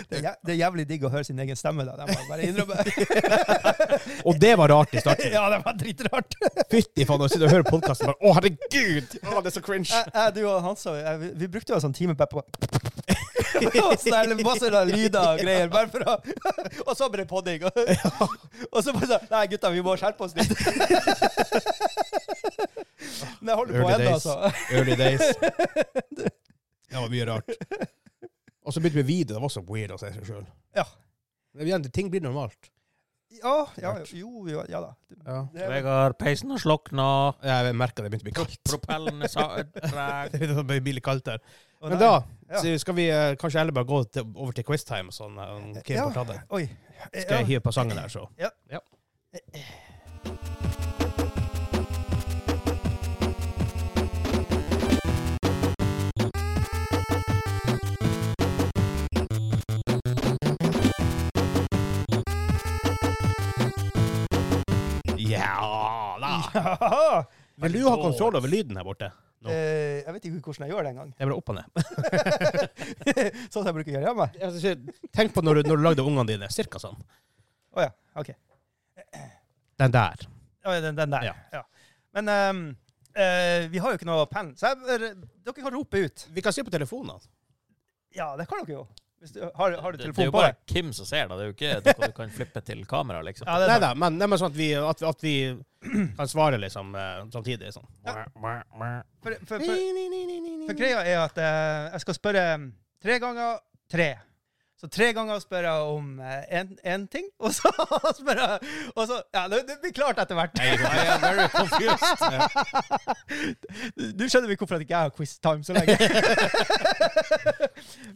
Speaker 2: Det er jæv- det er jævlig digg å høre sin egen stemme, da. Det må jeg bare innrømme.
Speaker 1: Og det var rart i starten.
Speaker 2: Ja, det var dritrart.
Speaker 1: Fytti faen, å sitte og høre podkasten bare Å, herregud! Å, det er så cringe!
Speaker 2: Jeg, jeg, du og Hansa, jeg, vi- vi brukte jo en sånn time på på- Og så er det masse sånn lyder og greier. Bare for å, og så ble det podding. Og, og så bare sånn Nei, gutta, vi må skjerpe oss litt. Men jeg holder på
Speaker 1: Early
Speaker 2: ennå,
Speaker 1: days.
Speaker 2: altså.
Speaker 1: Early days. Det var mye rart. Og så begynte vi med video. Det var også weird å se seg sjøl.
Speaker 2: Ja.
Speaker 1: Ting blir normalt.
Speaker 2: Ja, ja, jo, jo, ja da. Det,
Speaker 3: Vegard, peisen har slokna.
Speaker 1: Jeg merka det begynte å bli kaldt.
Speaker 3: Propellen er sa- treg.
Speaker 1: Det blir litt kaldt her.
Speaker 2: Å,
Speaker 1: Men
Speaker 2: nei.
Speaker 1: da
Speaker 2: Ja.
Speaker 1: så skal vi eh, kanskje heller bare gå til, over til quiztime. og Sånn, eh, om Kim
Speaker 2: Ja.
Speaker 1: får ta det.
Speaker 2: Oi.
Speaker 1: Skal jeg hive på sangen her, så.
Speaker 2: Ja.
Speaker 1: ja. Ja da!
Speaker 2: Ja.
Speaker 1: Vil du ha kontroll over lyden her borte? Nå.
Speaker 2: Eh, jeg vet ikke hvordan jeg gjør det engang.
Speaker 1: Det er bare opp og ned.
Speaker 2: sånn som jeg bruker å gjøre hjemme.
Speaker 1: Altså, Jeg skal si, Tenk på når du, når du lagde ungene dine. Cirka sånn.
Speaker 2: Å ja, OK.
Speaker 1: Den der.
Speaker 2: Ja, den, den der.
Speaker 1: Ja.
Speaker 2: Ja. Men ehm, eh, vi har jo ikke noe penn, så jeg, bare- dere kan rope ut.
Speaker 1: Vi kan se på telefonene.
Speaker 2: Ja, det kan dere jo. Hvis du, har, har du
Speaker 3: Det, det er
Speaker 2: telefon
Speaker 3: jo
Speaker 2: på
Speaker 3: bare
Speaker 2: deg?
Speaker 3: Kim som ser det. Det er jo ikke noe du kan flippe til kamera, liksom.
Speaker 2: Ja, det
Speaker 1: Nei
Speaker 2: er sant.
Speaker 1: da, men, nei, men sånn at vi, at, at vi kan svare liksom eh, samtidig. Sånn.
Speaker 2: For, for, for, for greia er at eh, jeg skal spørre um, tre ganger tre. Så tre ganger spør jeg om én ting, og så spør jeg og så, Ja, det, det blir klart etter hvert.
Speaker 3: I am very confused.
Speaker 2: Du skjønner vel hvorfor at ikke jeg har quiz-time så lenge.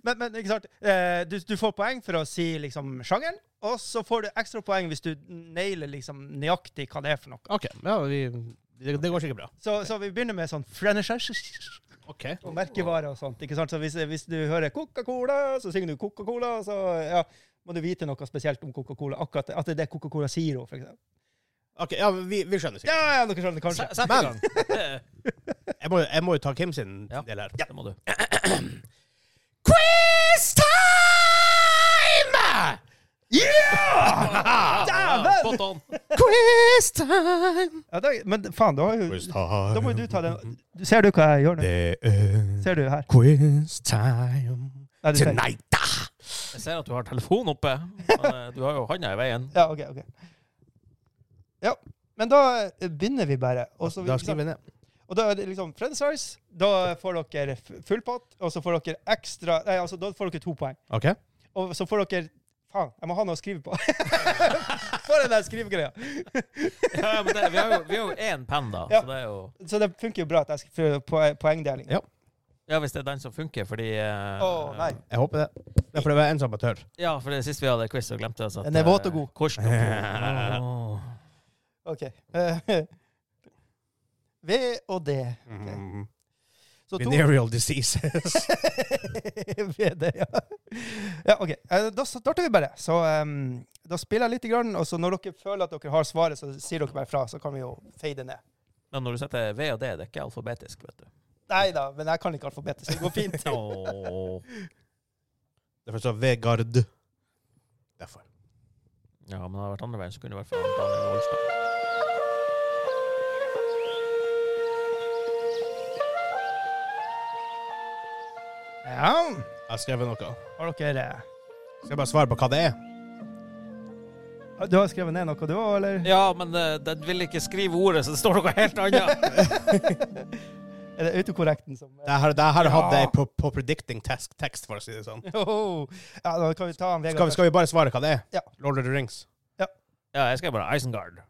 Speaker 2: men, men ikke sant. Eh, Du, du får poeng for å si liksom sjangeren, og så får du ekstra poeng hvis du nailer liksom nøyaktig hva det er for noe.
Speaker 1: OK. Ja, vi, det, det går sikkert bra.
Speaker 2: Så, så vi begynner med sånn frenishes
Speaker 1: OK.
Speaker 2: og merkevarer og sånt. ikke sant? Så hvis, hvis du hører Coca-Cola, så synger du Coca-Cola, så ja, må du vite noe spesielt om Coca-Cola. Akkurat at det er det Coca-Cola Zero, for eksempel.
Speaker 1: Ok, ja, vi, vi skjønner sikkert.
Speaker 2: Ja, ja, dere skjønner kanskje.
Speaker 3: Sett i
Speaker 1: Men-
Speaker 3: gang. Det-
Speaker 1: Jeg må, jeg må jo ta Kim sin
Speaker 3: Ja.
Speaker 1: del her.
Speaker 3: Det må du.
Speaker 1: Quiz time! Yeah!
Speaker 2: Dæven!
Speaker 3: Spot on.
Speaker 1: Quiz time!
Speaker 2: Ja, da, men faen, da, har jo-
Speaker 1: time.
Speaker 2: da må jo du ta den. Ser du hva jeg gjør nå?
Speaker 1: Det er
Speaker 2: Ser du her?
Speaker 1: quiz time
Speaker 2: Nei, du ser-
Speaker 1: tonight. da.
Speaker 3: Jeg ser at du har telefonen oppe. Men eh, du har jo handa i veien.
Speaker 2: Ja, ok, ok. Ja, men da eh, begynner vi bare. Og, så,
Speaker 1: Da skriver vi ned.
Speaker 2: og da er det liksom french fries. Da får dere f- full pott, og så får dere ekstra Nei, altså, da får dere to poeng.
Speaker 1: OK?
Speaker 2: Og så får dere Faen, jeg må ha noe å skrive på. For den der skrivegreia.
Speaker 3: Ja, ja, men det, vi har jo- vi har jo én penn, da.
Speaker 2: Ja.
Speaker 3: Så det er jo
Speaker 2: Så det funker jo bra at jeg skriver poe- poengdeling.
Speaker 1: Ja.
Speaker 3: Ja, hvis det er den som funker, fordi eh,
Speaker 2: Å, nei.
Speaker 1: Jeg håper det. Det er fordi jeg er en som amatør.
Speaker 3: Ja, for det sist vi hadde quiz, så glemte jeg. Så at,
Speaker 2: Den er våt og
Speaker 3: eh,
Speaker 2: god.
Speaker 3: Korsen er god. Åh.
Speaker 2: OK. Eh, V og D. Ok.
Speaker 1: Mm.
Speaker 2: Så to
Speaker 1: Venereal diseases.
Speaker 2: VD, ja. ja ok. Eh, Da starter vi bare. Så em, da spiller jeg litt, grann, og så når dere føler at dere har svaret, så sier dere bare fra, så kan vi jo fade ned.
Speaker 3: Men når du setter V og D, det er ikke alfabetisk, vet du.
Speaker 2: Nei da, men jeg kan ikke alfabetet, så det går fint.
Speaker 3: Åh.
Speaker 1: Derfor så Vegard. Derfor.
Speaker 3: Ja, men hadde det vært andre veien, så kunne det vært fra Daniel Olstad.
Speaker 2: Ja,
Speaker 1: Jeg har skrevet noe.
Speaker 2: har dere
Speaker 1: Skal jeg bare svare på hva det er?
Speaker 2: eh, Du har skrevet ned noe, du òg, eller?
Speaker 3: Ja, men eh, den vil ikke skrive ordet, så det står noe helt annet.
Speaker 2: Er det autokorrekten som
Speaker 1: Det her, det her
Speaker 2: Ja.
Speaker 1: hadde jeg på, på predicting text, text, for å si det sånn.
Speaker 2: Jo. Ja, da kan vi ta han Vegard
Speaker 1: Skal vi, skal vi bare svare hva det er?
Speaker 2: Ja.
Speaker 1: Lord of the Rings.
Speaker 3: Ja, jeg skrev bare Isengard.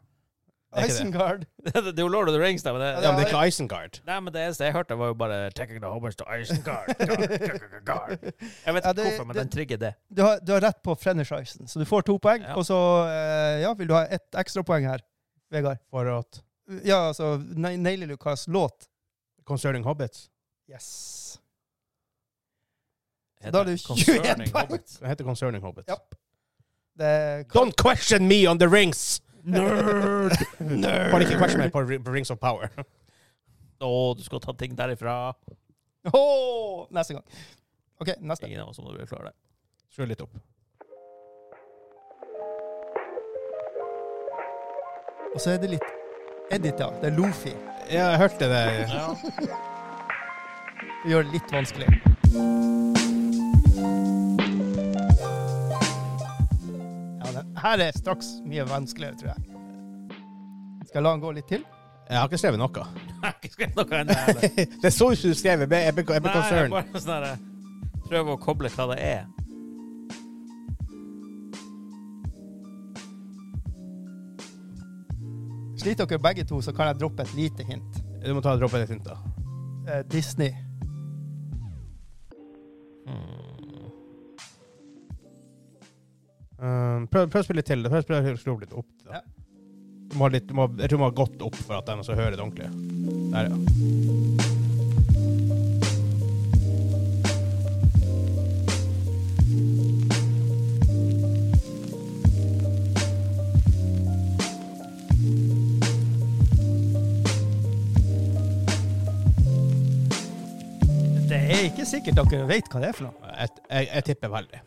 Speaker 1: det er
Speaker 2: først.
Speaker 1: ikke det.
Speaker 2: Isengard.
Speaker 3: det er jo Lord of the Rings, da. Men det,
Speaker 1: Ja, men det er ikke Isengard.
Speaker 3: Nei, men det eneste jeg hørte, var jo bare Taking the Hobbits to Isengard. Guard, guard, guard. Jeg vet
Speaker 2: Ja,
Speaker 3: ikke
Speaker 2: det-
Speaker 3: hvorfor, men
Speaker 2: det-
Speaker 3: den trigger det.
Speaker 2: Du har, du har rett på Frenishisen, så du får to poeng.
Speaker 3: Ja.
Speaker 2: Og så eh, ja, vil du ha ett ekstrapoeng her, Vegard.
Speaker 1: For at
Speaker 2: Ja, altså ne- Nailer du hvilken låt?
Speaker 1: Concerning Hobbits.
Speaker 2: Yes.
Speaker 3: Heter
Speaker 2: Da er det
Speaker 3: det
Speaker 2: 21
Speaker 3: Concerning
Speaker 2: poeng.
Speaker 3: Hobbits?
Speaker 1: Det heter Concerning Hobbits.
Speaker 2: Ja. Det kan,
Speaker 1: Don't question me on the rings! Nerd! Nerd! Bare ikke question meg på Ri- på Rings of Power.
Speaker 3: Å, du skulle tatt ting derifra.
Speaker 2: Åh, neste gang. OK, neste.
Speaker 3: Ingen av oss må klare det.
Speaker 1: Skru litt opp.
Speaker 2: Og så er det litt Edit, ja. Det er Lofi.
Speaker 1: Ja, jeg hørte det.
Speaker 2: Vi gjør det litt vanskelig. Ja, den her er straks mye vanskeligere, tror jeg. Skal jeg la den gå litt til?
Speaker 1: Jeg har ikke skrevet noe.
Speaker 3: Jeg har ikke skrevet noe ennå. heller.
Speaker 1: Det så ut som du skrev. Jeg ble, jeg ble, jeg ble
Speaker 3: Nei, jeg
Speaker 1: concerned.
Speaker 3: bare sånn der, Prøv å koble hva det er.
Speaker 2: Sliter dere begge to, så kan jeg droppe et lite hint.
Speaker 1: Du må ta og droppe det hint, da.
Speaker 2: Eh, Disney.
Speaker 1: Um, prøv, prøv å spille litt til. Prøv å spille- skru litt opp. Da.
Speaker 2: Ja.
Speaker 1: Du må ha litt, du må, jeg tror du må ha gått opp for at de skal høre det ordentlig. Der, ja.
Speaker 2: er ikke sikkert dere vet hva det er for noe.
Speaker 1: Jeg, jeg, jeg tipper veldig.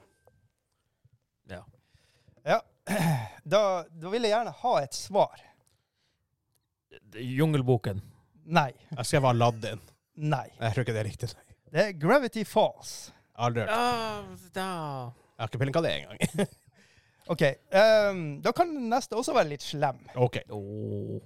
Speaker 3: Ja.
Speaker 2: Da, da vil jeg gjerne ha et svar.
Speaker 3: Jungelboken.
Speaker 2: Nei.
Speaker 1: Jeg skrev Aladdin.
Speaker 2: Nei.
Speaker 1: Jeg tror ikke det er riktig. nei.
Speaker 2: Det er Gravity Falls.
Speaker 1: Jeg har aldri hørt.
Speaker 3: Ja, da.
Speaker 1: Jeg har ikke peiling på hva det er engang.
Speaker 2: OK. ehm, da kan den neste også være litt slem.
Speaker 1: OK.
Speaker 3: Åh.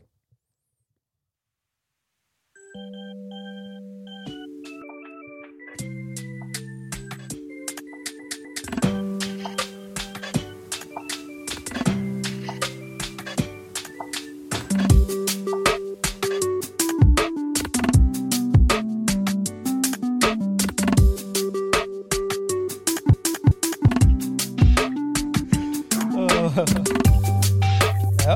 Speaker 2: Åh. Ja.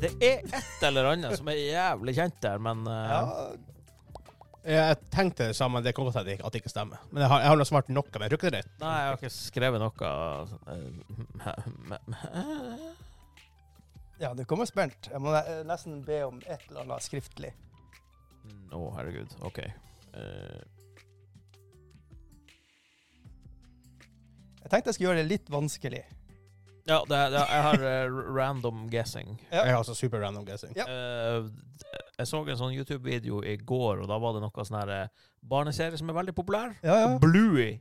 Speaker 3: Det er et eller annet som er jævlig kjent der, men eh,
Speaker 2: ja.
Speaker 1: Jeg tenkte det samme, det kan godt hende at det ikke stemmer. Men jeg har, jeg har nå svart noe, men jeg tror ikke det er rett.
Speaker 3: Nei, jeg har ikke skrevet noe altså. eh,
Speaker 2: ja, du kommer spent. Jeg må ne- nesten be om et eller annet skriftlig.
Speaker 3: Mm. Å, herregud. OK. Eh,
Speaker 2: Jeg tenkte jeg skulle gjøre det litt vanskelig.
Speaker 3: ja, det, det, jeg har eh, random guessing.
Speaker 2: Ja.
Speaker 1: Jeg har altså super random guessing.
Speaker 2: Ja.
Speaker 3: Eh, jeg så en sånn YouTube-video i går, og da var det noe sånn her eh, barneserie som er veldig populær.
Speaker 2: Ja, ja.
Speaker 3: Bluey.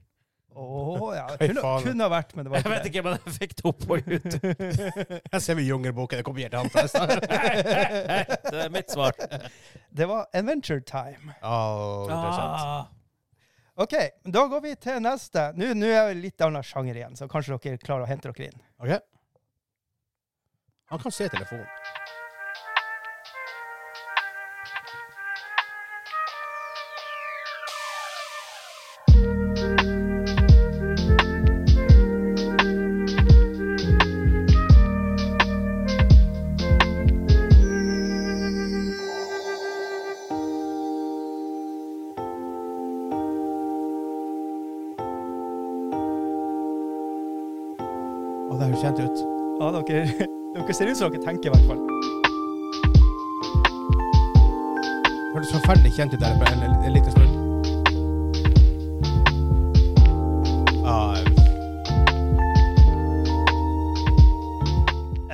Speaker 2: Åh, ja.
Speaker 1: Hva i
Speaker 2: Kunne,
Speaker 1: faen?
Speaker 2: kunne ha vært, men det var
Speaker 3: Jeg
Speaker 2: ikke
Speaker 3: vet
Speaker 2: det.
Speaker 3: ikke, men jeg fikk det opp på YouTube.
Speaker 1: Jeg ser vi Jungelboken er kopiert av han.
Speaker 3: Det er mitt svar.
Speaker 2: Det var Adventure Time.
Speaker 1: Oh, interessant.
Speaker 3: Ah.
Speaker 2: OK, da går vi til neste. Nå, nå er det litt annen sjanger igjen, så kanskje dere klarer å hente dere inn.
Speaker 1: OK. Han kan se telefonen. Å, det høres kjent ut.
Speaker 2: Ja, dere, dere ser ut som dere tenker, i hvert fall.
Speaker 1: Hørtes forferdelig kjent ut der på en, en liten stund. Ah,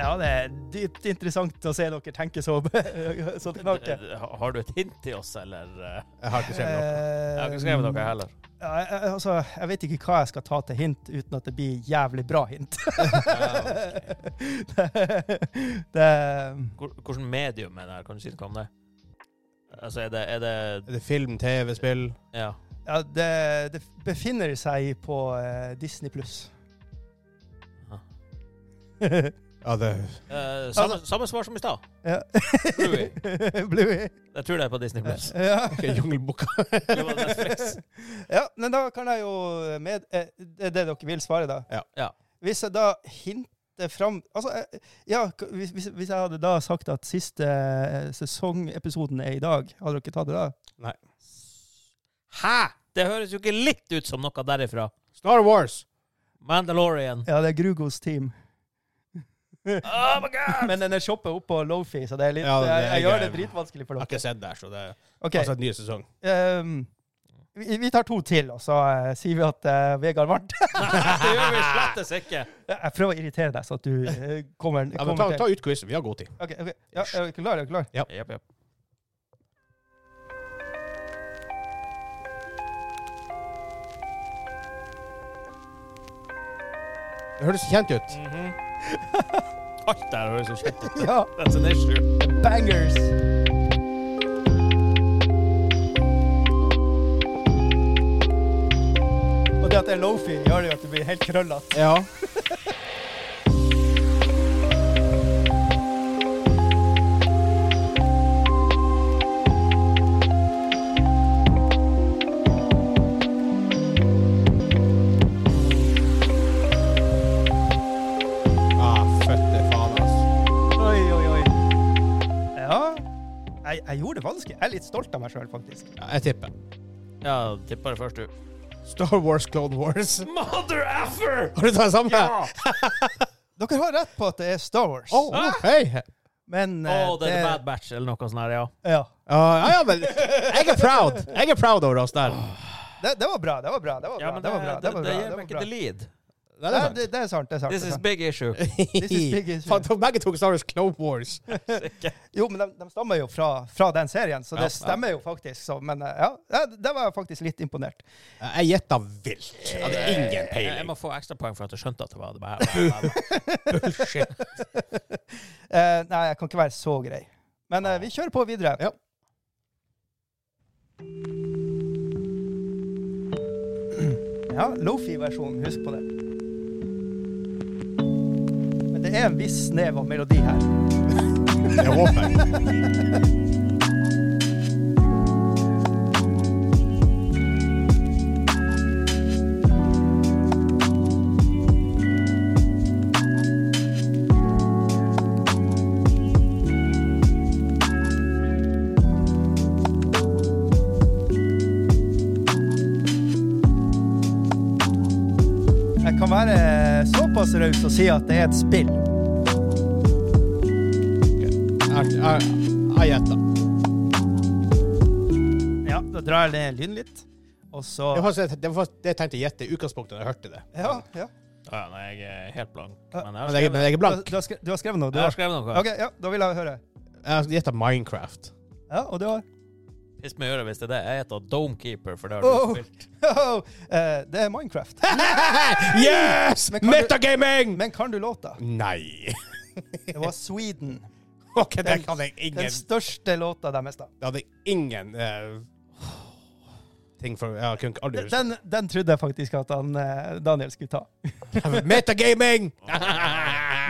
Speaker 2: Ja, det er dypt interessant å se dere tenke så, så det knaker.
Speaker 3: Eh, Har du et hint til oss, eller? eh?
Speaker 1: jeg har ikke skrevet noe.
Speaker 3: Jeg har ikke skrevet noe
Speaker 2: Eh,
Speaker 3: heller.
Speaker 2: Ja, jeg- jeg- altså, jeg vet ikke hva jeg skal ta til hint uten at det blir jævlig bra hint. det, det,
Speaker 3: Hvor- Hvordan medium er det her? Kan du si noe om det? Altså, er det, er det
Speaker 1: Er det film, TV, spill?
Speaker 3: Ja.
Speaker 2: ja, det, det befinner seg på eh, Disney pluss.
Speaker 1: Ja, det
Speaker 3: Eh, samme, samme svar som i stad.
Speaker 2: Ja.
Speaker 3: Bluey.
Speaker 2: Bluey.
Speaker 3: Jeg tror det er på Disney Plus.
Speaker 2: Ja.
Speaker 1: er Jungelboka.
Speaker 3: Det var Netflix.
Speaker 2: ja, men da kan jeg jo med, eh, Det er det dere vil svare, da.
Speaker 1: Ja.
Speaker 3: Ja.
Speaker 2: Hvis jeg da hinter fram Altså, eh, ja, k- hvis, hvis, hvis jeg hadde da sagt at siste eh, sesongepisoden er i dag, hadde dere tatt det da?
Speaker 3: Hæ?! Det høres jo ikke litt ut som noe derifra.
Speaker 1: Star Wars!
Speaker 3: Mandalorian.
Speaker 2: Ja, det er Grugos team.
Speaker 3: Oh my god!
Speaker 2: Men den er shoppa opp på Lofi, så det er litt,
Speaker 1: Ja, det er
Speaker 2: jeg, jeg gjør det
Speaker 1: greit.
Speaker 2: dritvanskelig for
Speaker 1: Jeg har
Speaker 2: dere.
Speaker 1: ikke sett der, så det er
Speaker 2: Ok,
Speaker 1: altså en ny sesong.
Speaker 2: ehm, vi, vi tar to til, og så eh, sier vi at eh, Vegard vant.
Speaker 3: Nei, det gjør vi slettes ikke.
Speaker 2: jeg prøver å irritere deg, så at du eh, kommer,
Speaker 1: Ja, men
Speaker 2: kommer
Speaker 1: ta, ta
Speaker 2: til.
Speaker 1: ut quizen, vi har god tid.
Speaker 2: Ok, ok. Ja, er du klar? Er du klar?
Speaker 3: Jep, jep.
Speaker 1: Det høres kjent ut.
Speaker 3: Mhm. Alt der høres jo kjent ut.
Speaker 2: Ja,
Speaker 3: That's an issue.
Speaker 2: bangers! Og det at det er Lofi, gjør det jo at du blir helt krøllete.
Speaker 1: Ja. Ah, føtte faen, altså.
Speaker 2: Oi, oi, oi. Ja, jeg, jeg gjorde det vanskelig. Jeg er litt stolt av meg sjøl, faktisk.
Speaker 1: Ja, jeg tipper.
Speaker 3: Ja, tippa det først, du.
Speaker 1: Star Wars Clone Wars.
Speaker 3: Mother affer!
Speaker 1: Har du tatt det samme?
Speaker 3: Ja!
Speaker 2: Dere har rett på at det er Star Wars.
Speaker 1: Oh, hei!
Speaker 2: Men
Speaker 3: Å,
Speaker 2: eh,
Speaker 3: det er Bad Batch eller noe sånt her, ja.
Speaker 2: ja.
Speaker 1: Ja, ja, men jeg er proud. Jeg er proud over oss der.
Speaker 2: det, det var bra, det var bra. Det var bra,
Speaker 3: men
Speaker 2: det var bra. Det, var bra,
Speaker 3: det
Speaker 2: det
Speaker 3: gir
Speaker 2: var
Speaker 3: meg ikke
Speaker 2: bra.
Speaker 3: the lead.
Speaker 1: Det
Speaker 2: Nei,
Speaker 1: er
Speaker 2: det, det er sant. det er sant. Det
Speaker 3: This
Speaker 2: er
Speaker 3: is
Speaker 2: sant.
Speaker 3: big issue.
Speaker 2: This is big issue.
Speaker 1: Faen, Begge tok Star Wars Clone Wars.
Speaker 2: Jo, men de, de stammer jo fra, fra den serien, så
Speaker 3: Ja,
Speaker 2: det stemmer jo faktisk. Så, men eh, ja, ja, der var jeg faktisk litt imponert.
Speaker 1: Jeg gjetta vilt. Jeg hadde ingen
Speaker 3: Jeg
Speaker 1: peiling.
Speaker 3: må få ekstrapoeng for at jeg skjønte at det var det bare. Bullshit.
Speaker 2: Eh, nei, jeg kan ikke være så grei. Men eh, vi kjører på videre.
Speaker 1: Ja.
Speaker 2: Ja, Lofi-versjonen, husk på det. Men det er en viss snev av melodi her.
Speaker 1: Jeg håper jeg.
Speaker 2: Jeg kan være eh, såpass raus og si at det er et spill.
Speaker 1: Jeg- jeg- Jeg gjetta.
Speaker 2: Ja, da drar jeg ned lyden litt, og så
Speaker 1: Det var faktisk- det var faktisk det jeg tenkte å gjette i utgangspunktet da jeg hørte det.
Speaker 2: Ja, ja.
Speaker 3: Ja, nei, jeg er helt blank. Men jeg
Speaker 1: Men jeg,
Speaker 3: har
Speaker 1: men
Speaker 3: skrevet,
Speaker 1: jeg er
Speaker 2: Du,
Speaker 1: blank.
Speaker 2: du, har, skrevet, du har skrevet noe? Du
Speaker 3: jeg
Speaker 2: har.
Speaker 3: har skrevet noe.
Speaker 2: OK, ja, da vil jeg høre.
Speaker 1: Jeg gjetta Minecraft.
Speaker 2: Ja, og du har
Speaker 3: Piss meg i øret hvis det er det. Jeg heter Domekeeper, for det har
Speaker 2: Oh.
Speaker 3: du spilt.
Speaker 2: Eh, Det er Minecraft.
Speaker 1: Yes!
Speaker 2: Men kan du-
Speaker 1: Metagaming!
Speaker 2: Men kan du låta?
Speaker 1: Nei.
Speaker 2: Det var Sweden.
Speaker 1: Ok, det kan jeg ingen
Speaker 2: Den største låta deres, da.
Speaker 1: Jeg hadde ingen eh, ting for Jeg kunne ikke aldri
Speaker 2: Den, den trodde jeg faktisk at han, eh, Daniel skulle ta.
Speaker 1: huske Metagaming!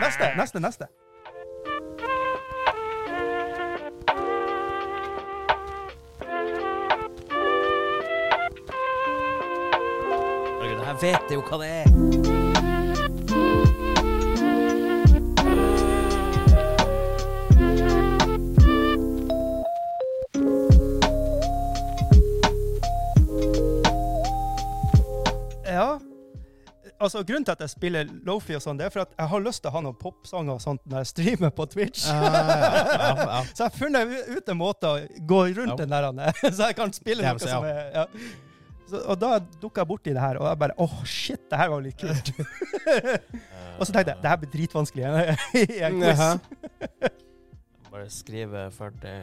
Speaker 2: Neste, neste, neste.
Speaker 3: Herregud, det her vet jeg jo hva det er.
Speaker 2: Ja. Altså, Grunnen til at jeg spiller Lofi, og sånn, det er for at jeg har lyst til å ha noen popsanger og sånt når jeg streamer på Twitch.
Speaker 1: Ja, ja, ja.
Speaker 2: Så jeg har funnet u- ut en måte å gå rundt
Speaker 1: Ja.
Speaker 2: den der, Anne, så jeg kan spille
Speaker 1: Ja,
Speaker 2: noe
Speaker 1: så ja.
Speaker 2: som er ja. så, Og da dukka jeg borti det her, og jeg bare åh, shit, det her var jo litt kult. og så tenkte jeg det her blir dritvanskelig i en quiz.
Speaker 1: Jaha.
Speaker 3: Bare skrive for det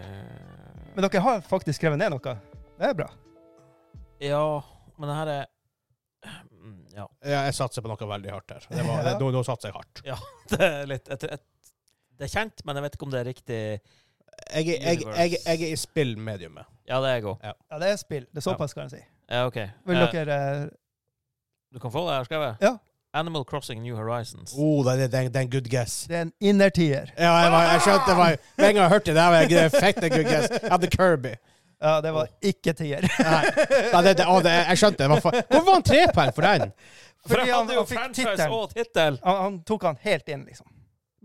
Speaker 2: Men dere har faktisk skrevet ned noe. Det er bra.
Speaker 3: Ja, men det her er Mm, Ja.
Speaker 1: Ja, jeg satser på noe veldig hardt her. Det var, det,
Speaker 2: Ja.
Speaker 1: nå, nå satser jeg hardt.
Speaker 3: Det er litt et, et, Det er kjent, men jeg vet ikke om det er riktig
Speaker 1: Jeg, er- jeg, jeg, jeg er i spillmediumet.
Speaker 3: Ja, det er jeg òg.
Speaker 2: Ja, det er spill. Det er såpass, kan jeg si.
Speaker 3: Ja, OK.
Speaker 2: Vil
Speaker 3: Eh,
Speaker 2: dere eh,
Speaker 3: Du kan få det jeg har skrevet.
Speaker 2: Ja.
Speaker 3: Animal Crossing New Horizons.
Speaker 1: Oh, det er- det er det er en good guess.
Speaker 2: Det er en innertier.
Speaker 1: Ja, jeg, var, jeg skjønte det var Med en gang jeg hørte det, var jeg det fikk en good guess. Jeg hadde Kirby.
Speaker 2: Ja, det var ikke tier.
Speaker 1: Nei, Nei, det, det, å, det, jeg skjønte det. var fa- Hvor var han trepoeng for den?
Speaker 3: For jeg
Speaker 2: han-
Speaker 3: hadde jo
Speaker 2: han fikk
Speaker 3: franchise
Speaker 2: tittelen.
Speaker 3: og tittel!
Speaker 2: Han, han tok han helt inn, liksom.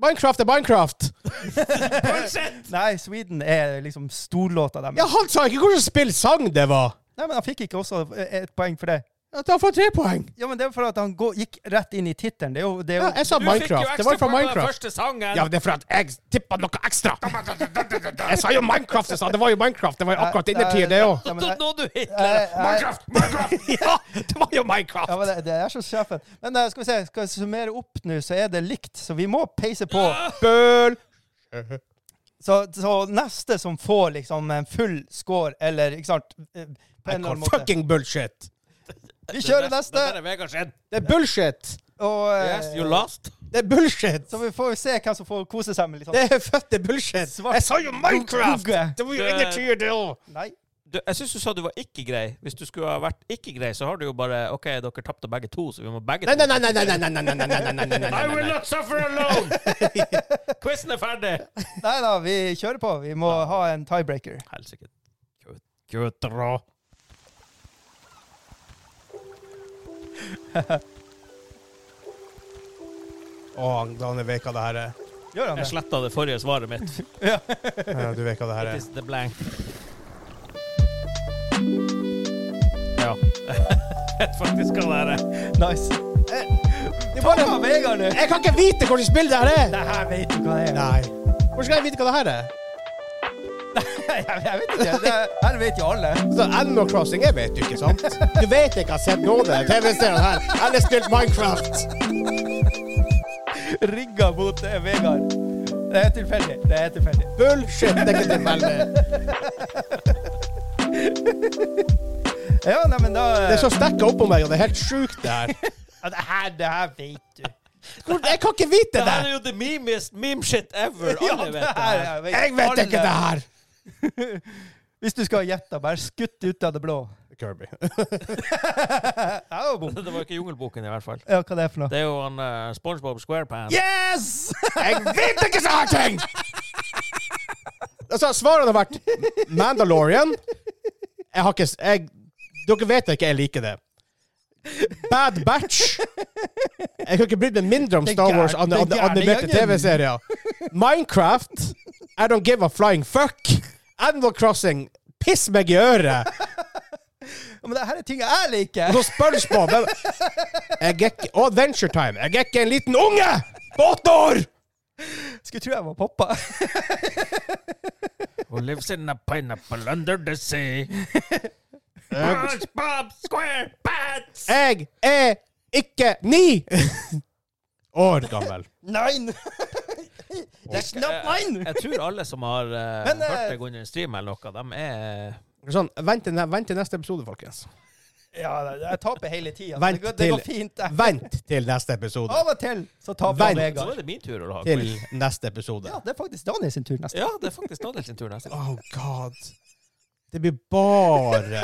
Speaker 1: Minecraft er Minecraft!
Speaker 3: Bullshit!
Speaker 2: Nei, Sweden er liksom storlåta dem.
Speaker 1: Ja, han sa ikke hvilken spillsang det var!
Speaker 2: Nei, men han fikk ikke også eh, et poeng for det.
Speaker 1: At han får tre poeng!
Speaker 2: Ja, men det er for at han gå- gikk rett inn i tittelen. Det er jo, det er
Speaker 1: Ja,
Speaker 2: jo
Speaker 1: jeg sa Minecraft. Det var fra
Speaker 3: på den
Speaker 1: Minecraft.
Speaker 3: første sangen!
Speaker 1: Ja, men det er for at jeg tippa noe ekstra. Jeg sa jo Minecraft, jeg sa. Det var jo Minecraft. Det var jo akkurat innertid, det òg.
Speaker 2: Ja, men Eh,
Speaker 3: Da
Speaker 2: jeg-
Speaker 3: nådde du Hitler!
Speaker 2: jeg- jeg-
Speaker 1: Minecraft! Ja, det var jo
Speaker 2: Ja,
Speaker 1: Minecraft!
Speaker 2: men det, det er så sjefen. Men eh, skal vi se, skal jeg summere opp nå, så er det likt. Så vi må peise på.
Speaker 1: Bøl!
Speaker 2: Så, så neste som får liksom en full score, eller ikke sant eh, på en eller annen måte.
Speaker 1: Fucking bullshit!
Speaker 2: Vi kjører
Speaker 3: Det der- Det der
Speaker 2: neste.
Speaker 3: er Vegard sin.
Speaker 1: Det er bullshit!
Speaker 2: Og, eh,
Speaker 3: Yes, you lost.
Speaker 1: Det er bullshit!
Speaker 2: så vi får jo se hvem som får kose seg med litt sånn
Speaker 1: Det er fødte bullshit!
Speaker 2: Svart-
Speaker 1: Jeg sa jo Minecraft!
Speaker 2: Google.
Speaker 1: Det var jo innertid, det òg!
Speaker 2: Nei.
Speaker 3: Du, jeg syns du sa du var ikke grei. Hvis du skulle ha vært ikke grei, så har du jo bare OK, dere tapte begge to, så vi må begge
Speaker 1: Nei,
Speaker 3: to
Speaker 1: nei, nei, nei, nei, nei, nei, nei, nei, nei, nei, nei, nei, nei,
Speaker 3: I
Speaker 1: nei,
Speaker 3: will
Speaker 1: nei.
Speaker 3: not suffer alone! Quizen er ferdig!
Speaker 2: Nei da, vi kjører på. Vi må ha en tiebreaker.
Speaker 3: Helsike. Kødra.
Speaker 1: Å, Daniel vet hva det her er.
Speaker 2: Gjør han
Speaker 3: Jeg
Speaker 2: det?
Speaker 3: sletta det forrige svaret mitt.
Speaker 1: Ja, Du vet hva det her
Speaker 3: It
Speaker 1: er.
Speaker 3: is the blank. Ja. Vet faktisk hva det er.
Speaker 2: Nice.
Speaker 1: Det er bare-
Speaker 2: Vegard nå!
Speaker 1: Jeg kan ikke vite hvilket spill Eh, det her er!
Speaker 2: Det her vet du hva det er.
Speaker 1: Nei. Hvordan skal jeg vite hva det her er?
Speaker 2: Jeg, jeg vet ikke. Det, her vet jo alle.
Speaker 1: Så Altså, Animal Crossing jeg vet du ikke, sant? Du vet ikke jeg har sett noen av TV-seriene her eller spilt Minecraft.
Speaker 2: Rigga mot eh, Vegard. Det er tilfeldig. Det er tilfeldig.
Speaker 1: Bullshit, det er ikke tilfeldig.
Speaker 2: Ja, nei, men da eh,
Speaker 1: Det er så stekka oppå meg, og det er helt sjukt, det her.
Speaker 2: ja, det, her, det her vet du.
Speaker 1: Hvor- Jeg kan ikke vite
Speaker 3: Det
Speaker 1: det!
Speaker 3: her er jo the memest meme shit ever.
Speaker 2: Ja,
Speaker 3: Alle vet
Speaker 2: det
Speaker 3: det.
Speaker 2: her,
Speaker 3: her.
Speaker 2: jeg vet
Speaker 1: Jeg vet
Speaker 2: alle.
Speaker 1: ikke det her!
Speaker 2: Hvis du skal gjette, bare skutt ut av det blå.
Speaker 1: Kirby.
Speaker 2: Au, bom.
Speaker 3: Det var ikke Jungelboken, i hvert fall.
Speaker 2: Ja, hva det er for noe?
Speaker 3: Det er jo han eh, SpongeBob SquarePants.
Speaker 2: Yes!
Speaker 1: Jeg vet ikke sånne ting! Altså, svaret hadde vært Mandalorian. Jeg har ikke s- jeg, Dere vet ikke jeg liker det. Bad Batch. Jeg kunne ikke brydd meg mindre om
Speaker 2: Den
Speaker 1: Star Wars
Speaker 2: gær-
Speaker 1: an, an,
Speaker 2: den gærne
Speaker 1: animerte
Speaker 2: gjengen.
Speaker 1: TV-serier. Minecraft. I don't give a flying fuck. Animal Crossing. Piss meg i øret.
Speaker 2: Ja, Men det her er ting jeg liker.
Speaker 1: Og så SpongeBob. Jeg, jeg er ikke, og Adventure Time. Jeg er ikke en liten unge på åtte år!
Speaker 2: Skulle tro jeg var pappa.
Speaker 3: Who lives in a pineapple under the sea? SpongeBob SquarePants!
Speaker 1: Jeg er ikke ni år gammel.
Speaker 2: Nein! Eh, Det er knapt nein!
Speaker 3: Eh, Jeg tror alle som har eh,
Speaker 2: Men, eh,
Speaker 3: hørt deg under en stream eller noe, de er
Speaker 1: Sånn, vent, til, ne- vent til neste episode, folkens.
Speaker 2: Ja, nei, jeg taper hele tida.
Speaker 1: Vent
Speaker 2: Det, går- det går
Speaker 1: til-
Speaker 2: fint. jeg.
Speaker 1: Vent til neste episode.
Speaker 2: Av og til så taper
Speaker 1: Vent.
Speaker 2: han
Speaker 3: Så
Speaker 2: Vegard.
Speaker 3: er det min tur å lage
Speaker 1: Til
Speaker 3: quiz.
Speaker 1: neste episode.
Speaker 2: Ja, det er faktisk Daniel sin tur neste.
Speaker 3: Ja, det er faktisk Daniel sin tur neste gang.
Speaker 1: Oh god. Det blir bare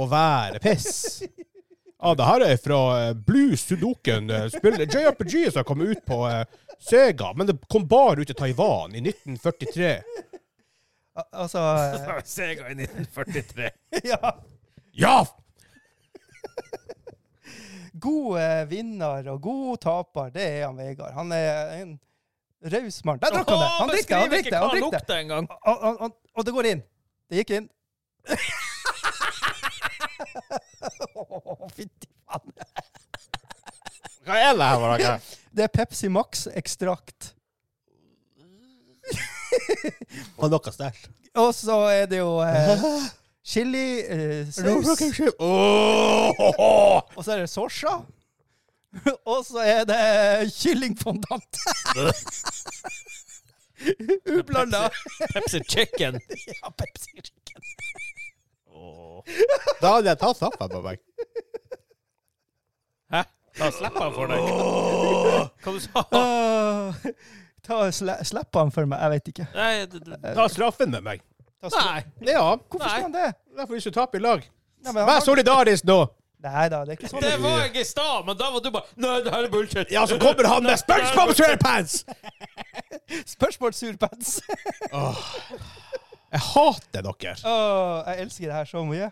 Speaker 1: å være piss. Ja, det her er fra eh, Blue Sudoken. eh, spill- JRPG som kom ut på eh, Sega, men det kom bare ut i Taiwan i 1943.
Speaker 2: Al- Altså eh,
Speaker 3: Sega i 1943.
Speaker 2: Ja.
Speaker 1: Ja!
Speaker 2: God eh, vinner og god taper, det er han Vegard. Han er en raus mann. Der drakk han det! Han drikker, han drikker, han drikker.
Speaker 3: lukter engang.
Speaker 2: Og, og, og, og det går inn. Det gikk inn. Å, Fytti faen.
Speaker 1: Hva er det her, Varage?
Speaker 2: Det er Pepsi Max-ekstrakt.
Speaker 1: Og noe sterkt.
Speaker 2: Og så er det jo eh, chili, eh, saus,
Speaker 1: Åh!
Speaker 2: og så er det sorsa. Og så er det kyllingfondant. Ublanda.
Speaker 3: Pepsi Chicken.
Speaker 2: Ja, Pepsi.
Speaker 1: Da hadde jeg tatt opp på meg.
Speaker 3: Hæ? Da slipper han for deg. Hva du sa
Speaker 2: Åh, ta og sla, Slipp han for meg, jeg vet ikke.
Speaker 3: Nei, d-
Speaker 2: Eh,
Speaker 3: d-
Speaker 1: Ta straffen med meg.
Speaker 2: Ta stå-
Speaker 3: nei.
Speaker 1: Ja,
Speaker 2: Hvorfor
Speaker 3: Nei.
Speaker 2: skal han det?
Speaker 1: derfor hvis du taper i lag.
Speaker 2: Nei, men han
Speaker 1: Vær
Speaker 2: var-
Speaker 1: solidarisk nå!
Speaker 2: Nei da, det er ikke sånn.
Speaker 3: Det var jeg i stad, men da var du bare Nei, det her er bullshit.
Speaker 1: Ja, så kommer han med spørsmål om swearpants!
Speaker 2: Spørsmål surpants.
Speaker 1: Jeg hater dere.
Speaker 2: Åh, jeg elsker det her så mye.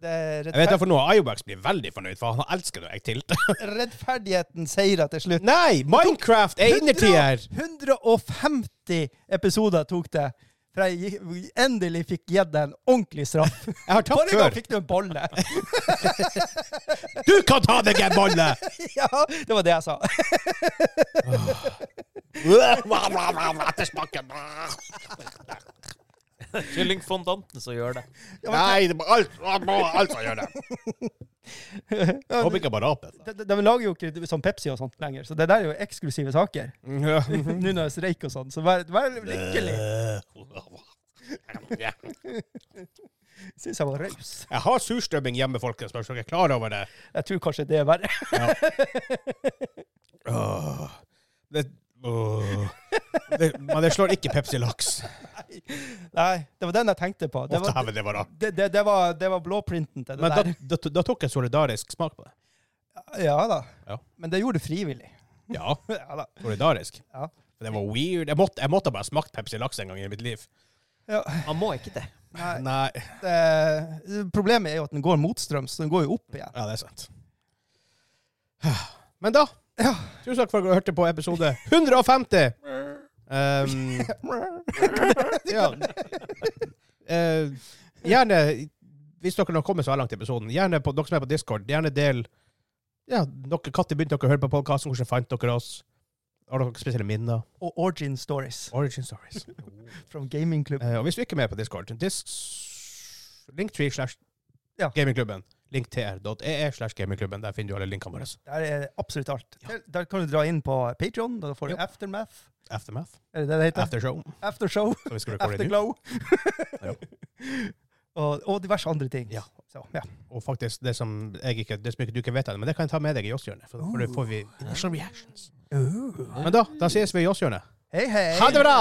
Speaker 2: Det er
Speaker 1: Jeg vet
Speaker 2: rettfer
Speaker 1: derfor nå Iobax blir veldig fornøyd, for han elsker når jeg tilter.
Speaker 2: rettferdigheten seirer til slutt.
Speaker 1: Nei, Minecraft er innertier!
Speaker 2: 150 episoder tok det. For jeg gikk- endelig fikk gitt deg en ordentlig straff.
Speaker 1: Jeg har tapt
Speaker 2: Forrige gang
Speaker 1: før.
Speaker 2: fikk du en bolle.
Speaker 1: Du kan ta deg en bolle!
Speaker 2: ja, det var det jeg sa.
Speaker 1: Ettersmaken.
Speaker 3: Kyllingfondanten som gjør det.
Speaker 1: Nei, det må alt, alt, alt som gjør det. Håper ikke jeg bare aper.
Speaker 2: De, de, de lager jo ikke sånn Pepsi og sånt lenger, så det der er jo eksklusive saker.
Speaker 1: Mm, Ja.
Speaker 2: Nå når det er streik og sånn, så vær, vær lykkelig. Syns jeg var raus.
Speaker 1: Jeg har surstrømming hjemme, folkens, bare så dere er klar over det.
Speaker 2: Jeg tror kanskje det er verre.
Speaker 1: Åh. Det, åh. det, men det slår ikke Pepsi Laks.
Speaker 2: Nei, det var den jeg tenkte på. Det
Speaker 1: Å,
Speaker 2: var,
Speaker 1: dæven, det var rart.
Speaker 2: det, det, det var, det var blåprinten til det
Speaker 1: Men da,
Speaker 2: der.
Speaker 1: da, da tok jeg solidarisk smak på det.
Speaker 2: Ja da.
Speaker 1: Ja.
Speaker 2: Men det gjorde du frivillig.
Speaker 1: Ja,
Speaker 2: Ja da.
Speaker 1: solidarisk.
Speaker 2: Ja.
Speaker 1: For Det var weird. Jeg måtte, jeg måtte bare smakt Pepsi Laks en gang i mitt liv.
Speaker 2: Ja.
Speaker 3: Han må ikke det.
Speaker 2: Nei,
Speaker 1: Nei.
Speaker 2: det, problemet er jo at den går motstrøms, så den går jo opp igjen.
Speaker 1: Ja, det er sant. Men da Tusen takk for at dere hørte på episode 150. Um, ja. Eh, gjerne, hvis dere har kommet så langt i episoden, gjerne på, dere som er på Discord, gjerne del ja, dere, Katte begynte dere å høre på podkasten, hvordan fant dere oss? Har dere spesielle minner?
Speaker 2: Og origin stories
Speaker 1: Origin stories.
Speaker 2: from gamingklubben.
Speaker 1: Eh, og hvis du ikke er med på Discord, disk... linktree slash
Speaker 2: Ja.
Speaker 1: gamingklubben. Linktr.ee slash gamingklubben. Der finner du alle linkene våre.
Speaker 2: Der er absolutt alt. Der, der kan du dra inn på Patreon, da får du
Speaker 1: Jo.
Speaker 2: Aftermath.
Speaker 1: Aftermath.
Speaker 2: Er det det det heter?
Speaker 1: Aftershow.
Speaker 2: Aftershow.
Speaker 1: Så vi skal recorde nå.
Speaker 2: Afterglow. og, og diverse andre ting.
Speaker 1: Ja.
Speaker 2: Så, ja.
Speaker 1: Og faktisk, det som jeg ikke, det som ikke du ikke vet ennå, men det kan jeg ta med deg i Jåsshjørnet. For da får du- får vi initial reactions. Men da, da ses vi i Jåsshjørnet.
Speaker 2: Hei, hei!
Speaker 1: Ha det bra!